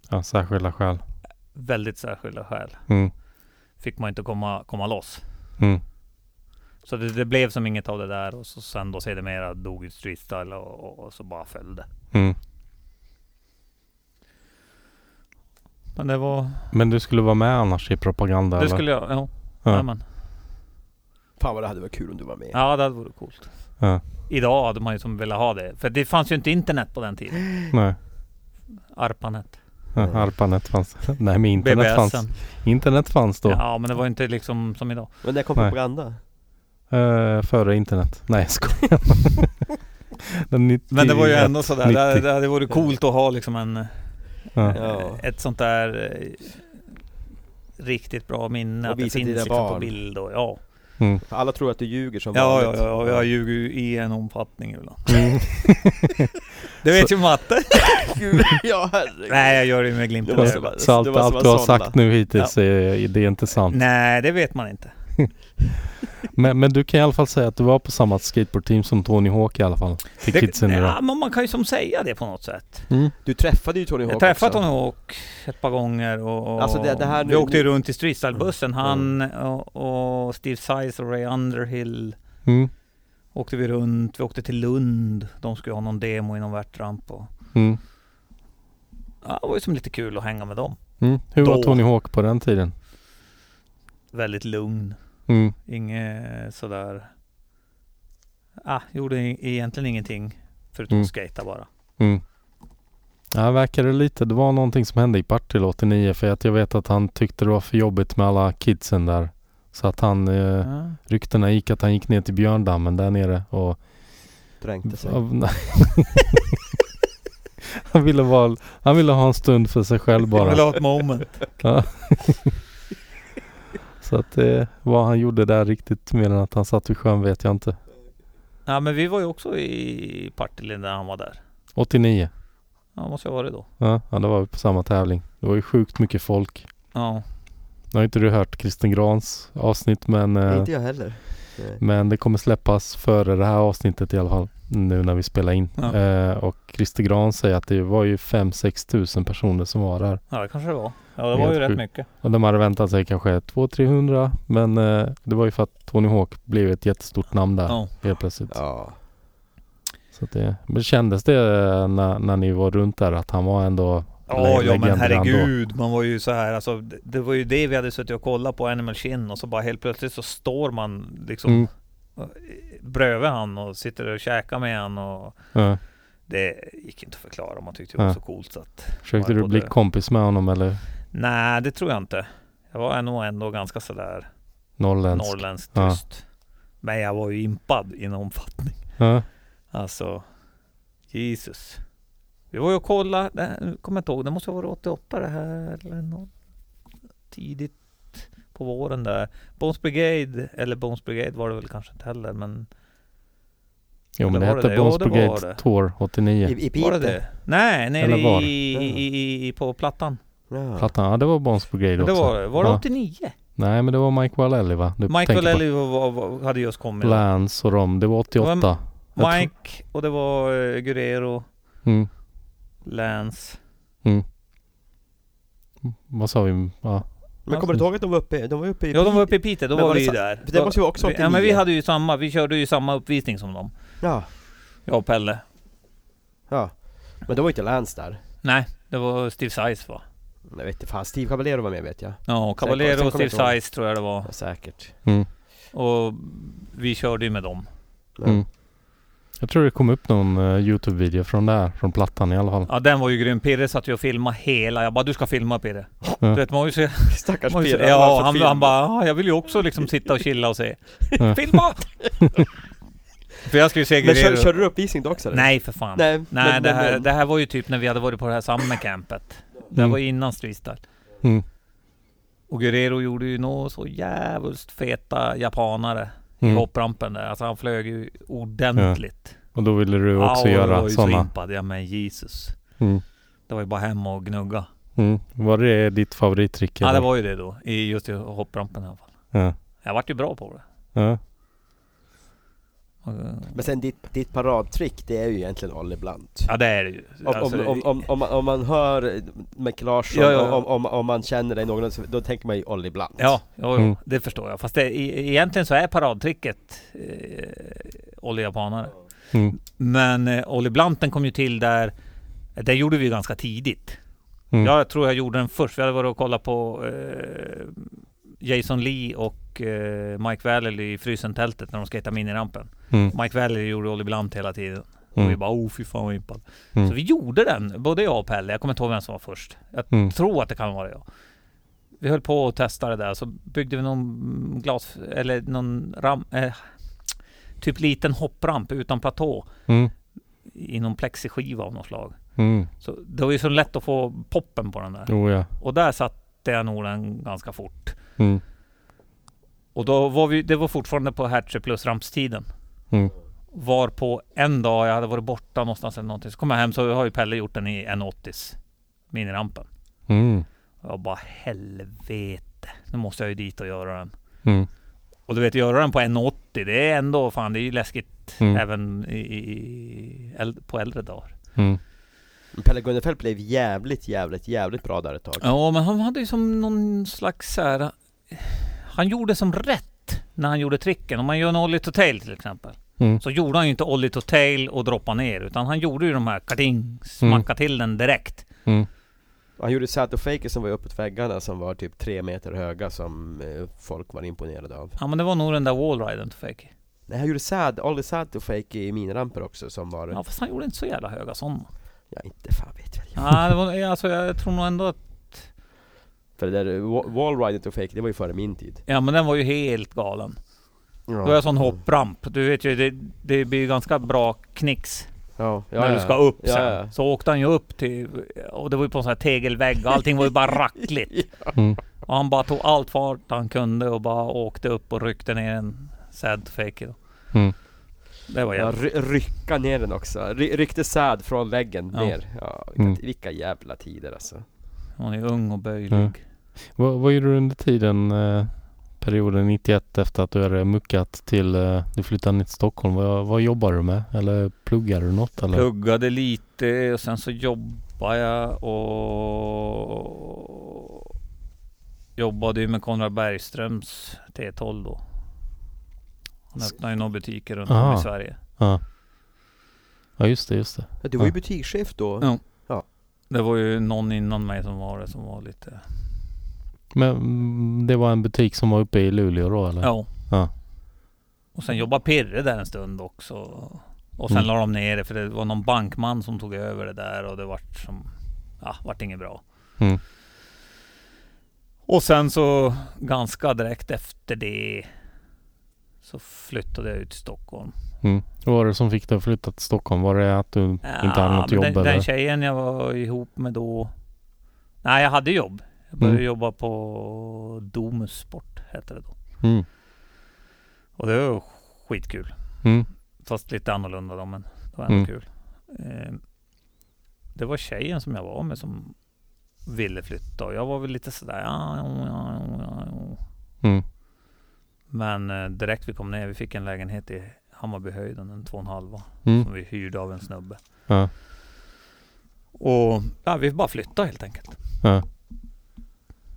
C: Ja, särskilda skäl.
B: väldigt särskilda skäl,
C: Mm.
B: fick man inte komma, komma loss.
C: Mm.
B: Så det, det blev som inget av det där och så sen då sedermera dog ju Streetstyle och, och, och så bara följde.
C: Mm.
B: Men det var...
C: Men du skulle vara med annars i propaganda?
B: Det
C: eller?
B: skulle jag... Ja.
C: Ja.
B: Ja.
A: Fan vad det hade varit kul om du var med.
B: ja, det hade varit coolt.
C: Ja.
B: Idag hade man ju som velat ha det. För det fanns ju inte internet på den tiden.
C: Nej.
B: ARPANET.
C: Ja,
A: Mm.
C: ARPANET fanns. [LAUGHS] Nej, men internet fanns. Internet fanns då.
B: Ja, men det var ju inte liksom som idag.
A: Men när kom
C: Nej.
A: propaganda?
C: Eh, före internet. Nej, jag skojar. [LAUGHS] Den 91,
B: Men det var ju ändå sådär. Det, hade-
C: 90.
B: det hade varit coolt att ha liksom en...
C: Ja.
A: Ja.
B: Ett sånt där... eh, Riktigt bra minne.
A: Och
B: Att det
A: visa
B: finns
A: dina
B: liksom på
A: barn.
B: bild och ja. [LAUGHS]
C: Mm.
A: Alla tror att du ljuger som
B: Ja, ja,
A: vanligt.
B: ja, jag ljuger ju i en omfattning ibland.
C: Mm.
B: Du vet ju matte.
A: [LAUGHS] Gud, ja herregud.
B: Nej, jag gör det med glimten
A: Det
B: i
A: var så
B: ögat.
A: bara-
C: Så allt,
A: det var som
C: allt
A: att
C: du har
A: sålla.
C: sagt nu hittills, är, det är inte sant.
B: Nej, det vet man inte.
C: Men, men du kan i alla fall säga att du var på samma skateboardteam som Tony Hawk i alla fall. Till kidsen
B: ja,
C: idag.
B: men man kan ju som säga det på något sätt.
C: Mm.
A: Du träffade ju Tony Hawk
B: Jag träffade
A: också.
B: honom och ett par gånger och, och
A: Alltså det- det här
B: vi
A: nu-
B: åkte ju runt i streetstylebussen. Han och, och Steve Size och Ray Underhill
C: Mm.
B: åkte vi runt. Vi åkte till Lund. De skulle ha någon demo inom Värtramp och
C: Mm.
B: ja, det var ju som lite kul att hänga med dem.
C: Mm. Hur
B: Då.
C: var Tony Hawk på den tiden?
B: Väldigt lugn.
C: Mm.
B: Inget sådär... Ah, gjorde e- egentligen ingenting förutom
C: Mm.
B: att skata bara.
C: Mm. Ja, verkar det lite. Det var någonting som hände i Partille 89 för att jag vet att han tyckte det var för jobbigt med alla kidsen där. Så att han, eh,
B: Ja.
C: ryktena gick att han gick ner till Björndammen där nere och...
A: Dränkte sig.
C: av- nej. [LAUGHS] han, ville vara, han ville ha en stund för sig själv
B: Jag vill
C: bara.
B: ha ett moment.
C: Ja. [LAUGHS] Så att eh, vad han gjorde där riktigt mer än att han satt vid sjön vet jag inte.
B: [LAUGHS] Ja men vi var ju också i Partille när han var där.
C: 89.
B: Ja måste jag vara det då.
C: Ja, ja då var vi på samma tävling. Det var ju sjukt mycket folk.
B: Ja.
C: Nu har inte du hört Kristen Grans avsnitt men eh,
A: Inte jag heller. Nej.
C: Men det kommer släppas före det här avsnittet i alla fall. Nu när vi spelar in.
B: Ja.
C: Eh, och Christer Gran säger att det var ju 5-6 tusen personer som var där.
B: Ja, det kanske det var. Ja, det
C: Helt
B: var ju rätt
C: sjukt.
B: mycket.
C: Och de hade väntat sig kanske 200-300 men eh, det var ju för att Tony Hawk blev ett jättestort namn där
B: Ja.
C: helt plötsligt.
A: Ja.
C: Så att det, men kändes det eh, när, när ni var runt där att han var ändå
B: Ja, ja men
C: legenden
B: herregud. Man var ju så här, alltså, det, det var ju det vi hade suttit och kollat på Animal Chin och så bara helt plötsligt så står man liksom
C: Mm.
B: bredvid han och sitter och käkar med han och
C: Ja.
B: det gick inte att förklara. Man tyckte det var
C: Ja.
B: så coolt så att
C: Försökte
B: Ja,
C: du bli
B: både-
C: kompis med honom eller
B: nej, det tror jag inte. Jag var nog ändå ganska sådär
C: norrländsk?
B: norrländskt
C: Ja.
B: tyst. Men jag var ju impad i en omfattning.
C: Ja.
B: Alltså, Jesus. Vi var ju och kollade, det- nu kommer jag inte ihåg, det måste ha varit 88 det här eller något tidigt på våren där. Bones Brigade, eller Bones Brigade var det väl kanske inte heller men
C: Jo men
B: Eller
C: det
B: var det
C: hette
B: det?
C: Bones
B: Ja, det var
C: Brigade
B: det.
C: Tour 89.
A: I, i
B: var
A: Piteå?
B: det det? Nej, nere
C: Eller var?
B: i, i, i, i, på plattan.
A: Ja.
C: Plattan, ja det var Bones Brigade
B: Det
C: också.
B: var, det. var det
C: Ja.
B: 89?
C: Nej men det var Mike Wallelli va? Du
B: Mike
C: tänker på
B: Valelli var, var, var, hade just kommit.
C: Lance och Rom, det var 88.
B: Det var-
C: Jag tror-
B: Mike och det var eh, Guerrero,
C: Mm.
B: Lance.
C: Vad sa vi? Ja.
A: Men kommer du inte ihåg att de var uppe, de var uppe i
B: Ja de var
A: Piteå?
B: uppe i Piteå, då
A: Men
B: var,
A: var
B: vi
A: det
B: ju
A: sa-
B: där.
A: för det måste ju vara också
B: Vi- Ja men vi
A: 89.
B: hade ju samma, vi körde ju samma uppvisning som dem.
A: Ja,
B: Jag och Pelle.
A: ja. Men då var ju inte Lance där.
B: Nej, det var Steve Size va?
A: Jag vet inte, fan Steve Caballero var med vet jag.
B: Ja, och
A: Sen-
B: Caballero
A: sen
B: och
A: kommer
B: Steve
A: jag inte ihåg.
B: Size tror jag det var.
A: Ja, säkert.
C: Mm.
B: Och vi körde ju med dem.
A: Men,
C: Mm. Jag tror det kom upp någon eh, Youtube-video från där, från plattan i alla fall.
B: Ja den var ju grym. Pirre satt ju och filmade hela. Jag bara du ska filma Pirre. Du vet man var ju så,
A: [LAUGHS] Stackars
B: man var ju så,
A: Pirre,
B: Ja,
A: har
B: han,
A: fått
B: han
A: film.
B: bara "Ja, jag vill ju också liksom sitta och chilla och se.
A: [LAUGHS]
B: [LAUGHS]
C: Ja.
B: Filma! För jag skulle ju se
A: Men kör,
B: Guerrero.
A: körde du uppvisning då också? eller?
B: Nej för fan. Nej,
A: Nej, men-
B: det,
A: men-
B: här,
A: men-
B: det här var ju typ när vi hade varit på det här summercampet. Det här
C: Mm.
B: var ju innan Streetstyle.
C: Mm.
B: Och Guerrero gjorde ju nå så jävligt feta japanare i
C: Mm.
B: hopprampen där. Alltså han flög ju ordentligt.
C: Och då ville du också
B: och det var
C: göra
B: ju så
C: sådana.
B: impad. Ja men Jesus.
C: Mm.
B: Det var ju bara hem och gnugga.
C: Mm. Var det ditt favorittrick?
B: Ja det
C: eller?
B: var ju det då. I just i hopprampen i alla fall.
C: Ja.
B: Jag vart ju bra på det.
C: Ja.
B: Och-
A: Men sen ditt, ditt paradtrick, det är ju egentligen Olle Blunt.
B: Ja det är det ju.
A: Om,
B: Alltså,
A: om, om, om, om, man- om man hör Micke Larsson,
B: Ja, ja, ja.
A: Om, om, om man känner dig någon, så- då tänker man ju Olli Blunt.
B: Ja, jo, jo,
C: Mm.
B: det förstår jag. Fast det, e- egentligen så är paradtricket eh, Olle Japanare.
C: Mm.
B: Men eh, Olle Blanten kom ju till där. Det gjorde vi ju ganska tidigt.
C: Mm.
B: Jag tror jag gjorde den först. Vi hade varit och kollat på eh, Jason Lee och eh, Mike Valley i Frysentältet när de skejtade minirampen.
C: Mm.
B: Mike Valley gjorde Olle Blant hela tiden. Och vi
C: Mm.
B: bara oh fy fan vad impad.
C: Mm.
B: Så vi gjorde den, både jag och Pelle. Jag kommer inte ihåg vem som var först. Jag
C: Mm.
B: tror att det kan vara jag. Vi höll på och testade där så byggde vi någon glas eller någon ram, eh, typ liten hoppramp utan platå
C: Mm.
B: i någon plexiskiva av något slag.
C: Mm.
B: Så det var ju så lätt att få poppen på den där.
C: Jo ja.
B: Och där satte jag nog den ganska fort.
C: Mm.
B: Och då var vi, det var fortfarande på Hatcher plus rampstiden.
C: Mm.
B: Var på en dag, jag hade varit borta någonstans eller någonting. Så kom jag hem så har ju Pelle gjort den i en 80s minirampen.
C: Mm.
B: Och jag bara helvete. Nu måste jag ju dit och göra den.
C: Mm.
B: Och du vet göra den på 1,80 det är ändå fan det är ju läskigt
C: Mm.
B: även i, i, äld, på äldre dagar.
C: Mm.
A: Men Pelle Gunnefelt blev jävligt, jävligt, jävligt bra där ett tag.
B: Ja men han hade ju som någon slags så här, Han gjorde som rätt när han gjorde tricken. Om man gör en ollie to tail till exempel.
C: Mm.
B: Så gjorde han ju inte ollie to tail och droppa ner utan han gjorde ju de här
A: Mm.
B: karting, smacka till den direkt.
C: Mm.
A: Han gjorde saddlefaker som var uppåt väggarna som var typ tre meter höga som eh, folk var imponerade av.
B: Ja men det var nog den där wallriden to fake.
A: Nej, han gjorde sad, Olli saddlefake i miniramper också som var...
B: Ja
A: Ja.
B: fast han gjorde inte så jävla höga sådana.
A: inte fan vet väl.
B: Ja, det var, alltså, jag tror nog ändå att...
A: För det där wallrider to fake, det var ju före min tid.
B: Ja men den var ju helt galen.
A: Ja.
B: Det var en sån hoppramp. Du vet ju, det, det blir ju ganska bra knicks
A: Ja, ja,
B: när
A: ja.
B: du ska upp
A: ja,
B: sen.
A: ja.
B: Så åkte han ju upp till... Och det var ju på en sån här tegelvägg och allting var ju bara rackligt.
C: Mm.
B: Och han bara tog allt fart han kunde och bara åkte upp och ryckte ner en sad fake.
C: Mm.
B: Det var
A: Ja,
B: jävligt.
A: ry- rycka ner den också. Ry- ryckte säd från väggen
B: Ja.
A: ner. Ja, vilka,
C: Mm.
A: vilka jävla tider alltså.
B: Hon är ung och böjlig.
C: Mm. Vad, vad gjorde du under tiden eh, perioden 91 efter att du hade muckat till eh, du flyttade ner till Stockholm. Vad, vad jobbar du med? Eller pluggar du något? Eller?
B: Pluggade lite och sen så jobbade jag och jobbade ju med Konrad Bergströms T12 då. Han
C: S-
B: öppnade ju några butiker runt
C: Aha.
B: om i Sverige.
C: Ja. ja, just det, just det.
A: Ja, Du var ju
C: Ja.
A: butikschef då.
B: Ja. Det var ju någon innan mig som var det som var lite...
C: Men mm, det var en butik som var uppe i Luleå då eller?
B: Ja.
C: Ja.
B: Och sen jobbade Pirre där en stund också. Och sen
C: Mm.
B: la de ner det för det var någon bankman som tog över det där och det vart som... Ja, vart inget bra.
C: Mm.
B: Och sen så ganska direkt efter det så flyttade jag ut till Stockholm.
C: Mm. Vad var det som fick dig att flytta till Stockholm? Var det att du inte hade något
B: men
C: jobb
B: den,
C: eller?
B: Den tjejen jag var ihop med då. Nej, jag hade jobb. Jag började
C: Mm.
B: jobba på Domus Sport hette det då.
C: Mm.
B: Och det var skitkul.
C: Mm.
B: Fast lite annorlunda då, men det var ändå
C: Mm.
B: kul. Eh, det var tjejen som jag var med som ville flytta och jag var väl lite sådär ja, ja, ja, ja, ja.
C: Mm.
B: Men eh, direkt vi kom ner, vi fick en lägenhet i Hammarbyhöjden, en två och en halva.
C: Mm.
B: Som vi hyrde av en snubbe.
C: Ja.
B: Och ja, vi bara flyttade helt enkelt.
C: Ja.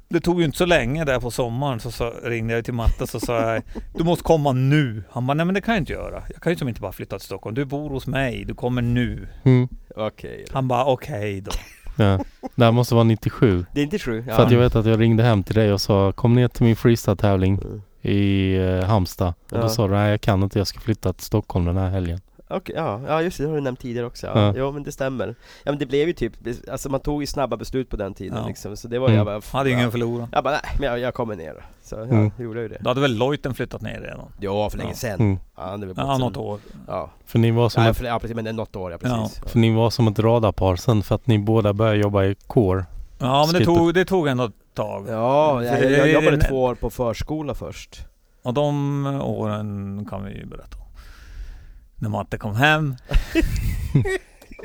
B: Det tog ju inte så länge där på sommaren så, sa- ringde jag till Matte så sa jag Du måste komma nu. Han bara, nej men det kan jag inte göra. Jag kan ju som inte bara flytta till Stockholm. Du bor hos mig, du kommer nu.
C: Mm.
A: Okej.
B: Han bara, okej då.
C: Ja. Det här måste vara 97.
A: Det är inte sju? Ja.
C: För att jag vet att jag ringde hem till dig och sa kom ner till min freestyle-tävling
A: Mm.
C: i eh, Halmstad. Och
A: Ja.
C: då sa du nej jag kan inte, jag ska flytta till Stockholm den här helgen.
A: Okej, ja, ja just det, det har du nämnt tidigare också. Ja.
C: Ja.
A: Jo men det stämmer. Ja men det blev ju typ, alltså man tog ju snabba beslut på den tiden
B: Ja.
A: liksom, så det var
C: Mm.
A: jag bara...
B: Han hade ju ingen att förlora.
A: Jag bara nej, men jag, jag kommer ner då. Så jag
C: Mm.
A: gjorde ju det.
B: Då hade väl Lojten flyttat ner redan.
A: Ja, för länge
B: Ja.
A: sen.
C: Mm.
A: Ja, det är väl
B: Ja,
A: bort
B: något
A: sen.
B: år.
A: Ja,
C: För ni var som
A: nej,
C: ett,
A: för, ja precis, men det är något år ja, precis.
C: för ni var som ett radarpar sen för att ni båda började jobba i kår.
B: Ja, men det
C: Skipper.
B: tog, det tog ändå ett tag.
A: Ja,
B: För
A: jag, jag
B: det-
A: jobbade
B: det-
A: två år på förskola först.
B: Och de åren kan vi ju berätta om. När Matte kom hem.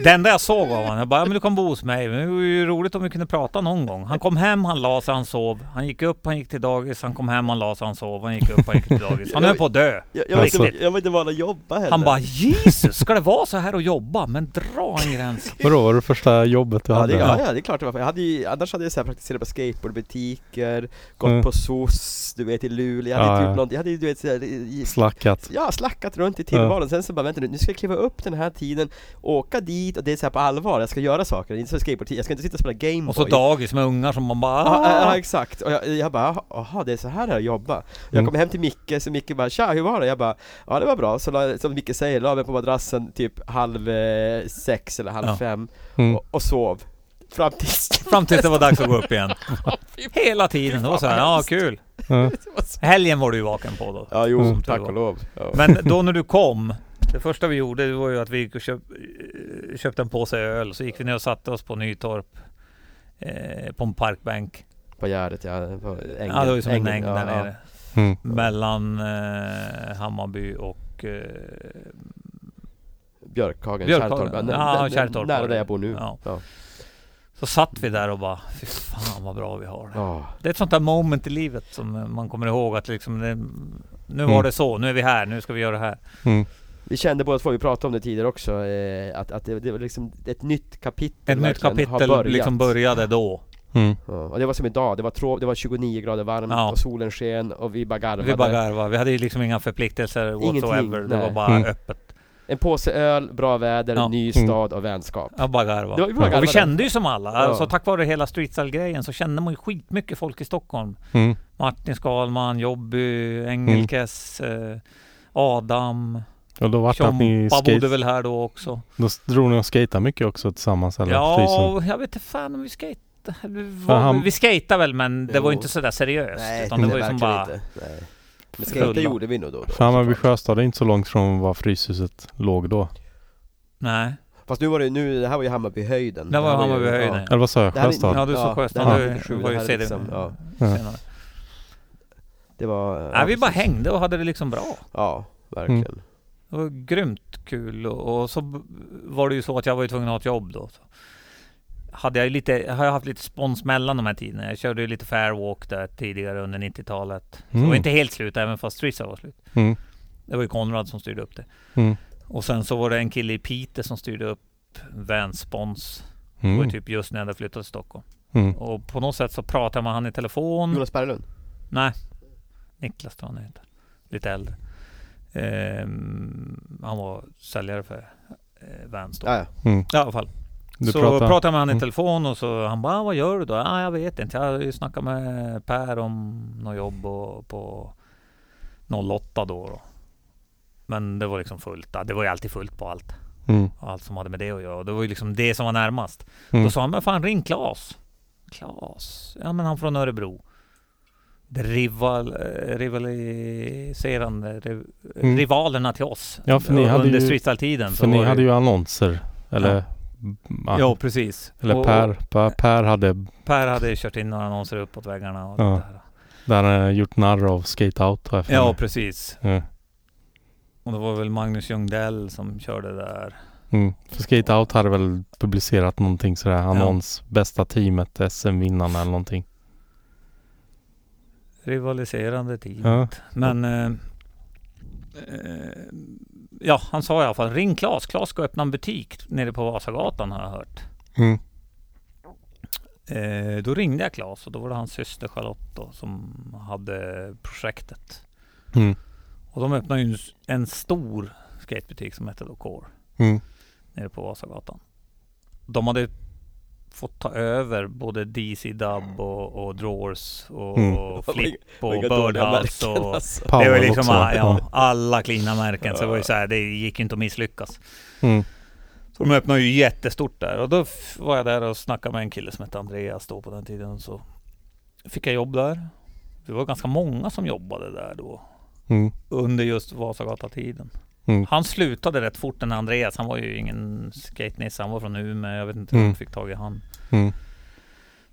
B: Det enda jag såg av honom, jag bara ja, men du kan bo hos mig. Men det vore ju roligt om vi kunde prata någon gång. Han kom hem, han la sig, han sov. Han gick upp, han gick till dagis. Han kom hem, han la sig, han sov. Han gick upp, han gick till dagis. Han höll på att dö.
A: Jag, jag, var,
C: Alltså-
A: inte, jag var inte van att jobba heller.
B: Han bara Jesus, ska det vara så här att jobba? Men dra
A: [LAUGHS]
B: en gräns.
C: Vadå, var det första jobbet du
A: Ja
C: hade?
A: det, ja, ja, det är klart det var. Jag hade ju, annars hade jag så här praktiserat på skateboardbutiker, gått
C: Mm.
A: på SOS, du vet i Luleå, jag hade
C: Ja,
A: inte
C: ja.
A: gjort någonting, jag hade ju du vet så här, i-
C: Slackat.
A: Ja, slackat runt i tillvaron, sen så bara vänta nu, nu ska jag kliva upp den här tiden, åka dit och det är så här på allvar, jag ska göra saker, inte så skateboardtid, jag ska inte sitta och spela Gameboy
B: Och så dagis med ungar som man bara
A: Ja, ja, ja,
B: "Ah."
A: exakt, och jag, jag bara jaha, det är så här jag jobbar Jag
C: Mm.
A: kom hem till Micke, så Micke bara tja, hur var det? Jag bara ja det var bra, så la, som Micke säger, la mig på madrassen typ halv eh, sex eller halv
B: Ja.
A: fem
C: Mm.
A: och, och sov Fram [LAUGHS] tills
B: Fram tills det var dags att gå upp [LAUGHS] igen. Hela tiden. Det var så här, ja kul.
C: Ja.
B: Helgen var du ju vaken på då.
A: Ja, jo,
C: Mm.
A: tack och lov ja.
B: Men då när du kom, det första vi gjorde det var ju att vi gick och köp, eh, köpte en påse öl. Så gick vi ner och satte oss på Nytorp. Eh, på en parkbänk.
A: På Gärdet ja, på ängen
B: ja, det var ju som
A: Ängen,
B: en äng
A: ja, ja.
B: där nere.
C: Mm.
B: Mellan eh, Hammarby och eh,
A: Björkhagen,
B: Björkhagen.
A: Kärrtorp ja, nä-
B: Ja,
A: nä-
B: Kärrtorp var
A: Nära
B: det.
A: där jag bor nu
B: Ja.
A: Ja.
B: så satt vi där och bara, fy fan vad bra vi har det.
A: Ja.
B: Det är ett sånt där moment i livet som eh, man kommer ihåg att liksom, det, nu var
C: Mm.
B: det så, nu är vi här, nu ska vi göra det här.
C: Mm.
A: Vi kände båda två, vi pratade om det tidigare också, eh, att, att det, det var liksom ett nytt kapitel
B: Ett nytt
A: verkligen har
B: kapitel
A: börjat.
B: liksom började då.
C: Mm.
A: Ja, och det var som idag, det var, trå- det var 29 grader varmt
B: Ja.
A: och solen sken och vi bara garvade.
B: Vi bara garvade. Vi hade ju liksom inga förpliktelser
A: Ingenting,
B: whatsoever. Det
A: nej.
B: var bara
C: Mm.
B: öppet.
A: En påse öl, bra väder,
B: Ja.
A: ny
C: Mm.
A: stad och vänskap.
B: Jag bara
A: Det var-
B: garvade.
A: vi bara
B: Och vi
A: garvade.
B: kände ju som alla. Alltså
A: Ja.
B: tack vare hela streetstyle-grejen så kände man ju skitmycket folk i Stockholm.
C: Mm.
B: Martin Skalman, Jobby, Engelkes, eh, Adam,
C: Och då vart det att ni
B: Tjompa bodde
C: skate,
B: väl här då också.
C: då drog ni och skejtade mycket också tillsammans eller? Frysen.
B: Ja, jag vet inte fan om vi skejtade. Vi, var,
C: han-
B: vi skejtade väl men det var
A: Jo.
B: ju inte sådär seriöst. utan det
A: nej,
B: var ju som
A: verkligen
B: bara...
A: inte. Nej. Men
B: Fulla.
A: skate gjorde vi nog då, då
C: För Hammarby
A: såklart.
C: Sjöstad är inte så långt från var Fryshuset låg då.
B: Nej.
A: Fast nu var det nu, det här var ju Hammarbyhöjden.
B: Det var
A: här
B: Hammarbyhöjden.
C: Eller vad sa jag?
A: Det här är-
C: Sjöstad?
B: Ja, du
A: Ja,
B: sa
A: det här
B: Sjöstrand.
A: är
B: Det
A: liksom-
B: var
A: det
B: ju
A: här är
B: CD
A: liksom- ja.
B: senare.
A: Ja, det var... ja,
B: Nej, vi bara
A: precis.
B: hängde och hade det liksom bra.
A: Ja,
C: Mm.
A: verkligen.
B: Det var grymt kul och, och så b- var det ju så att jag var ju tvungen att ha ett jobb då. Så. hade jag ju lite, har jag haft lite spons mellan de här tiderna. Jag körde ju lite Fairwalk där tidigare under 90-talet. Så det var
C: Mm.
B: inte helt slut, även fast Strissa var slut.
C: Mm.
B: Det var ju Konrad som styrde upp det.
C: Mm.
B: Och sen så var det en kille i Piteå som styrde upp Vänspons. Det var
C: Mm.
B: ju typ just när jag hade flyttat till Stockholm.
C: Mm.
B: Och på något sätt så pratade jag med han i telefon.
D: Jonas Berglund.
B: Nej, Niklas tror jag han heter. Lite äldre. Ehm, han var säljare för eh, Vans då.
D: Ja, ja.
C: Mm.
B: I alla fall.
C: Du
B: så
C: pratar-
B: pratade jag med han i
C: Mm.
B: telefon och så han bara, "Ah, vad gör du då? Ah, jag vet inte. Jag har ju snackat med Per om något jobb och, på 08 då, då. Men det var liksom fullt. Ja, Det var ju alltid fullt på allt.
C: Mm.
B: Allt som hade med det att göra. Och det var ju liksom det som var närmast.
C: Mm.
B: Då sa han, men fan ring Klas. Klas? Ja men han från Örebro. Det rival, eh, rivaliserande, riv,
C: Mm.
B: rivalerna till oss.
C: Ja, för ni hade
B: Under
C: ju-
B: streetstyle-tiden. så
C: För ni
B: var det
C: hade ju annonser. Eller, ja.
B: Ja, precis.
C: eller
B: Och-
C: per, per, per hade
B: Per hade ju kört in några annonser uppåt väggarna och
C: Ja.
B: det där.
C: Där han har gjort narr av Skate Out har jag för
B: Ja,
C: mig.
B: precis.
C: Ja.
B: Och det var väl Magnus Ljungdell som körde där.
C: mm. För Skate Out hade väl publicerat någonting sådär, annons, bästa teamet, SM-vinnarna eller någonting.
B: Rivaliserande team.
C: Ja.
B: Men... Eh, eh, ja, han sa i alla fall ring Klas. Klas ska öppna en butik nere på Vasagatan har jag hört.
C: Mm.
B: Eh, då ringde jag Klas och då var det hans syster Charlotte då, som hade projektet.
C: Mm.
B: Och de öppnade ju en, s- en stor skatebutik som hette då Core.
C: Mm.
B: nere på Vasagatan. De hade fått ta över både DC Dub och, och Drawers och
C: Mm.
B: Flip och
A: Vilka dåliga
B: Birdhouse
A: märken,
B: och...
A: alltså. [LAUGHS]
C: Power
B: Det var ju liksom
C: också.
B: alla, ja, alla klina märken, så det var ju
A: Ja.
B: så här, det gick ju inte att misslyckas.
C: Mm.
B: Så de öppnade ju jättestort där och då f- var jag där och snackade med en kille som hette Andreas då på den tiden. Så fick jag jobb där. Det var ganska många som jobbade där då
C: Mm.
B: under just Vasagatan-tiden.
C: Mm.
B: Han slutade rätt fort den Andreas. Han var ju ingen skatenisse. Han var från Umeå. Jag vet inte hur
C: Mm.
B: de fick tag i han.
C: Mm.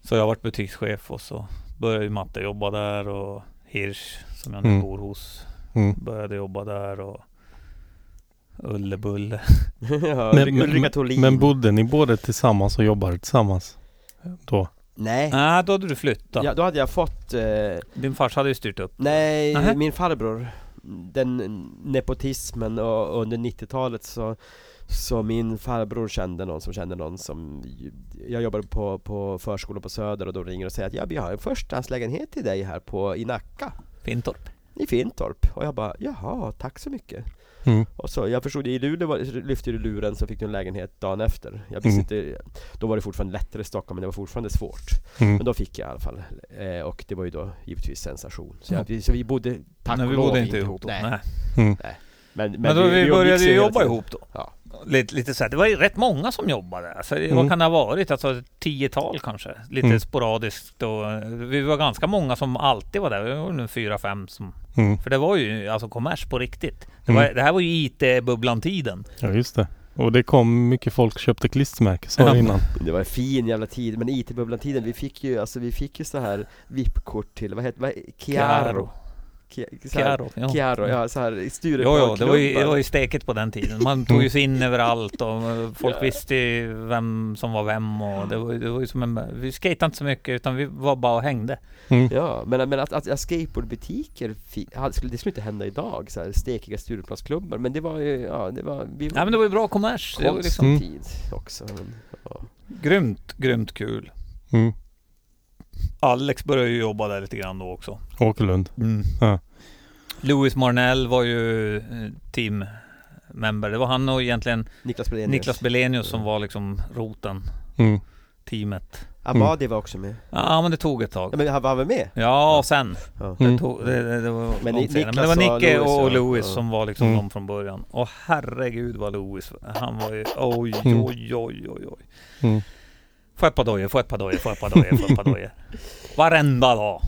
B: Så jag varit butikschef och så började ju Matte jobba där och Hirsch som jag nu
C: Mm.
B: bor hos
C: Mm.
B: började jobba där och [LAUGHS] Ullebulle.
A: ja,
C: Men-
A: Ulrika- Ulrika
C: men-
A: Thorlin.
C: Men bodde ni både tillsammans och jobbade tillsammans? Då?
A: Nej,
B: Nej, då hade du flyttat.
A: ja, då hade jag fått eh,
B: Din farsa hade ju styrt upp.
A: Nej,
B: Nähä.
A: min farbror Den nepotismen och, och under 90-talet så Så min farbror kände någon som kände någon som Jag jobbade på, på förskolan på Söder och de ringer och säger att ja, vi har en förstahandslägenhet till dig här på, i Nacka
B: Fintorp.
A: I Fintorp Och jag bara jaha, tack så mycket
C: Mm.
A: Och så, jag förstod i Luleå var, lyfte du luren så fick du en lägenhet dagen efter Jag visste inte Då var det fortfarande lättare i Stockholm men det var fortfarande svårt
C: Mm.
A: men då fick jag i alla fall, eh, och det var ju då givetvis sensation. Så, jag, vi- så vi bodde, tack
B: Men
A: och
B: vi
A: lov,
B: bodde inte ihop då.
A: Nej.
B: Nej.
C: Mm.
A: Men, men,
B: Men, då vi,
A: umgicks
B: började ju
A: hela
B: jobba
A: tiden.
B: ihop då.
A: Ja.
B: Lite, lite så här, det var ju rätt många som jobbade. Alltså, det- Vad
C: Mm.
B: kan det ha varit? Alltså ett tiotal kanske? Lite
C: Mm.
B: sporadiskt och eh, vi var ganska många som alltid var där. Vi var nu fyra, fem som...
C: Mm.
B: För det var ju alltså kommers på riktigt. Det, var,
C: Mm.
B: det här var ju IT-bubblan-tiden.
C: Ja, just det. Och det kom mycket folk köpte klistermärken sa du
B: Ja.
C: innan.
A: Det var en fin jävla tid, men IT-bubblan tiden, vi fick ju, alltså vi fick ju så här VIP-kort till, vad heter vad, Chiaro? Chiaro, så här,
B: Chiaro. Ja.
A: Chiaro, ja så här, i
B: Jo,
A: Stureplan
B: jo, det Mm. var ju, det var ju steket på den tiden. Man tog ju sig in överallt och eh, folk
A: Ja.
B: visste ju vem som var vem och det var, ju- det var ju som en... Vi skejtade inte så mycket utan vi var bara och hängde.
C: Mm.
A: Ja, men, men att, att, att skateboardbutiker, fi- hade- skulle- det skulle inte hända idag, så här, stekiga Stureplansklubbar, men det var ju, ja det var, vi
B: Nej men det var ju bra kommers. Det var ju liksom
A: konstig
C: Mm.
A: tid också men, ja.
B: grymt, grymt kul.
C: Mm.
B: Alex började ju jobba där lite grann då också.
C: Åkerlund. Ja.
B: Mm. Louis Marnell var ju eh, team member. Det var han och egentligen
A: Niklas Brenius
B: Niklas Belenius som var liksom roten,
C: Mm.
B: teamet.
A: Abadi
B: Mm.
A: var också med
B: Ja men det tog ett
A: Ja
B: tag.
A: men han var väl med?
B: Ja och sen.
A: Ja.
B: Det,
C: Mm.
B: tog, det, det, det var
A: Men
B: men,
A: Ni-
B: men det
A: Niklas
B: var
A: och
B: Nicke
A: Louis,
B: och,
A: ja.
B: Louis
A: Ja.
B: som var liksom
C: Mm.
B: de från början. Och herregud vad Louis, han var ju oj
C: Mm.
B: oj oj oj oj.
C: Mm.
B: Få ett par dojor, få ett par dojor, få ett par dojor, få ett par
C: [LAUGHS]
B: dojor. Varenda dag.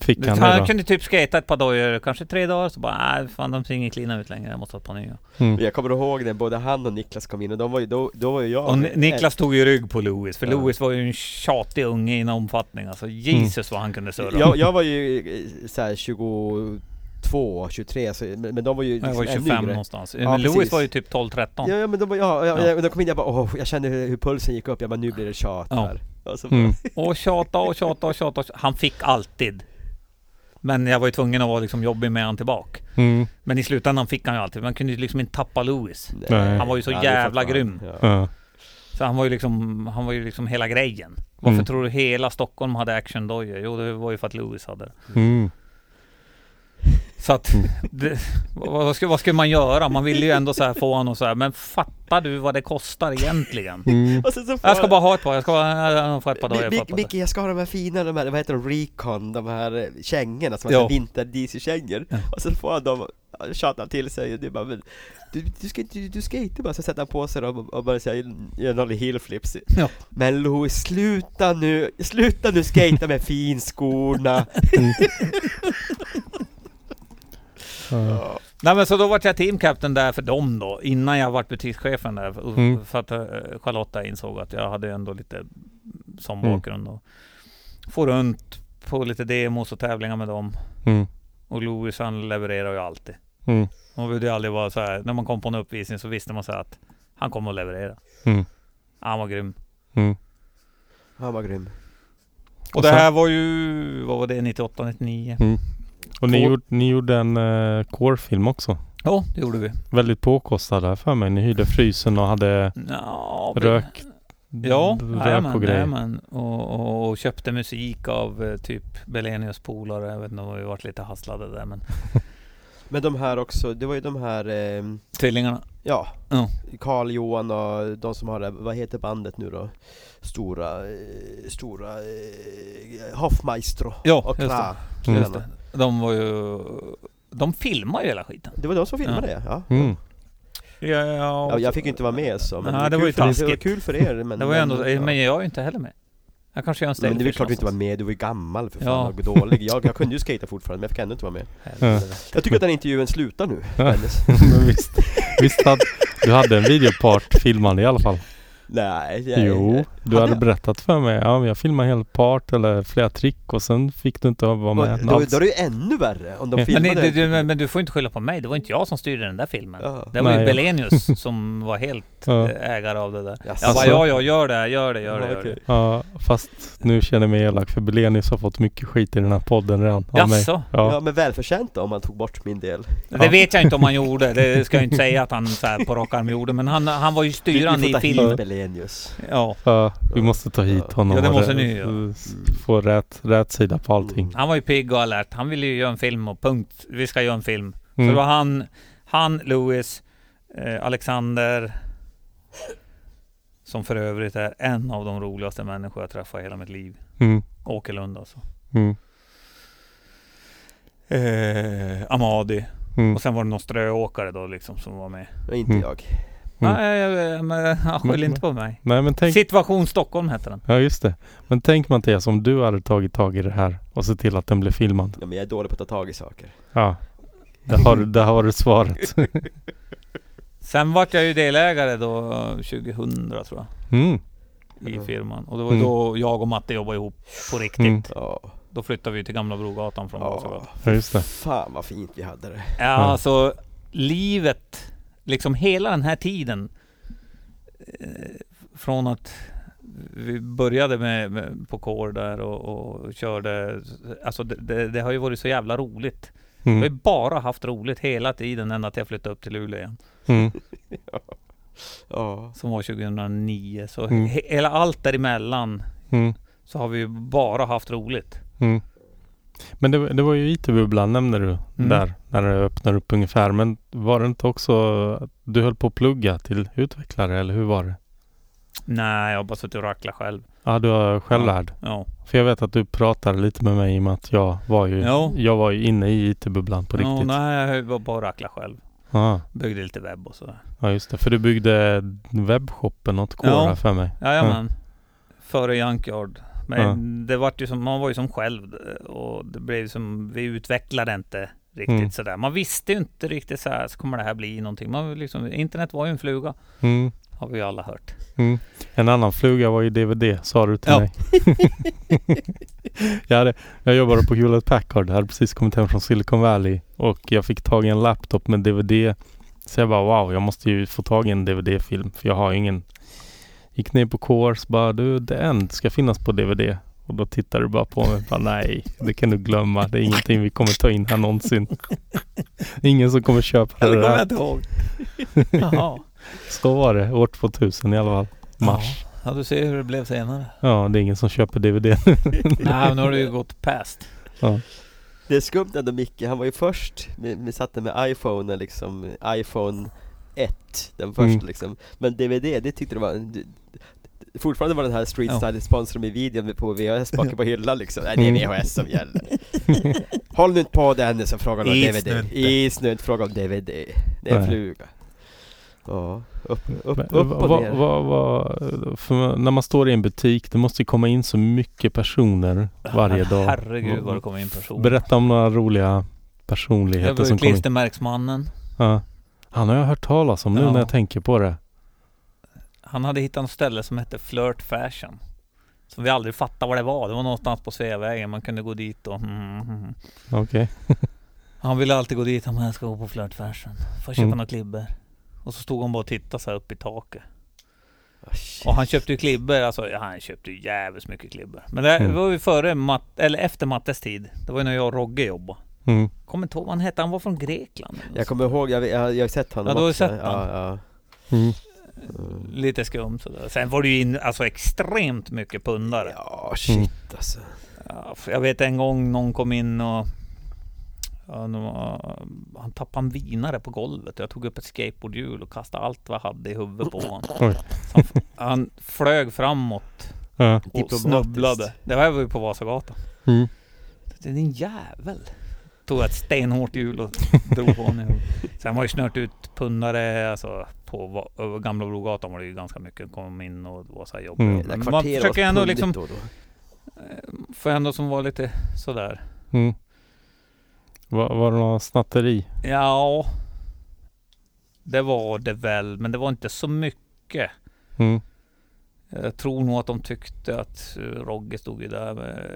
C: Fick
B: Han,
C: han det då?
B: kunde typ skata ett par dagar, kanske tre dagar, så bara nej fan de ser inget klina ut längre, jag måste ha ett par nya.
C: Mm.
A: Jag kommer ihåg när både han och Niklas kom in och de var ju, då, då var ju jag
B: Och Ni- Niklas tog ju rygg på Louis, för
A: Ja.
B: Louis var ju en tjatig unge
C: Mm.
B: i en omfattning alltså. Jesus vad han kunde surra.
A: jag, jag var ju eh, såhär 22 22, 23, så, men, men de var ju liksom
B: Jag var ju
A: ännu
B: 25
A: yngre.
B: någonstans.
A: Ja,
B: men Louis
A: precis.
B: var ju typ 12-13.
A: Ja, ja men de, var- ja, ja,
B: Ja.
A: ja. de kom in, jag bara åh, jag kände hur, hur pulsen gick upp, jag bara nu blir det tjat
B: Ja.
A: här. Och så bara,
C: Mm.
B: Och tjata och tjata och tjata. och tjata. Han fick alltid. Men jag var ju tvungen att vara liksom jobbig med han tillbaka.
C: Mm.
B: Men i slutändan fick han ju alltid. Man kunde ju liksom inte tappa Louis.
C: Nej.
B: Han var ju så
A: Ja, det är
B: jävla
A: fan.
B: grym. Mm.
A: Ja.
C: Ja.
B: Så han var ju liksom, han var ju liksom hela grejen. Varför
C: Mm.
B: tror du hela Stockholm hade actiondojor? Jo, det var ju för att Louis hade det.
C: Mm.
B: Så att, [LAUGHS] det, vad, vad, skulle, vad skulle man göra? Man ville ju ändå så här få honom så här, men fattar du vad det kostar egentligen?
C: Mm.
A: Och sen så får
B: Jag ska bara ha ett par, jag ska bara jag får ett par dojor. jag får ett
A: Mic-
B: par dojor.
A: Micke, jag ska ha de här fina, de här, vad heter de, Recon, de här eh, kängorna som
B: Ja.
A: är vinter-DC-kängor
B: Ja.
A: Och så får han dem, han tjatar till sig och du bara men, du, du, ska, du, du ska inte bara så sätta på sig dem och, och bara säga göra några hillflips
B: Ja.
A: Men Louis, sluta nu, sluta nu skata
B: [LAUGHS]
A: med finskorna!
C: Ja.
B: Nej men så då vart jag teamcaptain där för dem då, innan jag vart butikschefen där. För-
C: Mm.
B: För att eh, Charlotta insåg att jag hade ändå lite sån
C: Mm.
B: bakgrund då. Får runt på lite demos och tävlingar med dem.
C: Mm.
B: Och Louis han levererar ju alltid.
C: Mm.
B: Man behövde ju aldrig vara så här. När man kom på en uppvisning så visste man så här att han kommer att leverera.
C: Mm.
B: Han var grym.
C: Mm.
A: Han var grym
B: Och,
C: Och
B: det
C: sen-
B: här var ju, vad var det, 98, 99?
C: Och ni
B: Kår-
C: gjorde, ni gjorde en uh, core-film också.
B: Ja, det gjorde vi.
C: Väldigt påkostad här för mig. Ni hyrde frysen och hade
B: Ja, vi-
C: rök,
B: Ja,
C: rök och grejer.
B: jajamän. Och, och, och köpte musik av eh, typ Belenius polare. Jag vet inte, de har ju varit lite hasslade där men
A: Men de här också, det var ju de här, eh,
B: Tvillingarna.
A: ja
B: Ja.
A: Karl Johan och de som har det, vad heter bandet nu då? Stora, eh, stora eh, Hoffmaestro
B: Ja,
A: och
B: just
A: Kra
C: Mm.
B: Just det. De var ju... De filmar ju hela skiten.
A: Det var de som filmade det, ja.
C: Mm.
B: Ja, ja,
A: ja. Jag fick ju inte vara med så, men
B: Nej, det
A: kul
B: var ju
A: för er- det var
B: taskigt.
A: kul för er men
B: [LAUGHS] Det var ju ändå...
A: men, ja.
B: Men jag är ju inte heller med. Jag kanske gör en
A: men det är väl
B: stelfish
A: klart du inte var
B: någonstans.
A: med, du var ju gammal för fan
B: Ja.
A: och dålig jag, jag kunde ju skata fortfarande men jag fick ändå inte vara med
B: Helvete.
A: Jag tycker att den intervjun slutar nu
C: Ja.
A: Dennis.
C: [LAUGHS] Men visst, visst hade, du hade en videopart filmad i alla fall?
A: Nej, jag,
C: Jo, du
A: Hade
C: hade
A: jag?
C: berättat för mig. Ja, men jag filmade en hel part eller flera trick och sen fick du inte vara
A: Då,
C: med
A: då, då
C: alls.
A: är det ju ännu värre om de
C: Men
B: Men,
A: filmade
B: det, det, du- men, men du får inte skylla på mig. Det var inte jag som styrde den där filmen.
A: Ja.
B: Det var
C: Nej.
B: ju Belenius som var helt
C: Ja.
B: eh, ägare av det där.
A: Jaså.
B: Jag bara,
C: Alltså-
B: ja, ja, gör det, gör det, gör det. Gör det.
A: Okej.
C: Ja, fast nu känner jag mig elak för Belenius har fått mycket skit i den här podden redan. av mig.
B: Jaså?
A: Ja
C: Ja.
A: men välförtjänt då om man tog bort min del
B: Det
C: Ja.
B: vet jag inte om han gjorde, det ska jag inte säga att han så här på rak arm gjorde, men han, han var ju
A: Vi-
B: styrande
A: Vi får
B: i
A: ta
B: filmen.
A: hit Belenius
B: Ja,
C: ja, vi måste ta hit
A: Ja.
C: honom
B: Ja, det
C: och
B: måste
C: rä-
B: ni göra. Mm.
C: s- få ät, rätt sida på allting.
B: han var ju pigg och alert. Han ville ju göra en film och punkt. Vi ska göra en film. Så
C: Mm.
B: det var han, han, Louis, eh, Alexander, som för övrigt är en av de roligaste människor jag träffat i hela mitt liv.
C: Mm.
B: Åkerlund alltså.
C: Mm.
B: Eh, Amadi.
C: Mm.
B: Och sen var det någon ströåkare då liksom som var med.
A: Och inte
C: Mm.
A: jag
C: Mm.
B: Nej, eh, men han skyll inte på mig.
C: Nej men tänk,
B: Situation Stockholm hette den.
C: ja just det. Men tänk Mattias om du hade tagit tag i det här och sett till att den blev filmad.
A: ja, men jag är dålig på att ta tag i saker
C: Ja. Där
B: [LAUGHS]
C: har, du- där har du svaret.
B: Sen vart jag ju delägare då eh, 2000 tror jag
C: Mm.
B: i
A: Mm.
B: firman. Och det var ju
C: Mm.
B: då jag och Matte jobbade ihop på riktigt.
C: Mm.
A: Ja,
B: Då flyttade vi till Gamla Brogatan från Vasagatan.
A: ja.
C: Ja just det.
A: Fan vad fint vi hade det
B: Ja, alltså livet, liksom hela den här tiden. eh, Från att vi började med, med, på kår där och, och körde. Alltså det, det, det har ju varit så jävla roligt. Jag har ju
C: Mm.
B: bara haft roligt hela tiden ända till jag flyttade upp till Luleå igen.
C: Mm.
A: Ja
B: Som var 2009. Så
C: Mm.
B: he, hela allt däremellan
C: Mm.
B: så har vi ju bara haft roligt.
C: Mm. Men det, det var ju IT-bubblan nämnde du
B: Mm.
C: där när det öppnade upp ungefär. Men var det inte också att du höll på att plugga till utvecklare eller hur var det?
B: Nej, jag har bara suttit och racklat själv.
C: Ja, du är självlärd.
B: Ja.
C: För jag vet att du pratade lite med mig i och med att jag var ju,
B: Ja.
C: jag var ju inne i IT-bubblan på
B: Ja,
C: riktigt.
B: nej, jag var bara och racklat själv.
C: Ja,
B: Byggde lite webb och sådär.
C: ja, just det. För du byggde webbshoppen åt Kora
B: Ja.
C: här för mig.
B: Jajamän. Före Junkyard. Men
C: Ja.
B: det vart ju som, man var ju som själv och det blev som, vi utvecklade inte riktigt
C: Mm.
B: sådär. Man visste ju inte riktigt så här, så kommer det här bli någonting. Man var liksom, internet var ju en fluga.
C: Mm.
B: Har vi ju alla hört.
C: Mm. En annan fluga var ju DVD, sa du till
B: Ja.
C: mig. [LAUGHS] jag, hade, jag jobbade på Hewlett Packard, hade precis kommit hem från Silicon Valley och jag fick tag i en laptop med DVD. Så jag bara wow, jag måste ju få tag i en DVD-film för jag har ju ingen. Gick ner på Coors bara du, The End ska finnas på DVD. Och då tittade du bara på mig bara nej, det kan du glömma. Det är ingenting vi kommer ta in här någonsin. Ingen som kommer köpa det där.
B: inte ihåg. [LAUGHS] Jaha.
C: Så var det, år 2000 i alla fall. Mars.
B: Ja, du ser hur det blev
C: [LAUGHS]
B: senare.
C: Ja, det är ingen som köper DVD
B: Nej, men nu har det ju gått past.
A: Det är skumt ändå Micke, han var ju först, vi, vi satt där med iPhone liksom, iPhone 1, den första
C: Mm.
A: liksom Men DVD, det tyckte du var det- det- Fortfarande var den här street
B: Ja.
A: style sponsorn i videon på VHS bakom på hyllan liksom, nej det är
C: Mm.
A: VHS som
C: [LAUGHS]
A: gäller Håll nu inte på Dennis och fråga om
B: Is
A: DVD,
B: nu inte.
A: is nu inte fråga om DVD, det är en
C: Nej.
A: fluga Ja, upp, upp,
C: Men,
A: upp och
C: vad-
A: ner
C: vad- vad- för när man står i en butik, det måste ju komma in så mycket personer varje dag.
B: Herregud vad det kom in personer.
C: Berätta om några roliga
B: Det
C: personligheter
B: var ju
C: som kom in.
B: klistermärksmannen.
C: Ja. Han har jag hört talas om nu
B: Ja.
C: när jag tänker på det.
B: Han hade hittat något ställe som hette Flirt Fashion. Som vi aldrig fattade vad det var. Det var någonstans på Sveavägen. Man kunde gå dit och... Mm, mm.
C: Okej.
B: Han ville alltid gå dit. Han bara, jag ska gå på Flirt Fashion. Får jag köpa
C: Mm.
B: några klibber? Och så stod han bara och tittade så här upp i taket.
A: Ah, shit.
B: Och han köpte ju klibber, alltså ja, han köpte ju jävligt mycket klibber. Men det här
C: Mm.
B: var ju före Matt, eller efter Mattes tid. Det var ju när jag och Rogge jobbade.
C: Mm.
B: Kommer inte ihåg vad han hette, han var från Grekland. eller
A: Jag
B: något
A: kommer ihåg, jag, jag, jag har sett honom
B: Ja, du har ju
A: också.
B: sett han.
A: ja,
C: Mm.
A: ja. Mm.
B: sånt. Lite skumt sådär. Sen var det ju in, alltså extremt mycket pundare.
A: Ja,
C: Mm.
A: shit alltså.
B: Ja, för Jag vet en gång någon kom in och ja, nu var- han tappade en vinare på golvet. Jag tog upp ett skateboardhjul och kastade allt vad jag hade i huvudet på honom.
C: [LAUGHS] Oj. Typ
B: Så Han, f- han flög framåt
C: Ja.
B: och
A: Diplomatiskt.
B: snubblade. Det här var ju på Vasagatan.
C: Mm.
B: Det är din jävel. Tog ett stenhårt hjul och drog på honom. i huvudet. Sen var ju snört ut pundare alltså på Va- över Gamla Brogatan var det ju ganska mycket. Kom in och det var så här jobbigt.
C: Mm.
A: Det där
B: Men Man
A: kvarteret
B: försöker
A: var
B: ändå
A: pundigt
B: liksom,
A: då och då.
B: för ändå som var lite sådär.
C: Mm. Var, var det någon snatteri?
B: Ja, det var det väl, men det var inte så mycket.
C: Mm.
B: Jag tror nog att de tyckte att eh, Rogge stod ju där med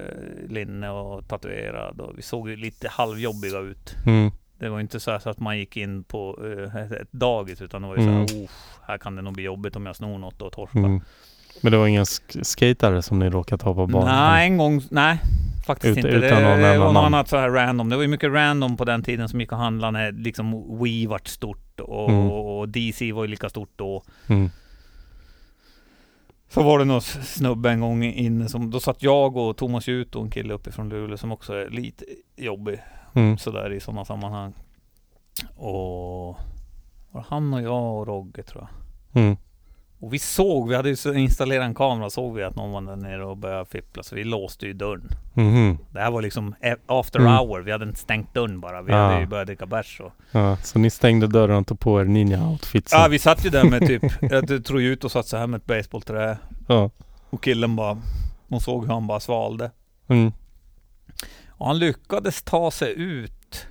B: linne och tatuerad och vi såg ju lite halvjobbiga ut.
C: Mm.
B: Det var inte så, här så att man gick in på eh, ett- ett dagis utan det var ju så
C: Mm.
B: här, "Oof, här kan det nog bli jobbigt om jag snor något och torskar.
C: Mm. Men det var ingen sk- skatare som ni råkat ha på banan?
B: Nej, en gång, nej. Faktiskt
C: Ut-
B: inte. Det,
C: utan någon
B: det
C: nämna
B: var något
C: namn.
B: annat så här random. Det var ju mycket random på den tiden som gick och handlade när liksom Wii vart stort och,
C: Mm.
B: och DC var ju lika stort då.
C: Mm.
B: Så var det någon s- snubbe en gång inne som, då satt jag och Thomas Jut och en kille uppifrån Luleå som också är lite jobbig.
C: Mm.
B: sådär i sådana sammanhang. Och var han och jag och Rogge tror jag.
C: Mm.
B: Och vi såg, vi hade ju så- installerat en kamera, såg vi att någon var där nere och började fippla. Så vi låste ju dörren.
C: Mhm.
B: Det här var liksom e- after
C: Mm.
B: hour. Vi hade inte stängt dörren bara. Vi
C: Ah.
B: hade ju börjat dricka bärs och...
C: Ja, så ni stängde dörren och tog på er ninja-outfitsen?
B: Ja, vi satt ju där med typ... Jag tror ju ut och satt så här med ett baseballträ.
C: Ja.
B: Och killen bara... Hon såg hur han bara svalde.
C: Mm.
B: Och han lyckades ta sig ut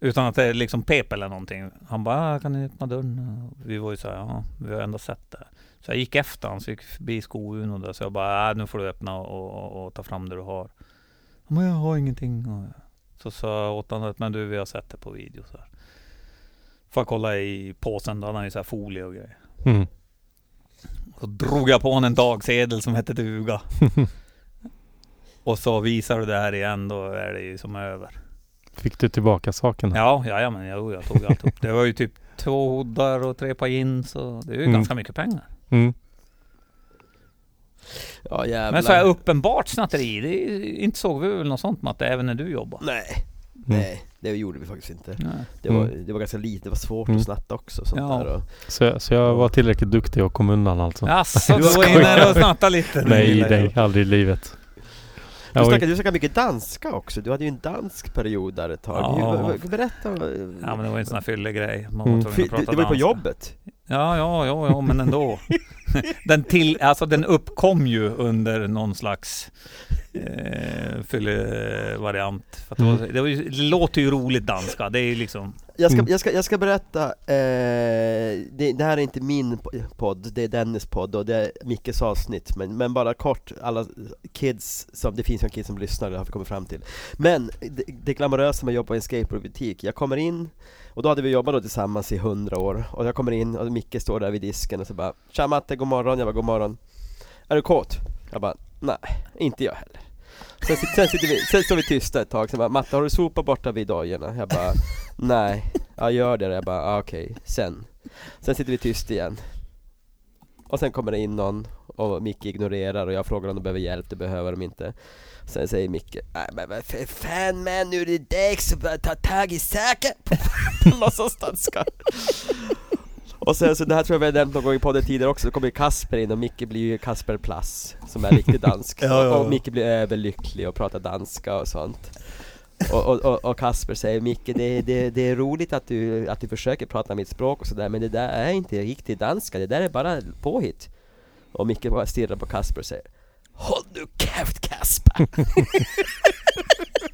B: utan att det liksom pep eller någonting. Han bara, "Ah, kan ni öppna dörren? Och Vi var ju så här, ja, vi har ändå sett det. här." Så jag gick efter honom, så gick jag förbi skoun och där. Så jag bara, "Ah, nu får du öppna och, och, och ta fram det du har. Han bara, jag har ingenting. Och Så sa jag åt honom att, men du, vi har sett det på video. Så här. Får jag kolla i påsen, då hade han ju så här folie och grejer.
C: Mm.
B: Så drog jag på honom en dagsedel som hette duga. och så visar du det här igen, då är det ju som över.
C: Fick du tillbaka sakerna?
B: Ja, jajamän, jag, jag tog alltihop. Det var ju typ två hoddar och tre par jeans och det är ju
C: Mm.
B: ganska mycket pengar.
C: Mm.
A: Ja jävlar.
B: Men så här uppenbart snatteri, det är, ju- inte såg vi väl något sånt Matte, även när du jobbade?
A: Nej, nej, det gjorde vi faktiskt inte.
B: Nej.
A: Det var,
C: Mm.
A: det var ganska lite, det var svårt
C: Mm.
A: att snatta också sånt
B: Ja.
A: där och,
C: Så, jag- så jag var tillräckligt duktig och kom undan alltså?
B: Jaså, du var
C: Skojar.
B: inne där och snattade lite?
C: Nej, nej, aldrig i livet.
A: Du
C: Jag var,
A: snackade du snackade mycket danska också, du hade ju en dansk period där ett tag.
B: Ja.
A: Hur, vad- berätta.
B: Ja men det var ju en sån här fyllig grej. Man var
C: Mm.
B: tvungen
A: Fy-
B: att
A: du,
B: prata
A: du var ju på
B: danska.
A: jobbet?
B: [LAUGHS] Ja, ja, ja, ja men ändå. den, till, alltså den uppkom ju under någon slags eh, fyllevariant. För att Det,
C: Mm.
B: var, det, var ju, det låter ju roligt danska, det är ju liksom
A: Jag ska,
C: Mm.
A: jag ska, jag ska berätta, eh, det, det här är inte min po- podd, det är Dennis podd och det är Mickes avsnitt men, men bara kort, alla kids, som, det finns ju en kid som lyssnar, det har vi kommit fram till Men det, det glamorösa med att jobba i en skateboardbutik, jag kommer in och då hade vi jobbat då tillsammans i hundra år och jag kommer in och Micke står där vid disken och så bara Tja Matte, god morgon, jag bara god morgon Är du kåt? Jag bara nej, inte jag heller Sen, sit- sen, sitter vi, sen står vi tysta ett tag, sen bara Matte har du sopat borta vid dojorna? Jag bara nej Ja gör det, jag bara ah, okej, sen Sen sitter vi tyst igen Och sen kommer det in någon och Micke ignorerar och jag frågar om de behöver hjälp, det behöver de inte Sen säger Micke, nej men vad för fan man, nu är det dags att börja ta tag i saken! [LAUGHS] Låtsas danska Och sen så, det här tror jag vi har nämnt någon gång i podden tidigare också, då kommer ju Kasper in och Micke blir ju Kasper Plass Som är riktigt dansk,
B: [LAUGHS] Ja, ja, ja.
A: och Micke blir överlycklig och pratar danska och sånt och, och, och, och Kasper säger Micke, det, det, det är roligt att du, att du försöker prata mitt språk och sådär men det där är inte riktigt danska, det där är bara påhitt Och Micke bara stirrar på Kasper och säger Håll nu käft Kasper!
B: [LAUGHS]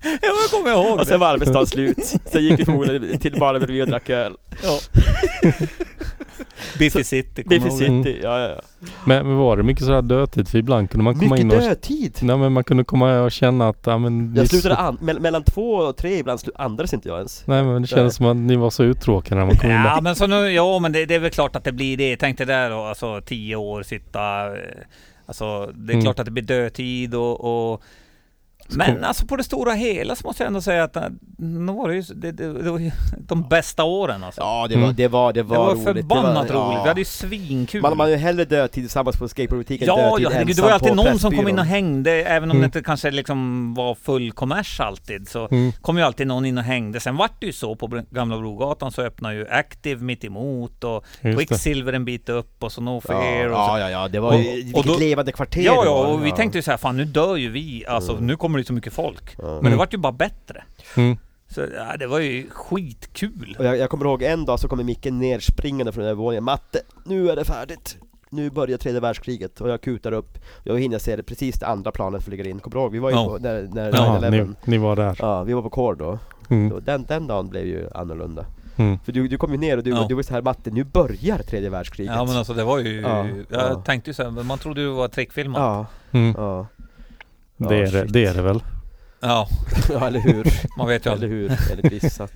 B: Ja, jag kommer ihåg
A: och
B: det!
A: sen var arbetsdagen slut, sen gick vi förmodligen till baren bredvid och drack öl
B: Ja. Biffy City, kommer
A: Biffy
B: jag ihåg.
A: City, ja ja ja
C: Men men var det mycket sådär dödtid? För ibland kunde man komma
A: Mycket
C: in och...
A: dödtid!
C: Nej men man kunde komma och känna att, ja men...
A: Jag
C: ni-
A: slutade an- mell- mellan två och tre ibland slu- andades inte jag ens
C: Nej men det kändes som att ni var så uttråkade när man kom in där.
B: Ja men så nu, ja men det, det är väl klart att det blir det. Tänk dig där då, alltså tio år sitta. eh, Alltså det är
C: Mm.
B: klart att det blir dödtid och, och men alltså på det stora hela så måste jag ändå säga att eh, nu var det, ju, det, det, det var ju [LAUGHS] de bästa åren alltså.
A: Ja det
C: Mm.
A: var, det var, det
B: det
A: var,
B: var
A: roligt
B: förbannat
A: Det var-
B: roligt.
A: ja.
B: Vi hade ju svinkul.
A: Man, man har ju hellre dödtid tillsammans på skateboardbutiken än
B: ja,
A: dödtid
B: ja herregud, det
A: ensam
B: var ju alltid
A: på
B: någon som kom
A: Pressbyrån.
B: in och hängde. Även om
C: Mm.
B: det inte kanske liksom var full kommers alltid så
C: Mm.
B: kom ju alltid någon in och hängde. Sen vart det ju så på Br- Gamla Brogatan så öppnade ju Active mitt emot och
C: Just det.
B: Quicksilver en bit upp och så No
A: Ja,
B: Fear och
A: ja,
B: så.
A: ja, ja, det var
B: Och-
A: ju
B: och
A: vilket
B: då-
A: levande kvarter
B: Ja,
A: det
B: ja,
A: var.
B: och vi tänkte ju så här, fan nu dör ju vi, alltså
A: Mm.
B: nu kommer det så mycket folk.
A: Ja.
B: Men det
C: Mm.
B: vart ju bara bättre.
C: Mm.
B: Så ja, det var ju skitkul.
A: Och jag, jag kommer ihåg en dag så kommer Micke nerspringande från övervåningen Matte, nu är det färdigt! Nu börjar tredje världskriget och jag kutar upp Jag hinner se det precis det andra planet flyger in, kommer du ihåg? Vi var ju
B: Ja.
A: på, när, när
C: Ja,
A: 9/11
C: ni, ni var där.
A: Ja, vi var på kår då,
C: Mm.
A: och den, den dagen blev ju annorlunda
C: Mm.
A: För du, du kom ju ner och du,
B: Ja.
A: du var så här Matte, nu börjar tredje världskriget
B: Ja men alltså det var ju,
A: Ja,
B: jag
A: ja.
B: tänkte ju så här, men man trodde ju det var trickfilmat. Ja.
A: ja,
C: Mm.
A: ja, [LAUGHS]
C: Det, är, det-
A: shit.
C: det är det väl?
A: ja eller hur,
B: man vet
A: eller
B: ju aldrig.
A: hur, eller vissa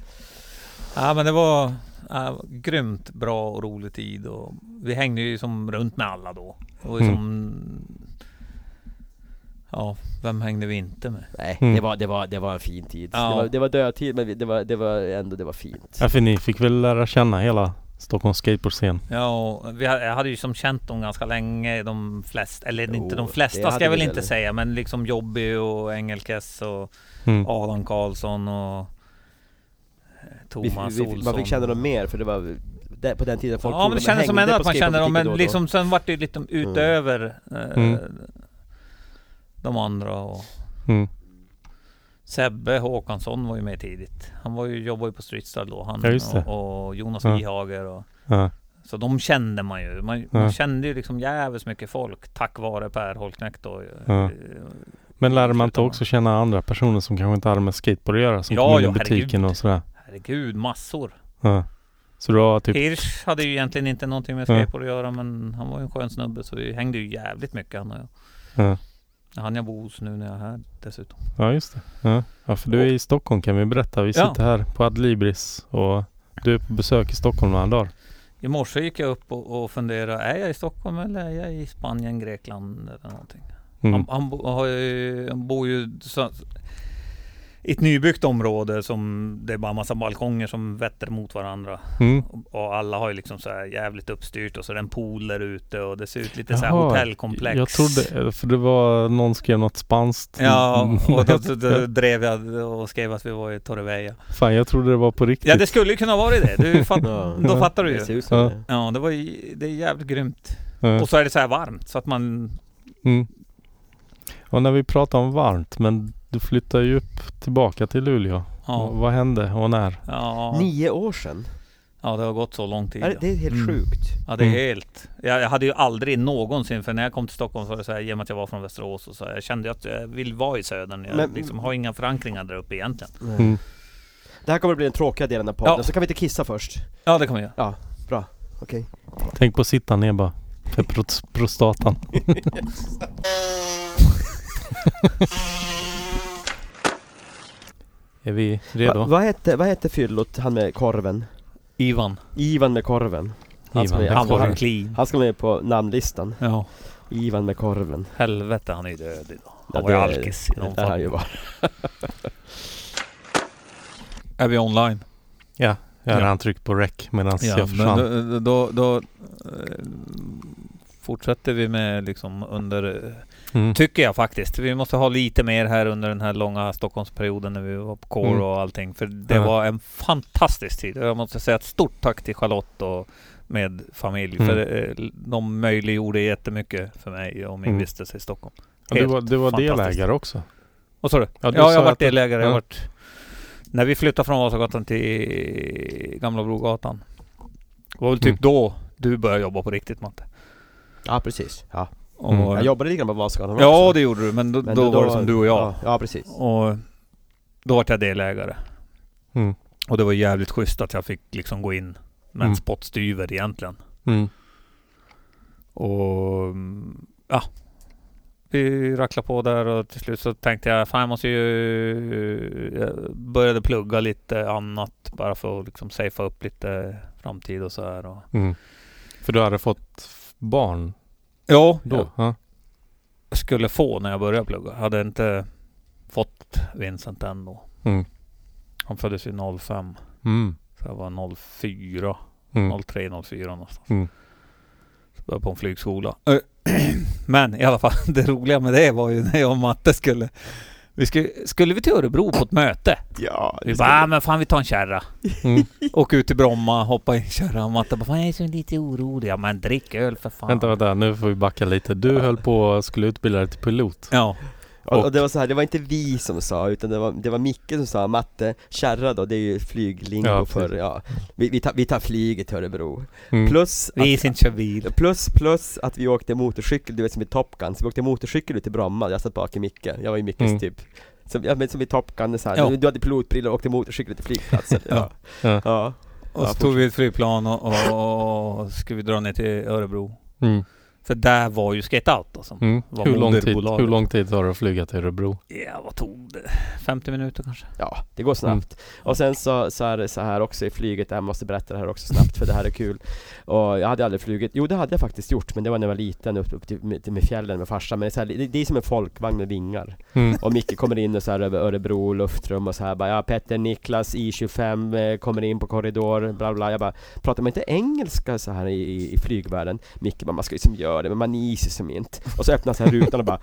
B: Ja men det var ja, grymt bra och rolig tid och vi hängde ju som runt med alla då. Det var ju
C: Mm.
B: som, ja, vem hängde vi inte med?
A: Nej,
C: Mm.
A: det, var, det, var, det var en fin tid
B: Ja.
A: det, var, det var dödtid men vi- det var, det var ändå, det var fint
C: Ja, för ni fick väl lära känna hela Stockholms skateboardscen?
B: Ja, och vi, ha- jag hade ju som känt dem ganska länge, de flesta, eller
A: Jo,
B: inte de
A: det
B: flesta
A: hade
B: ska jag
A: vi
B: väl inte
A: väl.
B: säga, men liksom Jobby och Engelkes och
C: Mm.
B: Adam Karlsson och eh,
A: vi,
B: Thomas
A: vi,
B: Olsson.
A: man fick känna dem mer för det var där, på den tiden folk
B: Ja men det kändes som ändå att man kände dem, men liksom sen vart det ju
A: Mm.
B: lite utöver eh,
C: Mm.
B: de andra och
C: Mm.
B: Sebbe Håkansson var ju med tidigt. Han var ju, jobbade ju på Streetstyle då, han
C: Ja, just det.
B: och, och Jonas
C: Ja.
B: Wihager och
C: Ja.
B: Så de kände man ju. Man, man
C: Ja.
B: kände ju liksom jävligt mycket folk tack vare Per Holknekt då.
C: Ja.
B: Eh,
C: Men lärde man inte
B: Förutom-
C: också känna andra personer som kanske inte hade med skateboard att göra? Som
B: Ja,
C: kom in
B: ja,
C: i butiken
B: herregud.
C: och sådär?
B: Herregud, massor.
C: Ja. Så du har typ...
B: Hirsch hade ju egentligen inte någonting med skateboard att göra men han var ju en skön snubbe så vi hängde ju jävligt mycket han och jag.
C: Ja.
B: Han jag bor hos nu när jag är här dessutom.
C: Ja, just det. Ja. ja, för du är i Stockholm kan vi berätta. Vi
B: Ja.
C: sitter här på Adlibris och du är på besök i Stockholm några dagar.
B: I morse gick jag upp och, och funderade, är jag i Stockholm eller är jag i Spanien, Grekland eller någonting?
C: Mm.
B: Han, han, bo, har ju, han bor ju så, i ett nybyggt område som det är bara massa balkonger som vetter mot varandra.
C: Mm.
B: Och alla har ju liksom så här jävligt uppstyrt och så är det en pool där ute och det ser ut lite så här
C: Jaha,
B: hotellkomplex.
C: Jag trodde, för det var någon skrev något spanskt.
B: Ja, och då, då, då
C: Jag-
B: drev jag och skrev att vi var i Torrevieja.
C: Fan, jag trodde det var på riktigt.
B: Ja, det skulle ju kunna vara det. Du fatt,
A: Ja.
B: Då fattar du
A: Det ser
B: ju.
A: ut som
C: Ja.
A: det
B: Ja, det var ju, det är jävligt grymt.
C: Ja.
B: Och så är det så här varmt så att man...
C: Mm. Och när vi pratar om varmt, men du flyttar ju upp tillbaka till Luleå.
B: Ja,
C: Vad hände och när?
B: ja,
A: Nio år sedan?
B: Ja, det har gått så lång tid.
A: Är det- Det är helt
C: Mm.
A: sjukt.
B: Ja det är
C: Mm.
B: helt jag, jag hade ju aldrig någonsin För när jag kom till Stockholm så var det så här, I och med att jag var från Västerås och så här, Jag kände att jag vill vara i södern Jag
A: Men-
B: liksom har inga förankringar där uppe egentligen
C: Mm.
A: Det här kommer att bli den tråkiga delen av podden,
B: Ja.
A: så kan vi inte kissa först.
B: Ja det kommer jag
A: Okej.
C: Tänk på att sitta ner bara. För pros- prostatan. [LAUGHS] är vi redo?
A: Va, vad hette, vad hette fyllot, han med korven?
B: Ivan
A: Ivan med korven. Han ska,
C: Ivan med
A: han,
B: Han var
A: han,
C: korven.
B: clean
A: han ska med på namnlistan.
B: Ja
A: Ivan med korven.
B: Helvete han är ju död idag
A: Ja,
B: Han var ju
A: det-
B: alkis i
A: Det
B: någon
A: där han ju
B: form
A: var.
D: Är vi online?
C: Jag hade
B: Ja.
C: han tryckt på rec medan jag
D: men
C: försvann.
D: då, då, då eh, fortsätter vi med liksom under... eh,
C: Mm.
B: Tycker jag faktiskt Vi måste ha lite mer här under den här långa Stockholmsperioden När vi var på kår
C: Mm.
B: och allting För det
C: Ja.
B: var en fantastisk tid Och Jag måste säga ett stort tack till Charlotte och med familj
C: Mm.
B: För eh, de möjliggjorde jättemycket för mig och min
C: Mm.
B: vistelse i Stockholm
C: Och du
B: Helt
C: var, du var
B: fantastiskt.
C: delägare också?
B: Vad sa du?
C: Ja,
B: Ja,
C: du
B: jag
C: sa
B: har varit
C: att du-
B: delägare. Jag
C: ja.
B: har varit, när vi flyttade från Vasagatan till Gamla Brogatan. Det var väl typ
C: Mm.
B: då du började jobba på riktigt Matte.
A: Ja precis. Ja.
B: Och,
C: Mm.
A: Jag jobbade lite grann på Vasagatan
B: ja,
A: också.
B: det gjorde du. Men då,
A: Men
B: då, var det som du och jag.
A: Ja, ja precis.
B: Och då var jag delägare.
C: Mm.
B: Och det var jävligt schysst att jag fick liksom gå in med en
C: Mm.
B: spottstyver egentligen.
C: Mm.
B: Och mm, ja, vi racklade på där och till slut så tänkte jag fan jag måste ju... Jag började plugga lite annat bara för att liksom safea upp lite framtid och så här. Och...
C: Mm. För du hade fått f- barn
B: Ja,
C: då? Ja.
B: jag skulle få när jag började plugga. Jag hade inte fått Vincent än då.
C: Mm.
B: Han föddes ju 05.
C: Mm.
B: Så jag var 04,
C: Mm.
B: 03, 04 någonstans.
C: Mm.
B: Så började jag på en flygskola. Eh, [CLEARS THROAT] Men i alla fall, [LAUGHS] det roliga med det var ju när jag och Matte skulle... Vi skulle, skulle vi till Örebro på ett möte?
A: Ja,
B: Vi bara, "Ah, men fan vi tar en [LAUGHS] kärra.
C: Mm.
B: Åker ut till Bromma, hoppa i en kärra. Och Matte bara, fan jag är så lite orolig. Ja men drick öl för fan.
C: Vänta, vänta, nu får vi backa lite. Du höll på och skulle utbilda dig till pilot.
B: Ja,
A: och, och det var så här, det var inte vi som sa, utan det var, det var Micke som sa, Matte, kärra då, det är ju flyglingo
C: Ja, precis.
A: för, ja, vi, vi, tar, vi tar flyget till Örebro.
C: Mm.
A: Plus att
B: vi är inte kör bil.
A: Plus, plus att vi åkte motorcykel, du vet som i Top Gun, så vi åkte motorcykel ut till Bromma, jag satt bak i Micke, jag var ju Mickes
C: Mm.
A: typ som, ja, men som i Top Gun, så här,
B: Ja.
A: du hade pilotbrillor och åkte motorcykel till flygplatsen ja.
C: Ja.
A: Ja.
B: Och så tog vi ett flygplan och, och, och skulle vi dra ner till Örebro.
C: Mm.
B: För där var ju Skate Out då, som
C: Mm.
B: Vad
C: Hur, lång tid,
B: moderbolaget.
C: hur lång tid tar det att flyga till Örebro?
B: Ja, vad tog det? 50 minuter kanske?
A: ja, det går snabbt. Och sen så, så är det så här också i flyget, jag måste berätta det här också snabbt för det här är kul. Och jag hade aldrig flugit, jo det hade jag faktiskt gjort, men det var när jag var liten, upp, upp till, med, till med fjällen med farsan, men det är, så här, det, det är som en folkvagn med vingar. [LAUGHS]
C: Mm.
A: Och Micke kommer in och så här över Örebro luftrum och så här bara ja, Petter, Niklas, I25 eh, kommer in på korridor, bla bla Jag bara, pratar man inte engelska så här i- i, i flygvärlden? Micke bara, man ska ju som göra det, men man is ju som inte. Och så öppnar så här rutan och bara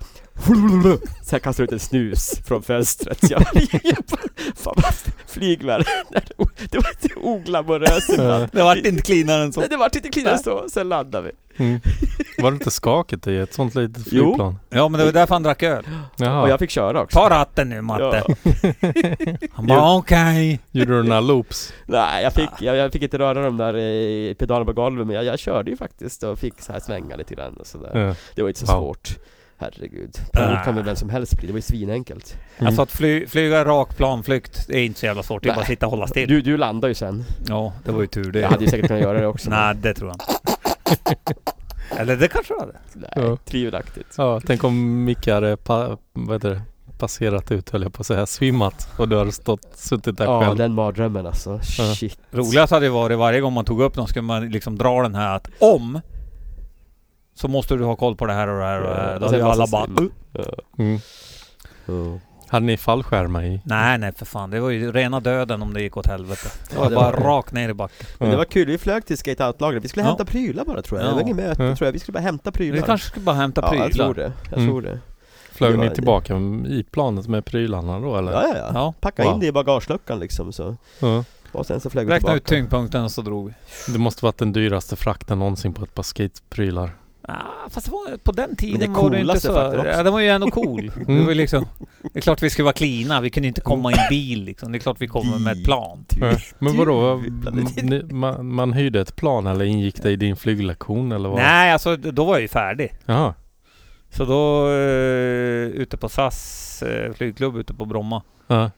A: [LAUGHS] Så här kastar ut en snus från fönstret. Så jag, jag bara, [LAUGHS] fan vad flygvärlden, är o- det var inte oglamoröst ibland.
B: Det vart inte cleanare än så.
A: Nej, det vart inte cleanare så, sen landade vi.
C: Mm. Var det inte skakigt i ett sånt litet
A: Jo.
C: flygplan?
B: Ja, men det var därför han drack öl.
A: Och
C: Jaha.
A: jag fick köra också.
B: Ta ratten nu Matte.
A: Ja.
B: Han bara okej.
C: Gjorde du
A: [LAUGHS]
C: några loops?
A: Nej, jag
B: Ah.
A: fick, jag, jag fick inte röra de där eh, pedalerna på golvet men jag, jag körde ju faktiskt och fick så här svänga lite grann och sådär.
B: Mm.
C: Ja.
A: Det var inte så
C: Wow.
A: svårt. Herregud.
B: Ah.
A: Pilot kan väl vem som helst bli, det var ju svinenkelt.
B: Alltså att fly, flyga rak planflykt är inte så jävla svårt. Det är
A: Nej.
B: bara att sitta och hålla still.
A: Du, du landade ju sen.
B: Ja, det var ju tur
A: Jag hade ju säkert kunnat göra det också.
B: [LAUGHS] Nej, det tror jag inte. [LAUGHS] Eller det kanske var det.
A: Nej,
C: Ja.
A: tvivelaktigt.
C: Ja, tänk om Micke hade pa- vad heter det? passerat ut höll jag på att säga, svimmat och du hade stått, suttit där
A: Ja,
C: själv.
A: den mardrömmen alltså. Shit.
B: Roligast hade ju varit varje gång man tog upp någon skulle man liksom dra den här att om så måste du ha koll på det här och det här och det här. Då
A: Och sen
B: hade ju alla
A: massa
B: bara
A: stim. Ja.
C: Mm.
A: Ja.
C: Hade ni fallskärmar i?
B: Nej nej för fan, det var ju rena döden om det gick åt helvete. Det
A: Ja,
B: var
A: det
B: bara
A: var det.
B: rakt ner i backen.
A: Men det var kul, vi flög till Skate Out-lagret. Vi skulle
B: Ja.
A: hämta prylar bara tror jag. Det
B: Ja. Mm.
A: var inget möte
C: Ja.
A: tror jag. Vi skulle bara hämta prylar.
B: Vi kanske skulle bara hämta
A: Ja, jag
B: prylar.
A: tror det. Jag
C: Mm.
A: tror det.
C: Flög
A: det var-
C: ni tillbaka i planet med prylarna då eller?
A: Ja, ja, ja.
B: Ja.
A: Packa in
C: Wow.
A: det i bagageluckan liksom så.
C: Ja.
A: Och sen så flög vi
B: Räkna
A: tillbaka.
B: ut tyngdpunkten och så drog vi.
C: Det måste varit den dyraste frakten någonsin på ett par skateprylar.
B: Ah, fast det var, på den
A: det
B: tiden var det inte
A: coolaste
B: så...
A: faktiskt också.
B: Ja, den var ju ändå cool. Det, var ju liksom, det är klart vi skulle vara cleana, vi kunde inte komma i en bil liksom. Det är klart vi kommer med ett plan.
C: Eh, Men vadå?
A: Jävlar, det-
C: Ni- Man, man hyrde ett plan eller ingick det i din flyglektion eller vad?
B: Nej, alltså då var jag ju färdig.
C: Jaha.
B: Så då eh, ute på SAS eh, flygklubb ute på Bromma
C: Ja.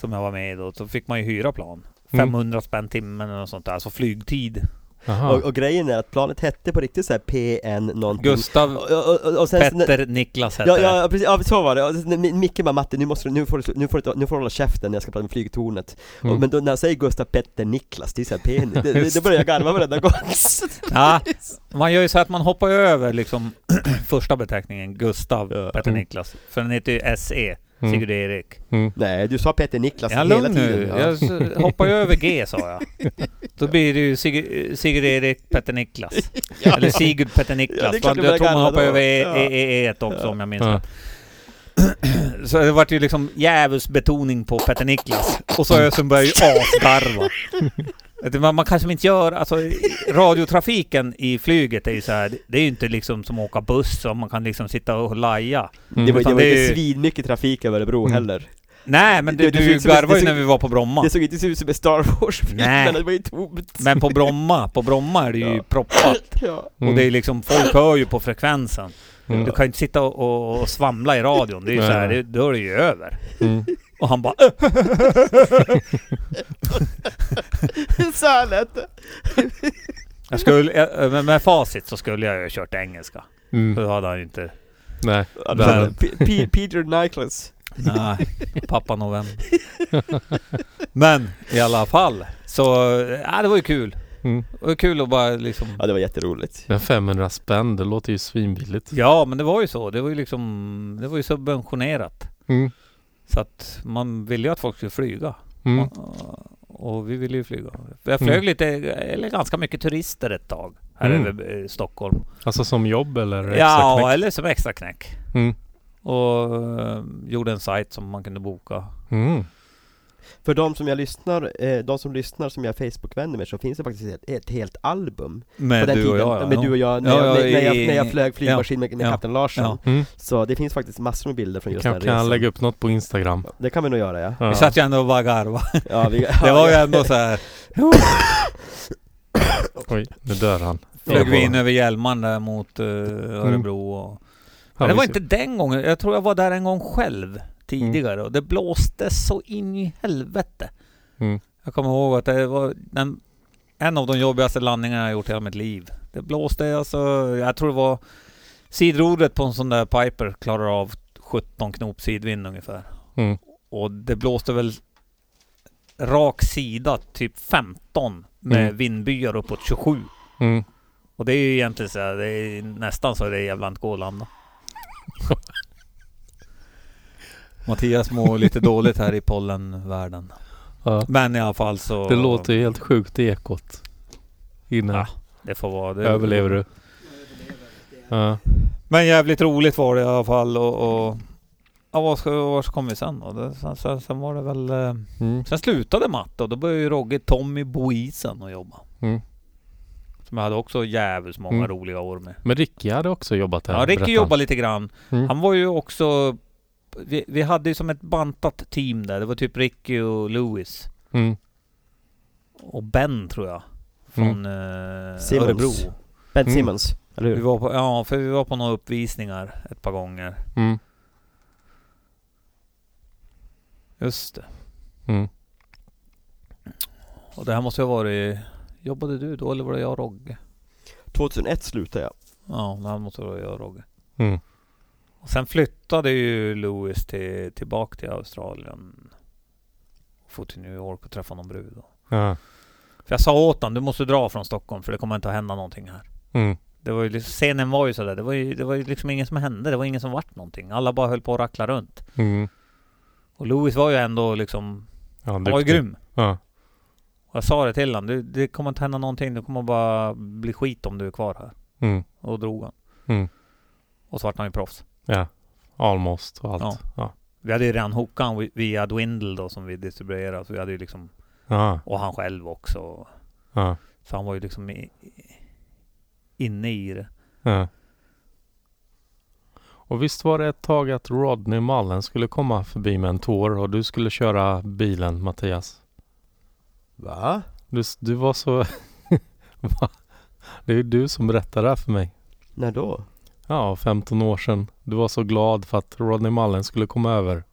B: som jag var med i då, så fick man ju hyra plan.
C: Mm.
B: 500 spänn timmen eller något sånt där, alltså flygtid.
C: Jaha.
A: Och, och grejen är att planet hette på riktigt så här PN någonting
B: Gustav,
A: och, och, och, och sen,
B: Petter, Niklas hette
A: Ja,
B: det.
A: ja, precis, ja, så var det. Och sen- Mi- Micke bara 'Matte, nu, måste, du- nu, får, du, slu- nu, får du, nu får du hålla käften när jag ska prata med flygtornet'
C: Mm.
A: och, Men då när jag säger Gustav Petter Niklas, det är såhär PN, det, det, det börjar jag garva varenda gång [LAUGHS]
B: Ja, man gör ju så att man hoppar ju över liksom [CLEARS THROAT] första beteckningen, Gustav,
A: Ja.
B: Petter
C: Mm.
B: Niklas. För den heter ju E. SE,
C: Mm.
B: Sigurd Erik.
C: Mm.
A: Nej, du sa Petter Niklas
B: Ja,
A: Alltså, hela
B: lugn nu.
A: tiden ja.
B: Jag s- hoppar ju över G sa
A: [LAUGHS]
B: jag. Då blir det ju Sig- Sigurd Erik Petter Niklas.
A: [LAUGHS]
B: Eller Sigurd Petter
A: Ja,
B: Niklas.
A: det är klart
B: Man-
A: du
B: jag tror
A: börjar
B: man hoppar
A: garva då.
B: över E-
A: Ja.
B: E- E1 också om jag minns
C: Ja.
B: rätt. Så det vart ju liksom djävulsbetoning på Petter Niklas. Och så Ösen börjar ju asgarva.
A: [LAUGHS]
B: Vet du, Man, man kanske inte gör, alltså i- radiotrafiken i flyget är ju så här, det är ju inte liksom som att åka buss och man kan liksom sitta och laja.
C: Mm.
A: Det var, det
B: Utan
A: var
B: det är
A: inte
B: ju-
A: svinmycket trafik över Örebro
C: Mm.
A: heller
B: Nej men
A: Det-
B: du,
A: det
B: du
A: finns- det-
B: garvade ju
A: det-
B: när vi var på Bromma.
A: Det såg inte ut som en Star Wars-film,
B: Nej.
A: men det var ju tomt
B: Men på Bromma, på Bromma är det ju
A: Ja.
B: proppat.
A: [LAUGHS] ja.
C: Mm.
B: Och det är liksom, folk hör ju på frekvensen.
C: Mm.
B: Du kan ju inte sitta och, och, och svamla i radion. Det är ju
C: Nej.
B: såhär, det- då är det ju över.
C: Mm.
B: Och han bara "Äh!"
A: Så här lät det.
B: jag skulle, jag, med, med facit så skulle jag ju ha kört engelska.
C: Mm.
B: Då hade han ju inte...
C: Nej.
A: Ja,
C: Där.
A: det var- P- P- Peter Niklas
B: Nej, pappa november. Men i alla fall. Så, ja det var ju kul.
C: Mm.
B: Det var kul att bara liksom...
A: Ja, det var jätteroligt
C: Men 500 spänn, det låter ju svinbilligt.
B: Ja men det var ju så. Det var ju liksom... Det var ju subventionerat.
C: Mm.
B: Så att man ville ju att folk skulle flyga.
C: Mm.
B: Och, och vi ville ju flyga. Jag flög
C: Mm.
B: lite, eller ganska mycket turister ett tag. Här
C: Mm.
B: över eh, Stockholm.
C: Alltså som jobb eller extra
B: Ja,
C: knäck?
B: eller som extra knäck.
C: Mm.
B: Och eh, gjorde en sajt som man kunde boka.
C: Mm.
A: För de som jag lyssnar, eh, de som lyssnar som jag Facebook-vänner med så finns det faktiskt ett, ett helt album
B: Med
A: på den tiden, med du och jag, när,
B: Ja,
A: jag,
B: ja,
A: när, när, jag,
B: i-
A: när jag flög flygmaskin med, med
B: ja,
A: Kapten Larsson
B: ja.
C: Mm.
A: Så det finns faktiskt massor med bilder från just
C: Kan,
A: den
C: kan jag
A: resan
C: lägga upp något på Instagram?
A: Det kan vi nog göra ja,
B: Vi
C: Ja.
B: satt ju ändå och bara garvade.
A: [LAUGHS] ja
C: [LAUGHS]
A: vi,
B: Det var ju ändå så här.
C: Oj, nu dör han.
B: Flög vi in över Hjälman där mot eh, Örebro och... Men det var inte den gången. Jag tror jag var där en gång själv tidigare och det blåste så in i helvete.
C: Mm.
B: Jag kommer ihåg att det var den, en av de jobbigaste landningarna jag gjort i hela mitt liv. Det blåste alltså, jag tror det var sidrodret på en sån där Piper klarar av 17 knop sidvind ungefär.
C: Mm.
B: Och det blåste väl rak sida typ 15 med
C: Mm.
B: vindbyar uppåt 27.
C: Mm.
B: Och det är ju egentligen så här, det är nästan så det är jävla inte går att landa. [LAUGHS] Mattias mår lite dåligt här i pollenvärlden.
C: Ja.
B: Men i alla fall så...
C: Det låter ju helt sjukt i ekot. Innan.
B: Ja, Det får vara det.
C: Överlever du? Ja.
B: Men jävligt roligt var det i alla fall och... och ja, var, ska, var ska kom vi sen då? Det, sen, sen, sen var det väl... eh,
C: Mm.
B: Sen slutade Matte och då började ju Rogge Tommy Boisen och jobba.
C: Mm.
B: Som jag hade också jävligt många
C: Mm.
B: roliga år med.
C: Men Ricky hade också jobbat här.
B: Ja, Ricky
C: berättade
B: jobbade lite grann.
C: han. Mm.
B: Han var ju också... Vi, vi hade ju som ett bantat team där. Det var typ Ricky och Louis.
C: Mm.
B: Och Ben tror jag. Från eh,
A: Mm. Simmons.
B: Örebro.
A: Ben
C: Mm.
A: Simmons, eller
B: Vi
A: hur?
B: var på, ja, för vi var på några uppvisningar ett par gånger.
C: Mm.
B: Just det.
C: Mm.
B: Och det här måste ju ha varit... Jobbade du då eller var det jag och Rogge?
A: 2001 slutade jag
B: Ja, det här måste vara jag och Rogge.
C: Mm.
B: Och sen flyttade ju Louis till, tillbaka till Australien. For till New York och träffa någon brud. då.
C: Ja.
B: För jag sa åt honom, du måste dra från Stockholm för det kommer inte att hända någonting här.
C: Mm.
B: Det var ju, liksom- scenen var ju sådär, det var ju, det var ju liksom ingen som hände, det var ingen som vart någonting. Alla bara höll på att rackla runt.
C: Mm.
B: Och Louis var ju ändå liksom,
C: Ja,
B: han var ju
C: duktig.
B: grym.
C: Ja.
B: Och jag sa det till honom, "Du, det kommer inte hända någonting, det kommer bara bli skit om du är kvar här.
C: Mm.
B: Och då drog han.
C: Mm.
B: Och så vart han ju proffs.
C: Ja. Almost och allt. Ja.
B: Vi hade ju redan hookat han vi- via Dwindle då som vi distribuerade, så vi hade ju liksom,
C: Ja.
B: och han själv också.
C: Ja.
B: Så han var ju liksom i, i- inne i det.
C: Ja. Och visst var det ett tag att Rodney Mullen skulle komma förbi med en tår och du skulle köra bilen Mattias?
A: Va?
C: Du, s- du var så... [LAUGHS] Va? Det är ju du som berättar det här för mig.
A: När då?
C: Ja, 15 år sedan. Du var så glad för att Rodney Mullen skulle komma över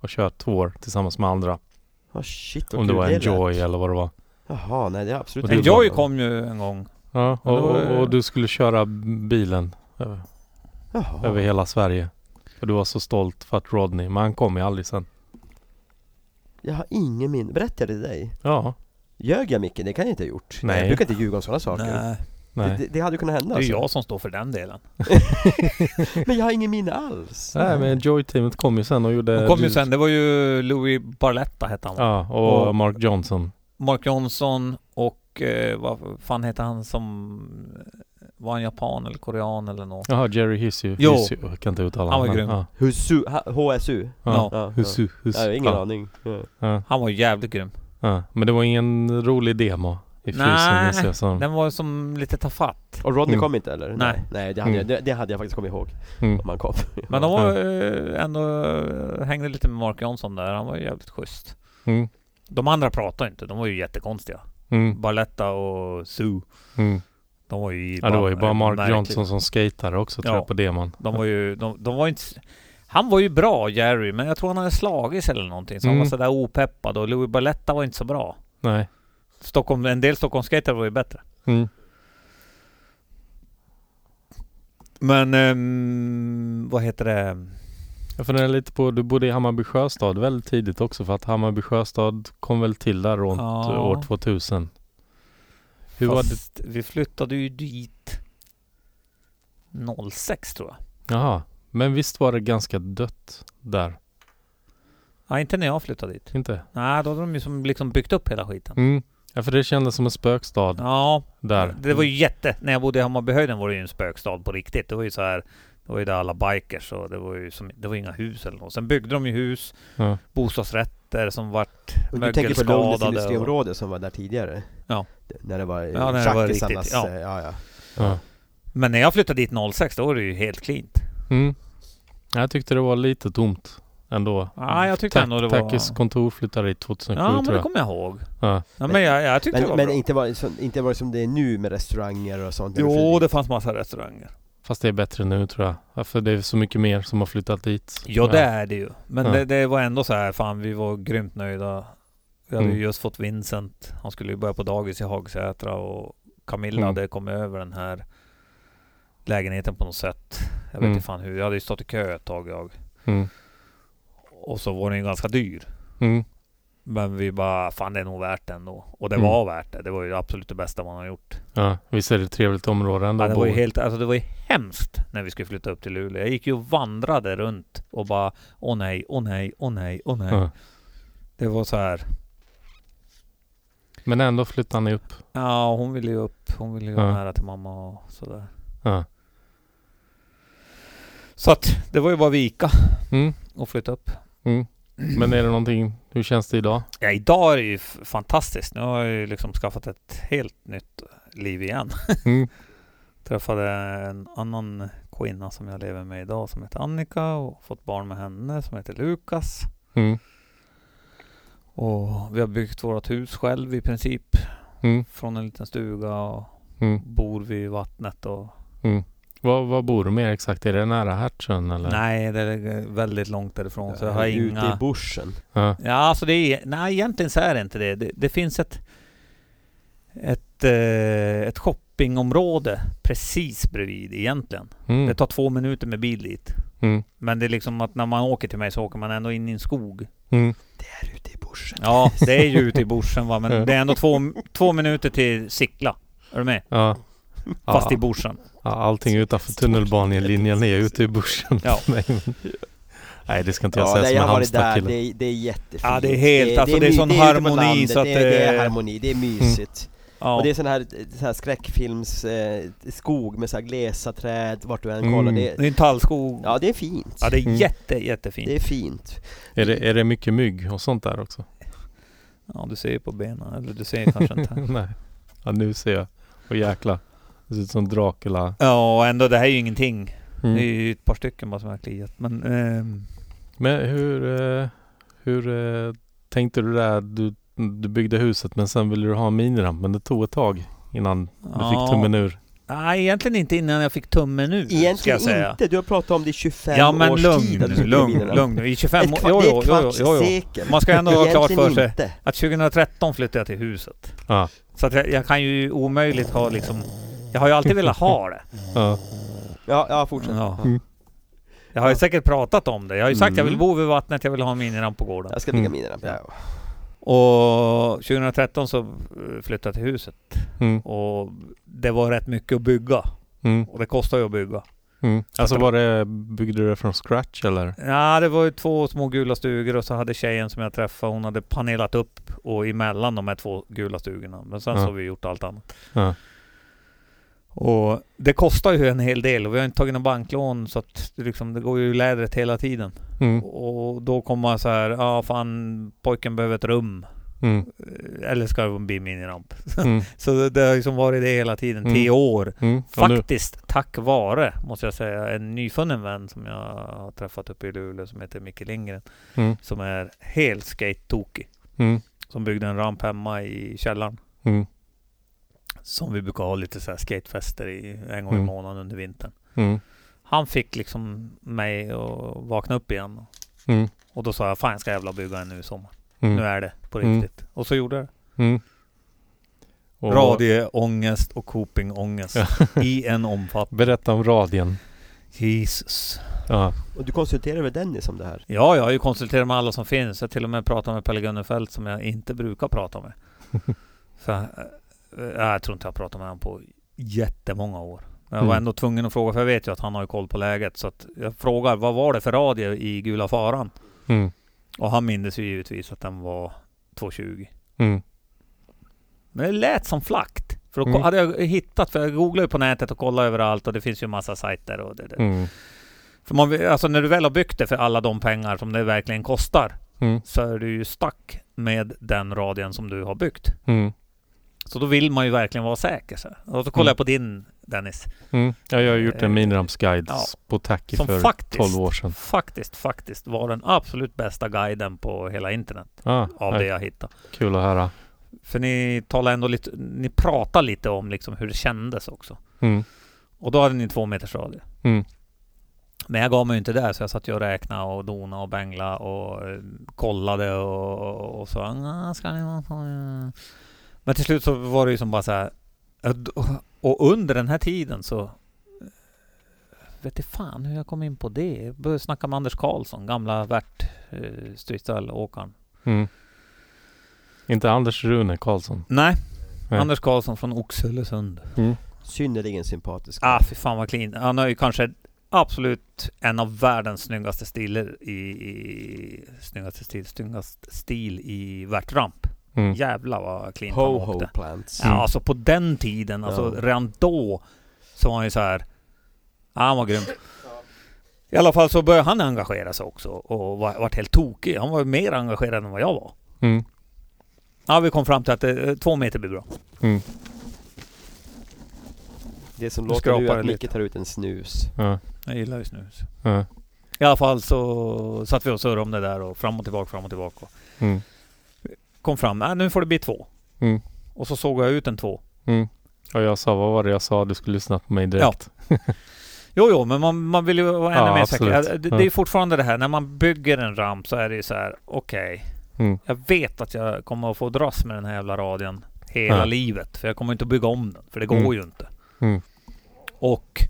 C: och köra tår tillsammans med andra.
A: Ah shit vad
C: Om det
A: kul
C: var
A: lät.
C: Enjoy eller vad det var.
A: Jaha, nej det är absolut
C: Och det
A: inte
C: var-
B: Enjoy
A: bra.
B: kom ju en gång.
C: Ja, och,
B: det var-
C: och, och du skulle köra bilen över,
A: Jaha.
C: över hela Sverige. Och du var så stolt för att Rodney, men han kom ju aldrig sen.
A: Jag har ingen minne, berättade jag det till dig?
C: Ja,
A: Ljög jag Micke? Det kan jag inte ha gjort
C: Nej.
A: Jag brukar inte ljuga om sådana saker
B: Nej,
A: det,
C: nej.
A: det, det hade ju kunnat
B: det
A: hända
B: är ju
A: alltså.
B: jag som står för den delen.
A: Men jag har ingen minne alls
C: Nej men Joy-teamet kom ju sen och gjorde...
B: De kom ju sen, det var ju Louis Barletta hette han va?
C: Eh, Ja, och,
B: Och-
C: Mark Johnson.
B: Mark Johnson och eh, vad fan hette han som eh, var en japan eller korean eller något?
C: Jaha, Jerry Hissu.
B: Jo.
C: Hissu, jag kan inte uttala
B: Han var
C: men-
B: grym.
C: Ja,
A: Husu, ha- HSU?
C: ja.
B: Ja.
C: Hissu, Hissu.
A: Nej, ingen
C: ja,
A: aning ja.
C: ja,
B: Han var jävligt grym.
C: ja. Men det var ingen rolig demo
B: Nej.
C: i frysen minns jag som.
B: Den var ju som lite tafatt.
A: Och Rodney
C: Mm.
A: kom inte eller?
B: Nej.
A: Nej det hade,
C: Mm.
A: jag, det, det hade jag faktiskt kommit ihåg
C: Mm.
A: om han [LAUGHS] kom
B: Men de var eh, ändå, eh, hängde lite med Mark Johnson där, han var ju jävligt schysst.
C: Mm.
B: De andra pratade inte, de var ju jättekonstiga.
C: Mm.
B: Barletta och Sue,
C: Mm.
B: de var ju
C: Ja, det var ju bara Mark
B: märkligt.
C: Johnson som skatade också tror
B: Ja.
C: jag på demon.
B: De var ju, de, de var inte... Han var ju bra Jerry, men jag tror han hade slagit sig eller någonting. Så han
C: Mm.
B: var sådär opeppad och Louis Barletta var inte så bra.
C: Nej.
B: Stockholm, en del Stockholmsskater var ju bättre.
C: Mm.
B: Men ehm, vad heter det?
C: Jag funderar lite på, du bodde i Hammarby Sjöstad väldigt tidigt också för att Hammarby Sjöstad kom väl till där runt eh,
B: Ja.
C: år 2000. Hur var det?
B: Fast vi flyttade ju dit 06 tror jag.
C: Jaha. Men visst var det ganska dött där?
B: Ja, inte när jag flyttade dit.
C: Inte?
B: Nej, då hade de ju som liksom byggt upp hela skiten.
C: Mm. Ja, för det kändes som en spökstad
B: Ja,
C: där.
B: det var ju jätte... När jag bodde i Hammarbyhöjden var det ju en spökstad på riktigt. Det var ju så här... Det var ju där alla bikers och det var ju som, det var inga hus eller något. Sen byggde de ju hus,
C: Ja.
B: bostadsrätter som vart
A: Och Du tänker på Lundens
B: och-
A: industriområde som var där tidigare?
B: Ja.
A: Det- När det var
B: när det var riktigt,
A: tjackisarnas,
B: ja.
A: eh, ja ja
C: Ja.
B: Men när jag flyttade dit 06 då var det ju helt cleant.
C: Mm. Jag tyckte det var lite tomt ändå.
B: Ja, jag tyckte
C: Ta-
B: ändå det var-
C: Tackes kontor flyttade dit 2007
B: Ja, men
C: tror
B: det
C: jag.
B: kommer jag ihåg.
C: Ja.
B: Ja, men jag, jag tyckte det
A: Men,
B: var
A: men
B: bra.
A: inte, var, det som- inte var det som det är nu med restauranger och sånt? när du
B: Jo,
A: flyttar
B: det fanns massa restauranger.
C: Fast det är bättre nu tror jag. Ja, För det är så mycket mer som har flyttat dit.
B: Ja, det är det ju. Men
C: Ja.
B: det, det var ändå så här, fan vi var grymt nöjda. Vi hade
C: Mm.
B: ju just fått Vincent. Han skulle ju börja på dagis i Hagsätra och Camilla
C: Mm.
B: hade kommit över den här lägenheten på något sätt. Jag vet
C: Mm.
B: inte fan hur. Jag hade ju stått i kö ett tag jag.
C: Mm.
B: Och så var den ju ganska dyr.
C: Mm.
B: Men vi bara, fan det är nog värt det ändå. Och det
C: Mm.
B: var värt det. Det var ju absolut det bästa man har gjort.
C: Ja, visst är det ett trevligt område ändå
B: Ja, det
C: att
B: var
C: bo
B: ju
C: i?
B: helt, alltså det var ju hemskt när vi skulle flytta upp till Luleå. Jag gick ju och vandrade runt och bara, åh nej, åh nej, åh nej, åh nej.
C: Ja.
B: Det var så här.
C: Men ändå flyttade ni upp.
B: Ja, hon ville ju upp. Hon ville ju
C: Ja.
B: vara nära till mamma och sådär.
C: Ja.
B: Så att det var ju bara vika
C: Mm.
B: och flytta upp.
C: Mm. Men är det någonting, hur känns det idag?
B: Ja, idag är det ju f- fantastiskt. Nu har jag ju liksom skaffat ett helt nytt liv igen.
C: Mm.
B: Träffade en annan kvinna som jag lever med idag som heter Annika och fått barn med henne som heter Lukas.
C: Mm.
B: Och vi har byggt vårt hus själv i princip.
C: Mm.
B: Från en liten stuga och
C: Mm.
B: bor vid vattnet och...
C: Var, var bor du mer exakt? Är det nära Hertsön eller?
B: Nej, det är väldigt långt därifrån
A: den.
B: så jag har
A: Ute
B: inga...
A: i bushen
C: Ja.
B: Ja, alltså det är... Nej, egentligen så är det inte det. Det, det finns ett... Ett, eh, ett shoppingområde precis bredvid egentligen.
C: Mm.
B: Det tar två minuter med bil dit.
C: Mm.
B: Men det är liksom att när man åker till mig så åker man ändå in i en skog.
C: Mm.
A: Ute i bushen
B: Ja, det är ju ute i bushen va, men
C: Ja.
B: det är ändå två, två minuter till Sickla. Är du med?
C: Ja.
B: Fast
C: ja.
B: i bushen.
C: Ja, Allting utanför tunnelbanelinjen är ute i bushen. [LAUGHS]
B: Ja.
C: för mig. Nej, det ska inte jag
A: Ja,
C: säga
A: nej,
C: som
A: jag
C: en
A: har varit där, det
C: Halmstadkille.
A: är, det är jättefint
B: Ja, det är helt- alltså, det är
A: my-
B: sån
A: ute på
B: harmoni
A: landet,
B: så att
A: det, är- det är
B: det- Mm.
A: harmoni, det är mysigt
B: Ja.
A: Och det är sån här, sån här skräckfilms eh, skog med så här glesa träd vart du än
C: Mm.
A: kollar det,
B: Det är en tallskog.
A: Ja det är fint
B: Ja, det är
C: Mm.
B: jätte, jättefint.
A: Det är fint
C: Är det, är det mycket mygg och sånt där också? [LAUGHS]
A: [LAUGHS]
B: Ja, du ser ju på benen. Eller du ser kanske inte.
C: Nej. Ja, nu ser jag. Och jäklar. Det ser ut som Dracula.
B: Ja, och ändå, det här är ju ingenting. Det
C: Mm.
B: är ju ett par stycken bara som har kliat. Men ehm,
C: Men hur, eh, hur eh, tänkte du där? Du, du byggde huset men sen ville du ha en miniramp men det tog ett tag innan du
B: ja.
C: fick tummen ur.
B: Nej, egentligen inte innan jag fick tummen ur, ska jag
A: Egentligen
B: säga.
A: inte, du har pratat om det i 25
B: Ja men
A: års
B: lugn
A: tid. att du
B: nu,
A: skulle
B: lugn,
A: vidare.
B: lugn nu. I 25
A: Ett
B: år.
A: kvart,
B: Jo,
A: det är
B: jo,
A: ett
B: jo,
A: kvarts
B: jo, jo.
A: sekel.
B: Man ska ändå ha klart för
A: Egentligen
B: sig
A: inte.
B: att 2013 flyttade jag till huset.
C: Ja.
B: Så att jag, jag kan ju omöjligt ha liksom... Jag har ju alltid velat ha det.
C: Ja.
A: Ja, ja fortsätt.
B: Ja.
C: Mm.
B: Jag har ju säkert pratat om det. Jag har ju sagt att jag vill
A: Mm.
B: bo vid vattnet, jag vill ha en miniramp på gården.
A: Jag ska bygga
C: Mm.
A: miniramp. Ja.
B: Och 2013 så eh, flyttade jag till huset.
C: Mm,
B: Och det var rätt mycket att bygga.
C: mm,
B: Och det kostar ju att bygga.
C: mm. Alltså var det, byggde du det från scratch eller?
B: Ja, det var ju två små gula stugor och så hade tjejen som jag träffade, hon hade panelat upp och emellan de här två gula stugorna. Men sen
C: Ja.
B: så har vi gjort allt annat.
C: Ja.
B: Och det kostar ju en hel del och vi har inte tagit några banklån så att det, liksom, det går ju i lädret hela tiden.
C: Mm,
B: Och då kommer man så här, ja fan pojken behöver ett rum.
C: mm,
B: Eh, Eller ska det bli miniramp?
C: mm,
B: Så det, det har liksom varit det hela tiden, tio år.
C: mm. Och nu,
B: Faktiskt tack vare, måste jag säga, en nyfunnen vän som jag har träffat uppe i Luleå som heter Micke Lindgren.
C: mm,
B: Som är helt skate-tokig.
C: mm,
B: Som byggde en ramp hemma i källaren.
C: mm,
B: Som vi brukar ha lite så här skatefester i en gång i
C: Mm.
B: månaden under vintern.
C: mm,
B: Han fick liksom mig att vakna upp igen.
C: mm,
B: Och då sa jag, fan jag ska jävla bygga en nu i sommar. Nu
C: mm,
B: är det på
C: Mm.
B: riktigt. Och så gjorde jag det.
C: mm. Och
B: Radieångest och copingångest i en
C: [LAUGHS]
B: omfattning.
C: Berätta om radien.
B: Jesus.
C: Ja.
A: Och du konsulterade väl Dennis om det här?
B: Ja, jag har ju konsulterat med alla som finns. Jag har till och med pratat med Pelle Gunnefelt som jag inte brukar prata
C: [LAUGHS]
B: med. För, eh, eh, jag tror inte jag har pratat med honom på jättemånga år. Men jag var
C: Mm.
B: ändå tvungen att fråga för jag vet ju att han har ju koll på läget. Så att jag frågar, vad var det för radie i Gula Faran?
C: Mm,
B: Och han mindes ju givetvis att den var 220.
C: mm,
B: Men det lät som flakt. För då ko-
C: Mm.
B: hade jag hittat, för jag googlade ju på nätet och kollade överallt och det finns ju en massa sajter och det, det.
C: mm,
B: För man, vill- alltså när du väl har byggt det för alla de pengar som det verkligen kostar
C: mm,
B: så är du ju stack med den radien som du har byggt.
C: mm,
B: Så då vill man ju verkligen vara säker. Så. Och så kollar
C: Mm.
B: jag på din Dennis.
C: mm. Ja, jag har gjort en
B: Eh,
C: minirampsguide
B: ja.
C: på Tacky
B: Som
C: för
B: faktiskt-
C: 12 år sedan.
B: Faktiskt, faktiskt var den absolut bästa guiden på hela internet
C: Ah,
B: av
C: ja,
B: det jag hittade.
C: Kul att höra.
B: För ni talar ändå lite, ni pratar lite om liksom hur det kändes också.
C: Mm,
B: Och då hade ni två meters radie.
C: mm,
B: Men jag gav mig ju inte där så jag satt ju och räknade och dona och bängla och eh, kollade och, och, och så. "Nja, Ska ni vara så, eh?" Men till slut så var det ju som bara så här. eh, d- Och under den här tiden så eh, vet inte fan hur jag kom in på det. Jag började snacka med Anders Karlsson, gamla värt eh, Stridsölåkaren.
C: mm. Inte Anders Rune Karlsson.
B: Nej,
C: Nej.
B: Anders Karlsson från Oxelösund.
A: Synnerligen sympatisk.
B: Ah, fy fan vad clean. Han har ju kanske absolut en av världens snyggaste stiler i... i snyggaste stil, snyggast stil i värtramp.
C: Mm,
B: Jävlar vad clean han
A: Ho-ho
B: åkte.
A: plants.
B: Ja, alltså på den tiden, alltså
A: Ja.
B: redan då så var han ju så här... Ja, han var grym. I alla fall så började han engagera sig också och var, vart helt tokig. Han var ju mer engagerad än vad jag var.
C: mm,
B: Ja, vi kom fram till att eh, två meter blir bra.
C: mm.
A: Det som
B: Nu
A: låter
B: skrapar
A: nu är att
B: det lite.
A: Micke tar ut en snus.
C: Ja,
B: Jag gillar ju snus.
C: ja,
B: I alla fall så satt vi och surrade om det där och fram och tillbaka, fram och tillbaka.
C: mm,
B: kom fram, äh, nu får det bli två.
C: Mm.
B: Och så såg jag ut en två.
C: mm. Och jag sa, vad var det jag sa? Du skulle lyssna på mig direkt.
B: Jo, jo, men man, man vill ju vara ännu
C: Ja,
B: mer säker. Ja,
C: absolut.
B: Det,
C: Ja.
B: det är fortfarande det här, när man bygger en ramp så är det ju så här, okej,
C: Mm.
B: jag vet att jag kommer att få dras med den här jävla radien hela
C: Ja.
B: livet. För jag kommer inte att bygga om den, för det går
C: Mm.
B: ju inte.
C: Mm.
B: Och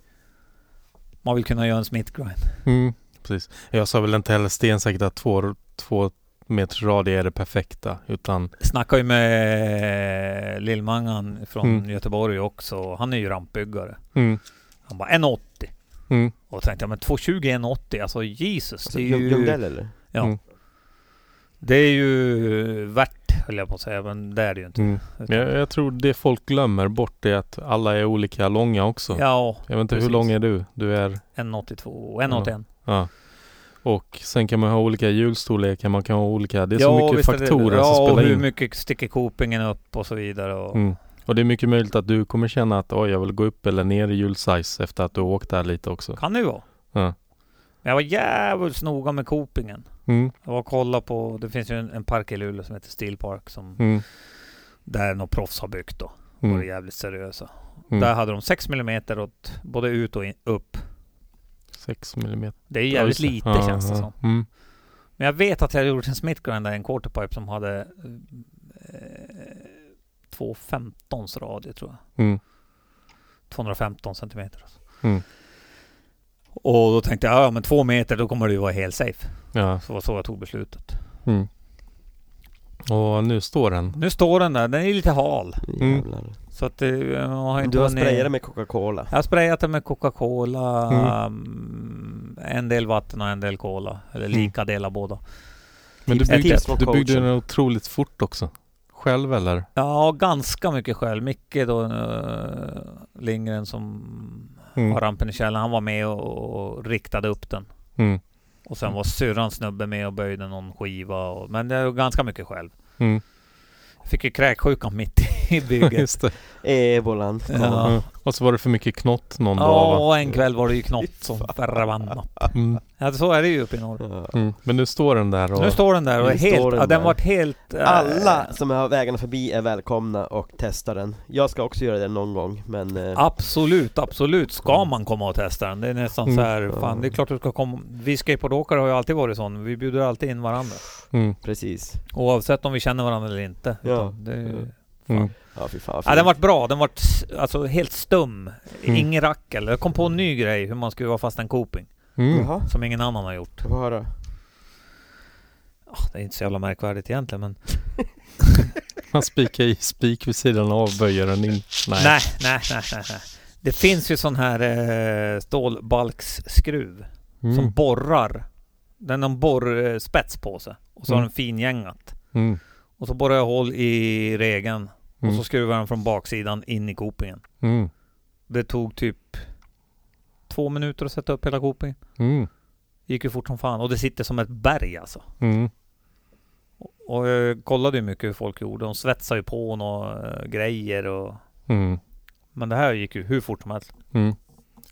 B: man vill kunna göra en smittgrind.
C: Mm, precis. Jag sa väl inte heller stensäkert att två, två meters radie är det perfekta, utan
B: Snackar ju med Lillmangan från
C: Mm.
B: Göteborg också. Han är ju rampbyggare.
C: mm,
B: Han bara 1,80.
C: mm,
B: Och tänkte jag, men 2,20 1,80, alltså Jesus.
A: Alltså,
B: det är
A: ljung-
B: ju-
A: Ljungdell eller?
B: Ja.
C: Mm.
B: Det är ju värt, höll jag på att säga, men det är det ju inte.
C: mm. Men jag, jag tror det folk glömmer bort är att alla är olika långa också.
B: Ja,
C: Jag vet inte,
B: precis.
C: hur lång är du? Du är...
B: 1,82 och 1,81.
C: Ja. Och sen kan man ha olika hjulstorlekar, man kan ha olika... Det är
B: ja,
C: så mycket
B: visst är det-
C: faktorer
B: ja,
C: som
B: och
C: spelar
B: hur
C: in.
B: mycket sticker kopingen upp och så vidare. Och,
C: Mm. Och det är mycket möjligt att du kommer känna att oj, jag vill gå upp eller ner i julsize efter att du har åkt där lite också.
B: Kan det ju vara.
C: Ja.
B: Men jag var jävligt noga med copingen.
C: Mm,
B: Jag var och kollade på, det finns ju en, en park i Luleå som heter Steel Park som
C: mm,
B: där några proffs har byggt då.
C: mm,
B: Var jävligt seriösa.
C: mm.
B: Där hade de 6 mm åt både ut och in, upp.
C: 6 millimeter.
B: Det är
C: Ja,
B: jävligt
C: just det.
B: lite
C: Ja,
B: känns det
C: ja.
B: som.
C: Mm,
B: Men jag vet att jag gjort en Smith Grind där, en quarterpipe som hade eh, 2.15s radie tror jag.
C: mm,
B: 215 centimeter.
C: Mm.
B: Och då tänkte jag, ja men två meter då kommer det ju vara helt safe.
C: ja.
B: Så var så jag tog beslutet.
C: Mm. Och nu står den.
B: Nu står den där, den är lite hal.
C: Mm.
A: Jävlar.
B: Så att det, jag har inte
A: Du har
B: hunnit-
A: sprayat det med Coca-Cola?
B: Jag har sprayat den med Coca-Cola,
C: Mm.
B: um, en del vatten och en del cola. Eller
C: Mm.
B: lika delar båda.
C: Men du
A: Tips-
C: byggde,
A: tips från
C: du byggde
A: coachen.
C: den otroligt fort också. Själv eller?
B: Ja, ganska mycket själv. Micke då, eh, Lindgren som
C: Mm,
B: har rampen i källaren, han var med och, och riktade upp den.
C: mm,
B: Och sen var syrrans snubbe med och böjde någon skiva. Och, men det var ganska mycket själv. [LAUGHS]
C: mm.
B: Jag fick ju kräksjukan mitt i [LAUGHS] bygget.
C: Just det.
A: Ebolan.
B: Ja.
C: Mm. Och så var det för mycket knott någon dag
B: Ja,
C: va?
B: och en kväll var det
A: [LAUGHS]
B: ju knott som förbannat.
C: Mm,
B: Ja, så är det ju uppe i norr.
A: Ja.
C: mm. Men nu står den där och...
B: Nu står den där och
A: Nu
B: är helt...
A: står den
B: Den, ja, den
A: där.
B: vart helt... eh,
A: Alla som har vägarna förbi är välkomna och testa den. Jag ska också göra det någon gång, men... eh,
B: Absolut, absolut ska man komma och testa den. Det är nästan
C: Mm.
B: så här, fan det är klart du ska komma. Vi skateboardåkare har ju alltid varit sån. Vi bjuder alltid in varandra.
C: Mm,
A: Precis.
B: Oavsett om vi känner varandra eller inte.
A: Ja.
B: Utan Det,
A: Mm.
C: mm,
A: Ja, fy fan vad
B: ja,
A: fint.
B: den vart bra. Den vart s- alltså helt stum.
C: Mm.
B: Ingen rackel. Jag kom på en ny grej hur man skruvar fast en coping.
C: mm.
A: Jaha,
B: Som ingen annan har gjort.
A: jag får höra.
B: Ah, Det är inte så jävla märkvärdigt egentligen men...
C: Man spikar i spik vid sidan av, böjer den in. Nej.
B: Nej, nej, nej, nej. nej. Det finns ju sån här eh, stålbalksskruv. som
C: Mm,
B: borrar. Den har en borrspets på sig. Och så har
C: Mm.
B: den finjängat.
C: mm,
B: Och så borrar jag hål i regeln. Och
C: mm,
B: så skruvar jag den från baksidan in i kopingen.
C: mm,
B: Det tog typ två minuter att sätta upp hela kopingen.
C: mm,
B: Gick ju fort som fan. Och det sitter som ett berg alltså.
C: mm,
B: Och jag kollade ju mycket hur folk gjorde. De svetsade ju på några eh, grejer och...
C: mm,
B: Men det här gick ju hur fort som helst.
C: mm.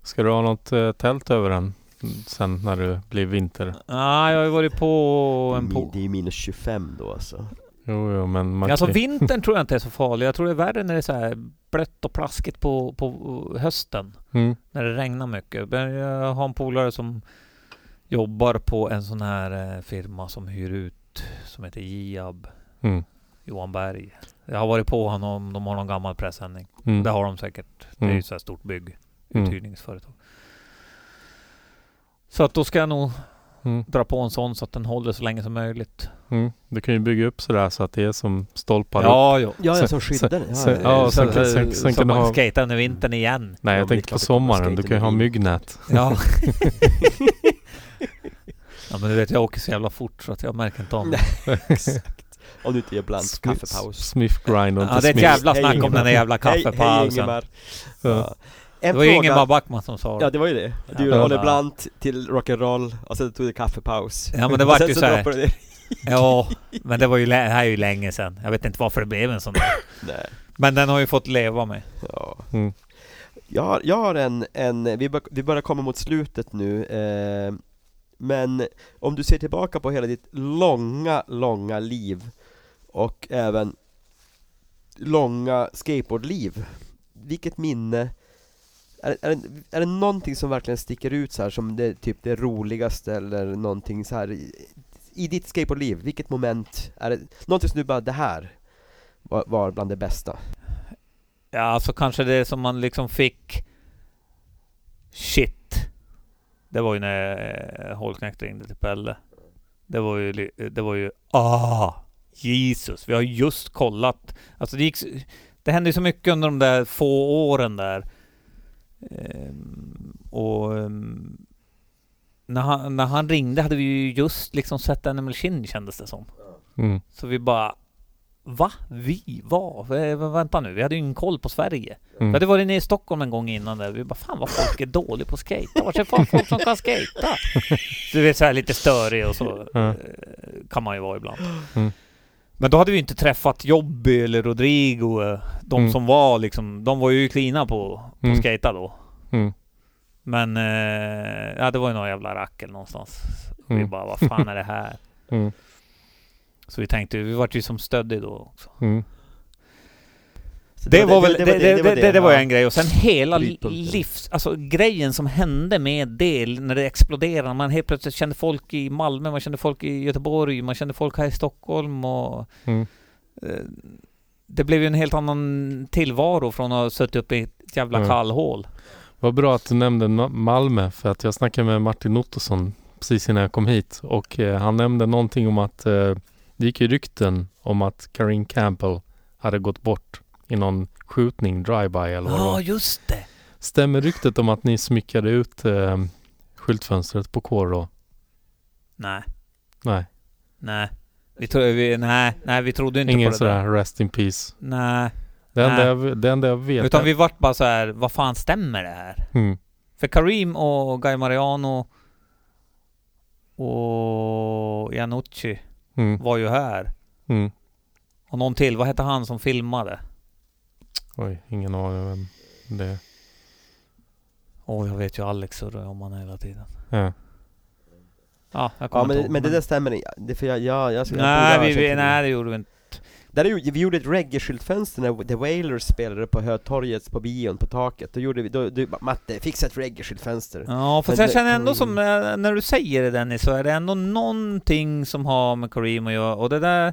C: Ska du ha något eh, tält över den mm, sen när det blir vinter?
B: Nej, jag har ju varit på en
A: Mi-
B: po-
A: Det är ju minus 25 då alltså.
C: Jo, jo, men man
B: Alltså
C: kan-
B: vintern tror jag inte är så farlig. Jag tror det är värre när det är så här blött och plaskigt på, på hösten.
C: Mm,
B: När det regnar mycket. Men Jag har en polare som jobbar på en sån här eh, firma som hyr ut som heter Giab
C: mm,
B: Johan Berg. Jag har varit på honom om de har någon gammal pressändning.
C: mm,
B: Det har de säkert. Det är ju
C: mm,
B: så här stort bygg.
C: Mm.
B: Uthyrningsföretag. Så att då ska jag nog
C: mm,
B: dra på en sån så att den håller så länge som möjligt.
C: mm. Du kan ju bygga upp sådär så att det är som stolpar upp.
B: Ja, jo.
A: Ja,
C: Sen-
A: jag som skyddar den. Ja,
C: sen- ja,
A: så-
C: sen-
A: så-
C: sen- sen-
B: Så
C: kan
B: man
C: ha-
B: skejtar under vintern igen.
C: Nej,
A: Ja,
C: jag
A: men det är
C: tänkte på
A: klart att man
C: sommaren.
A: ska
C: Du kan ju
A: inte
C: ha
A: bli-
C: myggnät. [LAUGHS]
B: Ja. [LAUGHS] ja men du vet jag åker så jävla fort så att jag märker inte om det.
A: Om du inte gör blands
C: Smith-
A: kaffepaus.
C: Smith grind och
B: Ja,
C: inte
B: det är ett
C: Smith.
B: jävla
A: Hej,
B: snack om
A: Ingemar.
B: den där jävla
A: Hej, hej
B: kaffepausen.
A: Ingemar!
C: Ja.
A: Ja.
B: Det
A: En
B: var ju Ingemar
A: fråga.
B: Backman som sa
A: Ja,
B: det.
A: det var ju det. Du
B: Ja.
A: gjorde Olle Blunt till rock'n'roll och sen tog du kaffepaus.
B: Ja men det
A: Och
B: vart
A: sen
B: ju såhär.
A: droppade du det.
B: Ja, men det var ju, lä- det här är ju länge sedan. Jag vet inte varför det blev en sån där.
A: Nej.
B: Men den har ju fått leva med.
A: Ja.
C: Mm.
A: Jag har, jag har en, en vi, bör, vi börjar komma mot slutet nu, eh, men om du ser tillbaka på hela ditt långa, långa liv och även långa skateboardliv, vilket minne är, är, det, är det någonting som verkligen sticker ut så här som det, typ det roligaste eller någonting så här i, i ditt skateboardliv, vilket moment är det, någonting som du bara, det här var, var bland det bästa?
B: Ja alltså kanske det som man liksom fick... Shit. Det var ju när eh, Holknekt ringde till Pelle. Det var ju, li- eh, det var ju, ah, Jesus, vi har just kollat. Alltså det gick, s- det hände ju så mycket under de där få åren där. Ehm, och ehm, när, han, när han ringde hade vi ju just liksom sett Animal Chin kändes det som.
C: Mm,
B: Så vi bara, va? Vi? Va? Vä- vä- Vänta nu, vi hade ju ingen koll på Sverige. Vi
C: mm,
B: hade varit nere i Stockholm en gång innan där. Vi bara, fan vad folk är dåliga på att skejta. Vart är fan folk som kan
C: [LAUGHS]
B: skejta? Så du vet så här lite störig och så
C: Ja.
B: eh, kan man ju vara ibland.
C: Mm.
B: Men då hade vi inte träffat Jobby eller Rodrigo, eh, de
C: Mm.
B: som var liksom, de var ju klina på, på
C: Mm.
B: skata då.
C: Mm.
B: Men, eh, ja det var ju någon jävla rackel någonstans. Vi
C: Mm.
B: bara, vad fan är det här?
C: Mm.
B: Så vi tänkte, vi vart ju som stöddig då också.
C: Mm.
A: Så
B: Det var väl, det, det, det, det, det, var
A: ja.
B: en grej. Och sen hela li-
A: Brytpunkten.
B: livs... Alltså grejen som hände med det, när det exploderade. Man helt plötsligt kände folk i Malmö, man kände folk i Göteborg, man kände folk här i Stockholm och...
C: Mm.
B: eh, Det blev ju en helt annan tillvaro från att ha suttit uppe i ett jävla
C: Mm.
B: kallhål.
C: Vad bra att du nämnde Ma- Malmö för att jag snackade med Martin Ottosson precis innan jag kom hit och eh, han nämnde någonting om att eh, det gick ju rykten om att Karin Campbell hade gått bort i någon skjutning, drive-by eller vad det
B: Ja,
C: var.
B: just det!
C: Stämmer ryktet om att ni smyckade ut eh, skyltfönstret på K då?
B: Nej,
C: Nej,
B: nej. Vi tro, vi, nej, nej, vi trodde inte
C: ingen
B: på det där.
C: sådär rest in peace.
B: Nej.
C: Det enda,
B: Nej.
C: jag, det enda jag vet
B: Utan
C: är-
B: vi vart bara så här, vad fan stämmer det här?
C: mm,
B: För Karim och Guy Mariano och Janucci
C: mm,
B: var ju här.
C: mm.
B: Och någon till, vad hette han som filmade?
C: Oj, ingen aning om vem det är.
B: Åh, jag vet ju Alex surrar om han hela tiden.
C: Ja.
B: Ja, jag
A: Ja
B: kommer inte
A: men,
B: ihåg,
A: men det där stämmer inte, det är för jag, jag, jag, jag
B: Nej,
A: borde ha känt
B: vi, vi,
A: till det.
B: nej, det gjorde vi inte.
A: Där är ju- vi gjorde ett reggae-skyltfönster när The Wailers spelade på Hötorget på bion på taket, då gjorde vi, då, du, bara, Matte, fixa ett reggae-skyltfönster
B: Ja, fast
A: Men
B: jag
A: det-
B: känner ändå som,
A: mm.
B: eh, när du säger det Dennis, så är det ändå någonting som har med Karim att göra. Och det där,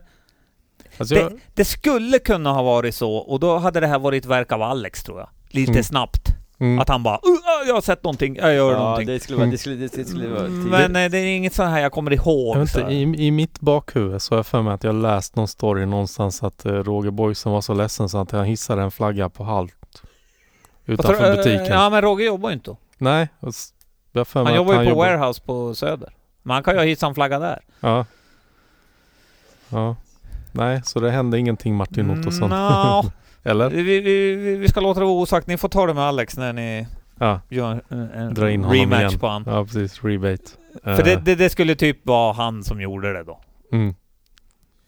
C: Alltså jag,
B: det skulle kunna ha varit så, och då hade det här varit ett verk av Alex tror jag. Lite
C: Mm.
B: snabbt.
C: mm,
B: Att han bara "Uh, uh, jag har sett någonting, jag gör
A: Ja,
B: någonting.
A: det skulle vara, det skulle, det, det skulle vara
B: Mm,
A: tidigt.
B: Men eh, det är inget så här jag kommer ihåg.
C: jag vet
B: så
C: inte,
B: här.
C: i, I mitt bakhuvud så har jag för mig att jag läst någon story någonstans att eh, Roger Boysen var så ledsen så att han hissade en flagga på halt
B: Vad tror
C: utanför
B: du, eh,
C: butiken.
B: Ja men Roger jobbar ju inte då.
C: Nej, och s- jag har för
B: Han
C: mig att
B: jobbar ju på
C: jobbar-
B: Warehouse på Söder. Men han kan ju hissa en flagga där.
C: Ja. ja. Nej, så det hände ingenting Martin
B: Mm,
C: Ottosson.
B: Nja,
C: [LAUGHS] Eller?
B: vi, vi, vi- vi ska låta det vara osagt. Ni får ta det med Alex när ni
C: Ja,
B: gör en, en
C: Dra in honom
B: rematch
C: igen.
B: på han.
C: ja precis. Rebate.
B: För
C: Eh,
B: det, det, det skulle typ vara han som gjorde det då.
C: Mm,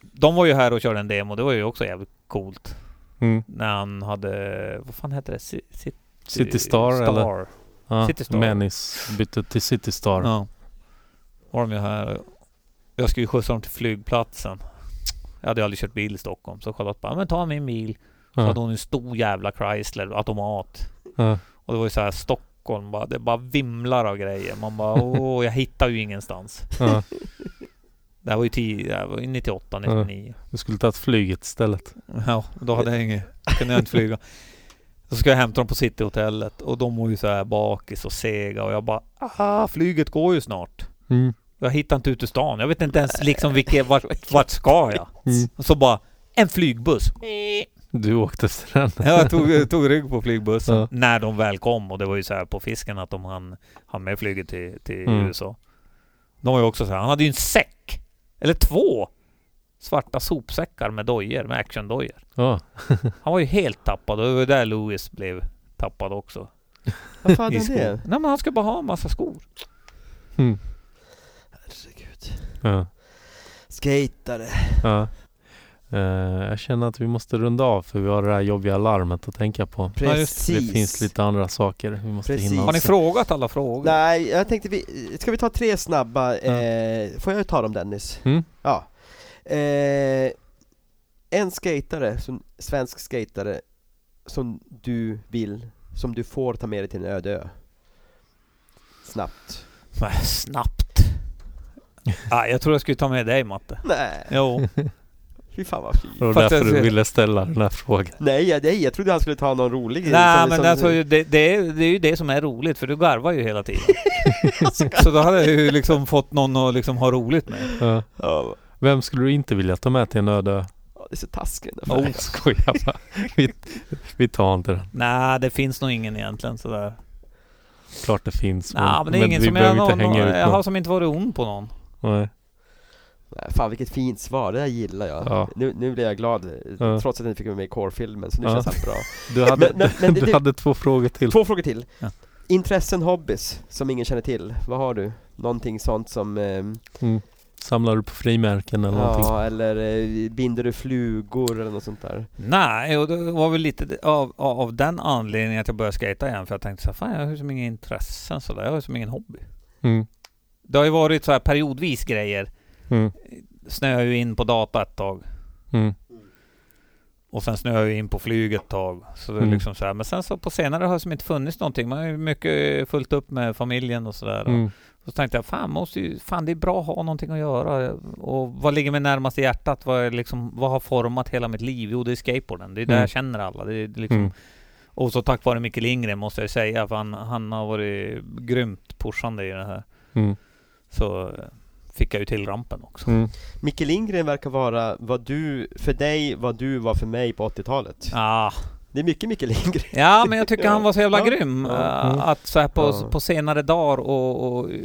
B: De var ju här och körde en demo, det var ju också jävligt coolt.
C: mm.
B: När han hade, vad fan hette det? Ci- City,
C: City Star, eller? Ja,
B: City Star.
C: Menis bytte till City Star.
B: Ja. Var de ju här. Jag skulle ju skjutsa dem till flygplatsen. Jag hade ju aldrig kört bil i Stockholm, så Charlotte bara "Ja, men ta min bil. Så
C: Ja,
B: hade hon en stor jävla Chrysler automat.
C: ja.
B: Och det var ju så här Stockholm bara, det bara vimlar av grejer. Man bara åh, jag hittar ju ingenstans.
C: ja.
B: Det här var ju tio, det här var ju 98, 99.
C: Du skulle tagit flyget istället.
B: Ja, då hade jag inget, kunde jag inte flyga. [LAUGHS] Så ska jag hämta dem på Cityhotellet och de var ju så här bakis och sega och jag bara ah, flyget går ju snart.
C: Mm.
B: Jag hittar inte ut ur stan. Jag vet inte ens liksom vilket, vart, vart ska jag?
C: Mm.
B: Och så bara, en flygbuss.
C: Du åkte efter den.
B: Ja, Jag tog, tog rygg på flygbussen
C: Ja.
B: när de väl kom och det var ju så här på fisken att de hann, hann med flyget till, till
C: Mm.
B: USA. De var ju också så här, han hade ju en säck! Eller två! Svarta sopsäckar med dojer, med actiondojor.
C: Ja.
B: Han var ju helt tappad och det var där Louis blev tappad också.
A: Vad fan
B: I
A: är
B: skor.
A: det?
B: Nej men han ska bara ha en massa skor.
C: Mm.
A: Herregud
C: Ja.
A: Skatare
C: ja. Eh, jag känner att vi måste runda av för vi har det här jobbiga larmet att tänka på.
B: Ja, just
A: Precis
C: Det finns lite andra saker vi måste
A: Precis.
C: hinna
B: Har ni
C: också.
B: frågat alla frågor?
A: Nej, jag tänkte vi, ska vi ta tre snabba, eh, får jag ta dem Dennis?
C: Mm.
A: Ja eh, En skatare, som, svensk skatare Som du vill, som du får ta med dig till en öde ö Snabbt
B: Men
C: [LAUGHS]
B: snabbt. ah, jag tror jag skulle ta med dig Matte.
A: Nej,
C: [LAUGHS]
B: Jo.
A: fy fan vad fint
C: Det var
B: Fast
C: därför
B: jag-
C: du ville ställa den här frågan.
A: Nej, jag- nej, jag trodde han skulle ta någon rolig
B: Nej
A: som- liksom-
B: men
A: som-
B: alltså, det, det, är, det är ju det som är roligt för du garvar ju hela
C: [LAUGHS]
B: tiden. så då hade jag ju liksom fått någon att liksom ha roligt med.
C: Ja.
A: Ja,
C: Vem skulle du inte vilja ta med till en öde ö?
A: det är så taskigt
C: Nej, jag skojar bara. Vi, vi tar inte den.
B: Nej det finns nog ingen egentligen sådär.
C: Klart det finns.
B: Nej men det är ingen
C: vi
B: som jag,
C: behöver
B: någon,
C: inte hänga ut
B: jag har
C: någon.
B: som inte varit ond på någon.
C: Nej.
A: Nej, Fan vilket fint svar, det där gillar jag
C: Ja.
A: nu, nu blir jag glad, eh,
C: Ja.
A: trots att jag inte fick vara med i core-filmen, så nu
C: Ja.
A: känns allt bra
C: Du hade,
A: Men- men- men
C: [LAUGHS] du
A: det-
C: hade två frågor till.
A: Två frågor till.
B: Ja.
A: Intressen, hobbies som ingen känner till. Vad har du? Någonting sånt som... ehm,
C: Mm. Samlar du på frimärken eller någonting?
A: Ja, eller eh, binder du flugor eller något sånt där?
B: Nej, och det var väl lite av, av, av den anledningen att jag började skata igen. För jag tänkte så här, fan jag har ju som inga intressen sådär. Jag har ju som ingen hobby.
C: Mm.
B: Det har ju varit så här periodvis grejer.
C: Mm.
B: Snöade ju in på data ett tag.
C: Mm.
B: Och sen snöade jag ju in på flyget ett tag. Så det är
C: Mm.
B: liksom så här. Men sen så på senare har det som inte funnits någonting. Man har ju mycket eh, fullt upp med familjen och sådär.
C: Mm.
B: Så tänkte jag, fan, måste ju, fan det är bra att ha någonting att göra. Och vad ligger mig närmast i hjärtat? Vad, är liksom, vad har format hela mitt liv? Jo, det är skateboarden. Det är där
C: Mm.
B: jag känner alla. Det är liksom,
C: Mm.
B: Och så tack vare Micke Lindgren måste jag säga, för han, han har varit grymt pushande i det här.
C: Mm.
B: Så eh, fick jag ju till rampen också.
C: Mm.
A: Micke Lindgren verkar vara vad du, för dig, vad du var för mig på 80-talet
B: Ah.
A: Det är mycket Micke Lindgren
B: Ja, men jag tycker
A: Ja.
B: han var så jävla
A: Ja.
B: grym.
A: Ja.
B: eh,
C: Mm.
B: Att så här på,
A: Ja.
B: på senare dagar och, och eh,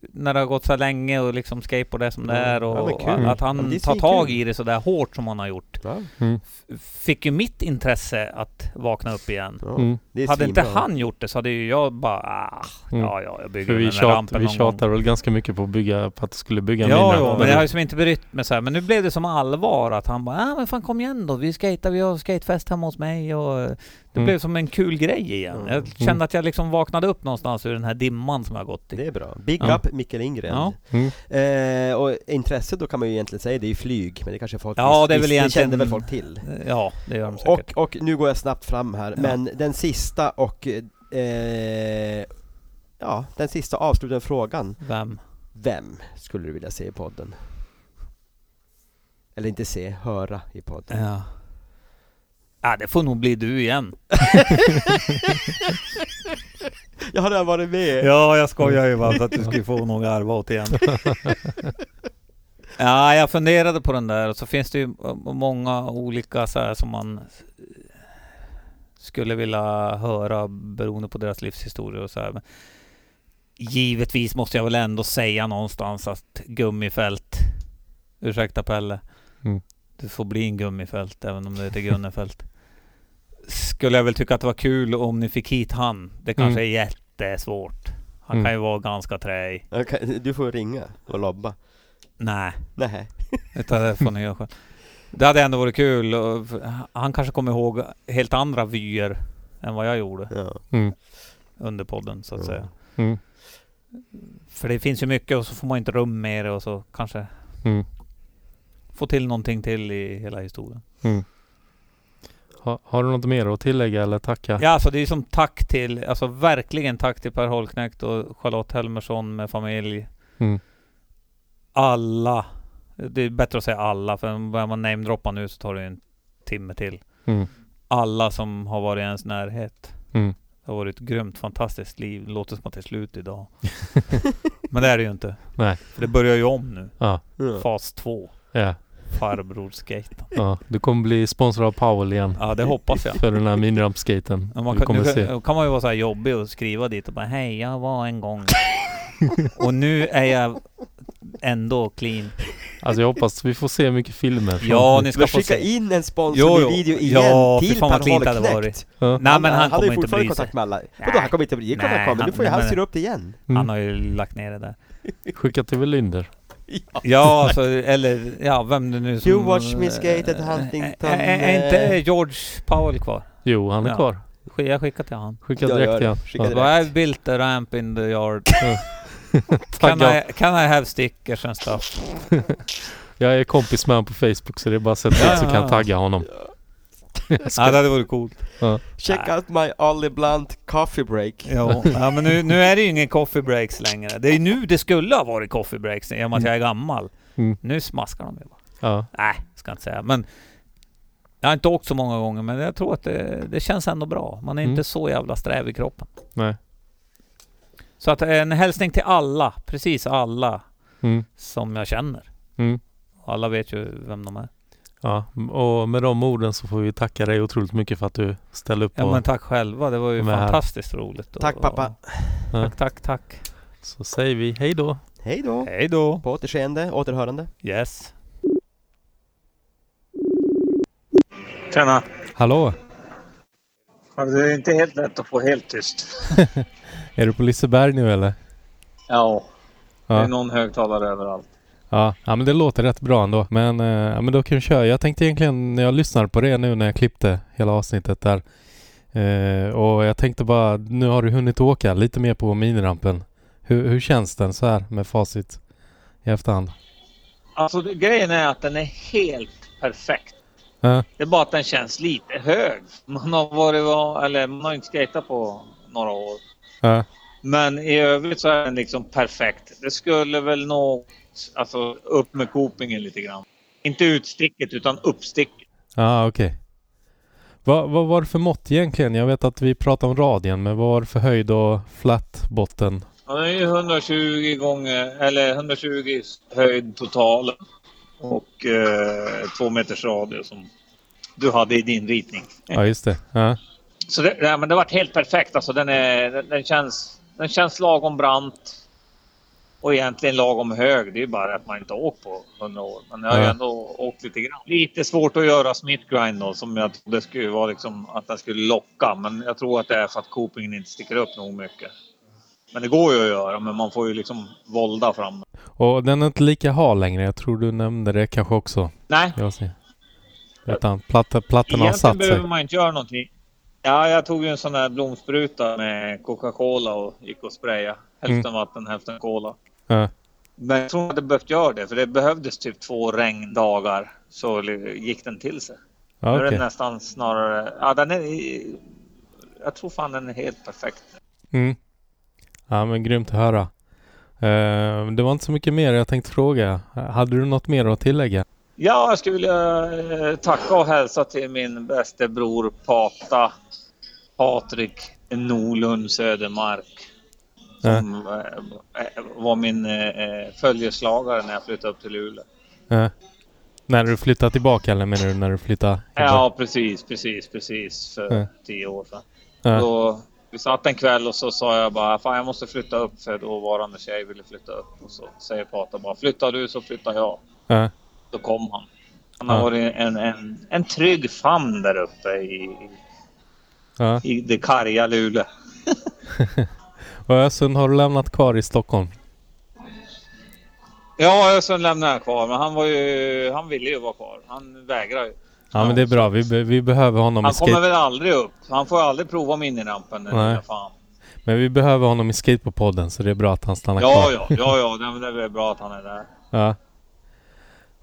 B: när det har gått så här länge och liksom skateboard är som det
A: Mm.
B: är
A: Ja,
B: och,
A: men kul.
B: att
A: Ja, men
B: han
A: det är
B: tar tag
A: svinkul.
B: i det så där hårt som han har gjort.
A: ja,
C: Mm.
B: f- fick ju mitt intresse att vakna upp igen.
A: ja.
C: Mm.
A: Det är
B: Hade inte
A: svinbra.
B: han gjort det så hade ju jag bara ah,
C: Mm.
B: ja ja, jag bygger
C: För vi,
B: den där
C: tjat,
B: rampen
C: vi
B: någon gång.
C: tjatar väl ganska mycket på att, bygga, på att du skulle
B: Ja,
C: bygga mina.
B: ja,
A: men
B: men
A: det-
B: jag har ju som inte brytt mig så här. Men nu blev det som allvar att han bara ah, men fan kom igen då, vi skater, vi har skatefest hemma hos mig och eh, det
C: Mm.
B: blev som en kul grej igen.
A: Mm.
B: Jag kände att jag liksom vaknade upp någonstans ur den här dimman som jag gått i.
A: Det är bra, Big
C: Ja.
A: Up Micke Lindgren
B: Ja.
C: Mm.
A: eh, Och intresset då kan man ju egentligen säga, det är ju flyg Men det kanske folk
B: Ja, det är väl
A: det
B: egentligen-
A: kände väl folk till
B: Ja, det gör de säkert.
A: och, och nu går jag snabbt fram här,
B: Ja.
A: men den sista och eh, Ja, den sista avslutande frågan
B: Vem?
A: Vem skulle du vilja se i podden? Eller inte se, höra i podden
B: Ja. Ah, det får nog bli du igen.
A: [LAUGHS] Jag har redan varit med!
B: Ja, jag skojar ju bara för att du skulle få några arva åt igen. [LAUGHS] ja, jag funderade på den där och så finns det ju eh, många olika så här som man eh, skulle vilja höra beroende på deras livshistorier och så här. Men givetvis måste jag väl ändå säga någonstans att gummifält, ursäkta Pelle,
C: Mm.
B: du får bli en gummifält även om du heter Gunnefält. Skulle jag väl tycka att det var kul om ni fick hit han. Det kanske
C: Mm.
B: är jättesvårt. Han
C: Mm.
B: kan ju vara ganska träig.
A: Okej, Du får ringa och lobba
B: Nej,
A: Nej.
B: utan det får ni göra själv. Det hade ändå varit kul. och f- Han kanske kommer ihåg helt andra vyer än vad jag gjorde
A: Ja.
C: Mm.
B: under podden så att
A: Ja.
B: säga.
C: Mm.
B: För det finns ju mycket och så får man inte rum med det och så kanske
C: Mm.
B: få till någonting till i hela historien.
C: mm. Ha, har du något mer att tillägga eller tacka?
B: Ja, alltså det är som tack till, alltså verkligen tack till Per Holknekt och Charlotte Helmersson med familj.
C: Mm.
B: Alla. Det är bättre att säga alla, för börjar man namedroppa nu så tar det ju en timme till.
C: Mm.
B: alla som har varit i ens närhet.
C: Mm.
B: Det har varit ett grymt fantastiskt liv. Det låter som att det är slut idag. Men det är det ju inte.
C: Nej.
B: För det börjar ju om nu.
C: Ja,
A: Ja.
B: Fas 2.
C: ja,
B: Farbrorskaten.
C: ja. Du kommer bli sponsrad av Powell igen.
B: Ja, det hoppas jag.
C: För den här miniramp-skaten.
B: Men Man kan, [LAUGHS]
C: Du kommer
B: nu
C: se.
B: kan, kan man ju vara så här jobbig och skriva dit och bara Hej, jag var en gång. [LAUGHS] och nu är jag ändå clean.
C: Alltså jag hoppas vi får se mycket filmer. från-
B: Ja, ni ska
A: Men
B: få
A: skicka
B: se.
A: in en
B: Jo,
A: sponsor
B: jo.
A: med video igen
B: Ja, fy
A: till
B: fan
A: Per
B: vad cleant det hade
A: Holknekt!
B: varit.
C: Ja.
B: Nej, men
A: han
B: han,
A: har
B: kommer
A: ju
B: inte
A: fortfarande
B: bry sig.
A: kontakt med alla. Vadå, han kommer inte bli
B: Nej,
A: kontaktkameran? Nu
B: han-
A: får ju han
B: men-
A: styra upp det igen.
C: Mm.
B: Han har ju lagt ner det där.
C: Skicka till Velinder.
B: Ja, alltså, eller ja, vem det nu som...
A: You watch me skate at Huntington,
B: Är- Är är
A: eh.
B: inte George Powell kvar?
C: Jo, han är
B: Ja.
C: kvar.
B: Sk- Jag skickar till han.
C: Skicka
A: Jag
C: direkt
A: gör
C: till
A: det.
C: han.
A: Skicka
C: Ja.
A: direkt.
B: I've built a ramp in the [LAUGHS] yard. can,
C: Tagga.
B: I, can I have stickers and stuff?
C: Jag är kompis med honom på Facebook så det är bara att sätta
B: Ja,
C: dit så
B: ja,
C: kan
B: ja.
C: jag tagga honom.
B: Ja, det hade varit coolt.
A: Check out my Olly Blunt coffee break.
B: Jo. Ja, men nu, nu är det ju ingen coffee breaks längre. Det är ju nu det skulle ha varit coffee breaks i och med att jag är gammal.
C: Mm.
B: Nu smaskar de ju bara.
C: Ja.
B: Nej, ska inte säga. Men jag har inte åkt så många gånger, men jag tror att det, det känns ändå bra. Man är
C: Mm.
B: inte så jävla sträv i kroppen.
C: Nej.
B: Så att en hälsning till alla, precis alla
C: Mm.
B: som jag känner.
C: Mm.
B: Alla vet ju vem de är.
C: Ja. Och med de orden så får vi tacka dig otroligt mycket för att du ställde upp.
B: Ja
C: och,
B: men tack själva, det var ju
C: De är här.
B: fantastiskt roligt. Och-
A: Tack, pappa.
C: Ja.
B: Tack, tack, tack.
C: Så säger vi hej då.
A: Hej då!
B: Hej då.
A: På återseende, återhörande.
B: Yes.
E: Tjena.
C: Hallå!
E: Ja, Det är inte helt lätt att få helt tyst.
C: Är du på Liseberg nu eller?
E: Ja, det är
C: Ja.
E: någon högtalare överallt.
C: Ja, ja men det låter rätt bra ändå. Men, eh, ja, men då kan vi köra. Jag tänkte egentligen när jag lyssnar på det nu när jag klippte hela avsnittet där. Eh, och jag tänkte bara, nu har du hunnit åka lite mer på minirampen. Hur, hur känns den så här med facit i efterhand?
E: Alltså det- grejen är att den är helt perfekt.
C: Ja,
E: Det är bara att den känns lite hög. Man har varit, va- eller man har inte skejtat på några år.
C: ja,
E: Men i övrigt så är den liksom perfekt. Det skulle väl nå alltså, upp med kopingen lite grann. Inte utsticket utan uppsticket.
C: ja Ah, okej. Vad, vad var det för mått egentligen? Jag vet att vi pratade om radien, men vad var det för höjd och flat botten?
E: Ja, det är ju 120 gånger, eller 120 höjd total och eh, två meters radie som du hade i din ritning.
C: Ja, just det. Ja,
E: Så det, nej, men det varit helt perfekt. Alltså, den, är, den, den, känns, den känns lagom brant och egentligen lagom hög. Det är ju bara att man inte har åkt på 100 år. Men jag har ju
C: Ja.
E: ändå åkt lite grann. Lite svårt att göra smittgrind då, som jag trodde skulle vara liksom att den skulle locka. Men jag tror att det är för att copingen inte sticker upp nog mycket. Men det går ju att göra, men man får ju liksom volda fram.
C: och den är inte lika hal längre. Jag tror du nämnde det kanske också.
E: Nej,
C: Jag ser. Utan platta, plattan har
E: Egentligen
C: satt sig.
E: behöver man inte göra någonting. Ja, jag tog ju en sån där blomspruta med Coca-Cola och gick och sprayade. Hälften
C: Mm.
E: vatten, hälften cola.
C: Ja,
E: Men jag tror inte jag behövt göra det, för det behövdes typ två regndagar så li- gick den till sig.
C: ja,
E: Nu är
C: okej.
E: den nästan snarare... Ja, den är... i- Jag tror fan den är helt perfekt.
C: Mm. Ja, men grymt att höra. Eh, det var inte så mycket mer jag tänkte fråga. Hade du något mer att tillägga?
E: Ja, jag skulle vilja eh, tacka och hälsa till min bäste bror Pata Patrik Nolund Södermark. Som eh, var min eh, eh, följeslagare när jag flyttade upp till Luleå.
C: Eh, när du flyttade tillbaka eller menar du när du flyttade?
E: Ja, precis, precis, precis. För
C: Ja.
E: tio år sedan.
C: Ja.
E: Då, vi satt en kväll och så sa jag bara Fan jag måste flytta upp för dåvarande tjej ville flytta upp. Och så säger Pata bara Flyttar du så flyttar jag.
C: Ja.
E: Då kom han. Han
C: Ja.
E: har varit en, en, en trygg famn där uppe i,
C: ja.
E: i det karga Luleå.
C: Och Ösund har du lämnat kvar i Stockholm?
E: Ja, sen lämnade jag kvar. Men han, var ju, han ville ju vara kvar. Han vägrar ju.
C: Ja, men det är bra. Vi, be- vi behöver honom i
E: Han kommer
C: skate...
E: väl aldrig upp. Han får aldrig prova minirampen. den
C: Nej.
E: lilla fan.
C: Men vi behöver honom i skate på podden så det är bra att han stannar
E: Ja,
C: kvar.
E: ja, ja, ja. Det, det är väl bra att han är där.
C: Ja.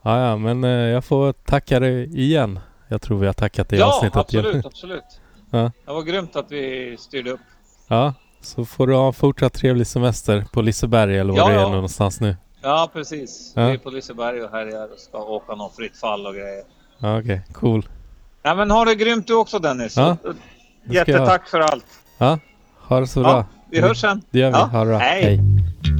C: Ja, ja, men eh, jag får tacka dig igen. Jag tror vi har tackat dig i
E: Ja,
C: avsnittet. igen.
E: absolut, absolut.
C: Ja.
E: Det var grymt att vi styrde upp.
C: Ja, så får du ha en fortsatt trevlig semester på Liseberg eller var
E: Ja,
C: du är
E: ja.
C: någonstans nu.
E: Ja, precis.
C: Ja.
E: Vi är på Liseberg och härjar och ska åka någon fritt fall och grejer.
C: Ja, okej. Cool.
E: Nej, men ha det grymt du också Dennis.
C: Ja, jag.
E: Jättetack för allt.
C: Ja, ha det så bra.
E: Ja, vi hörs sen.
C: Det gör vi.
E: Ja,
C: Ha det bra.
E: hej.
C: Hej.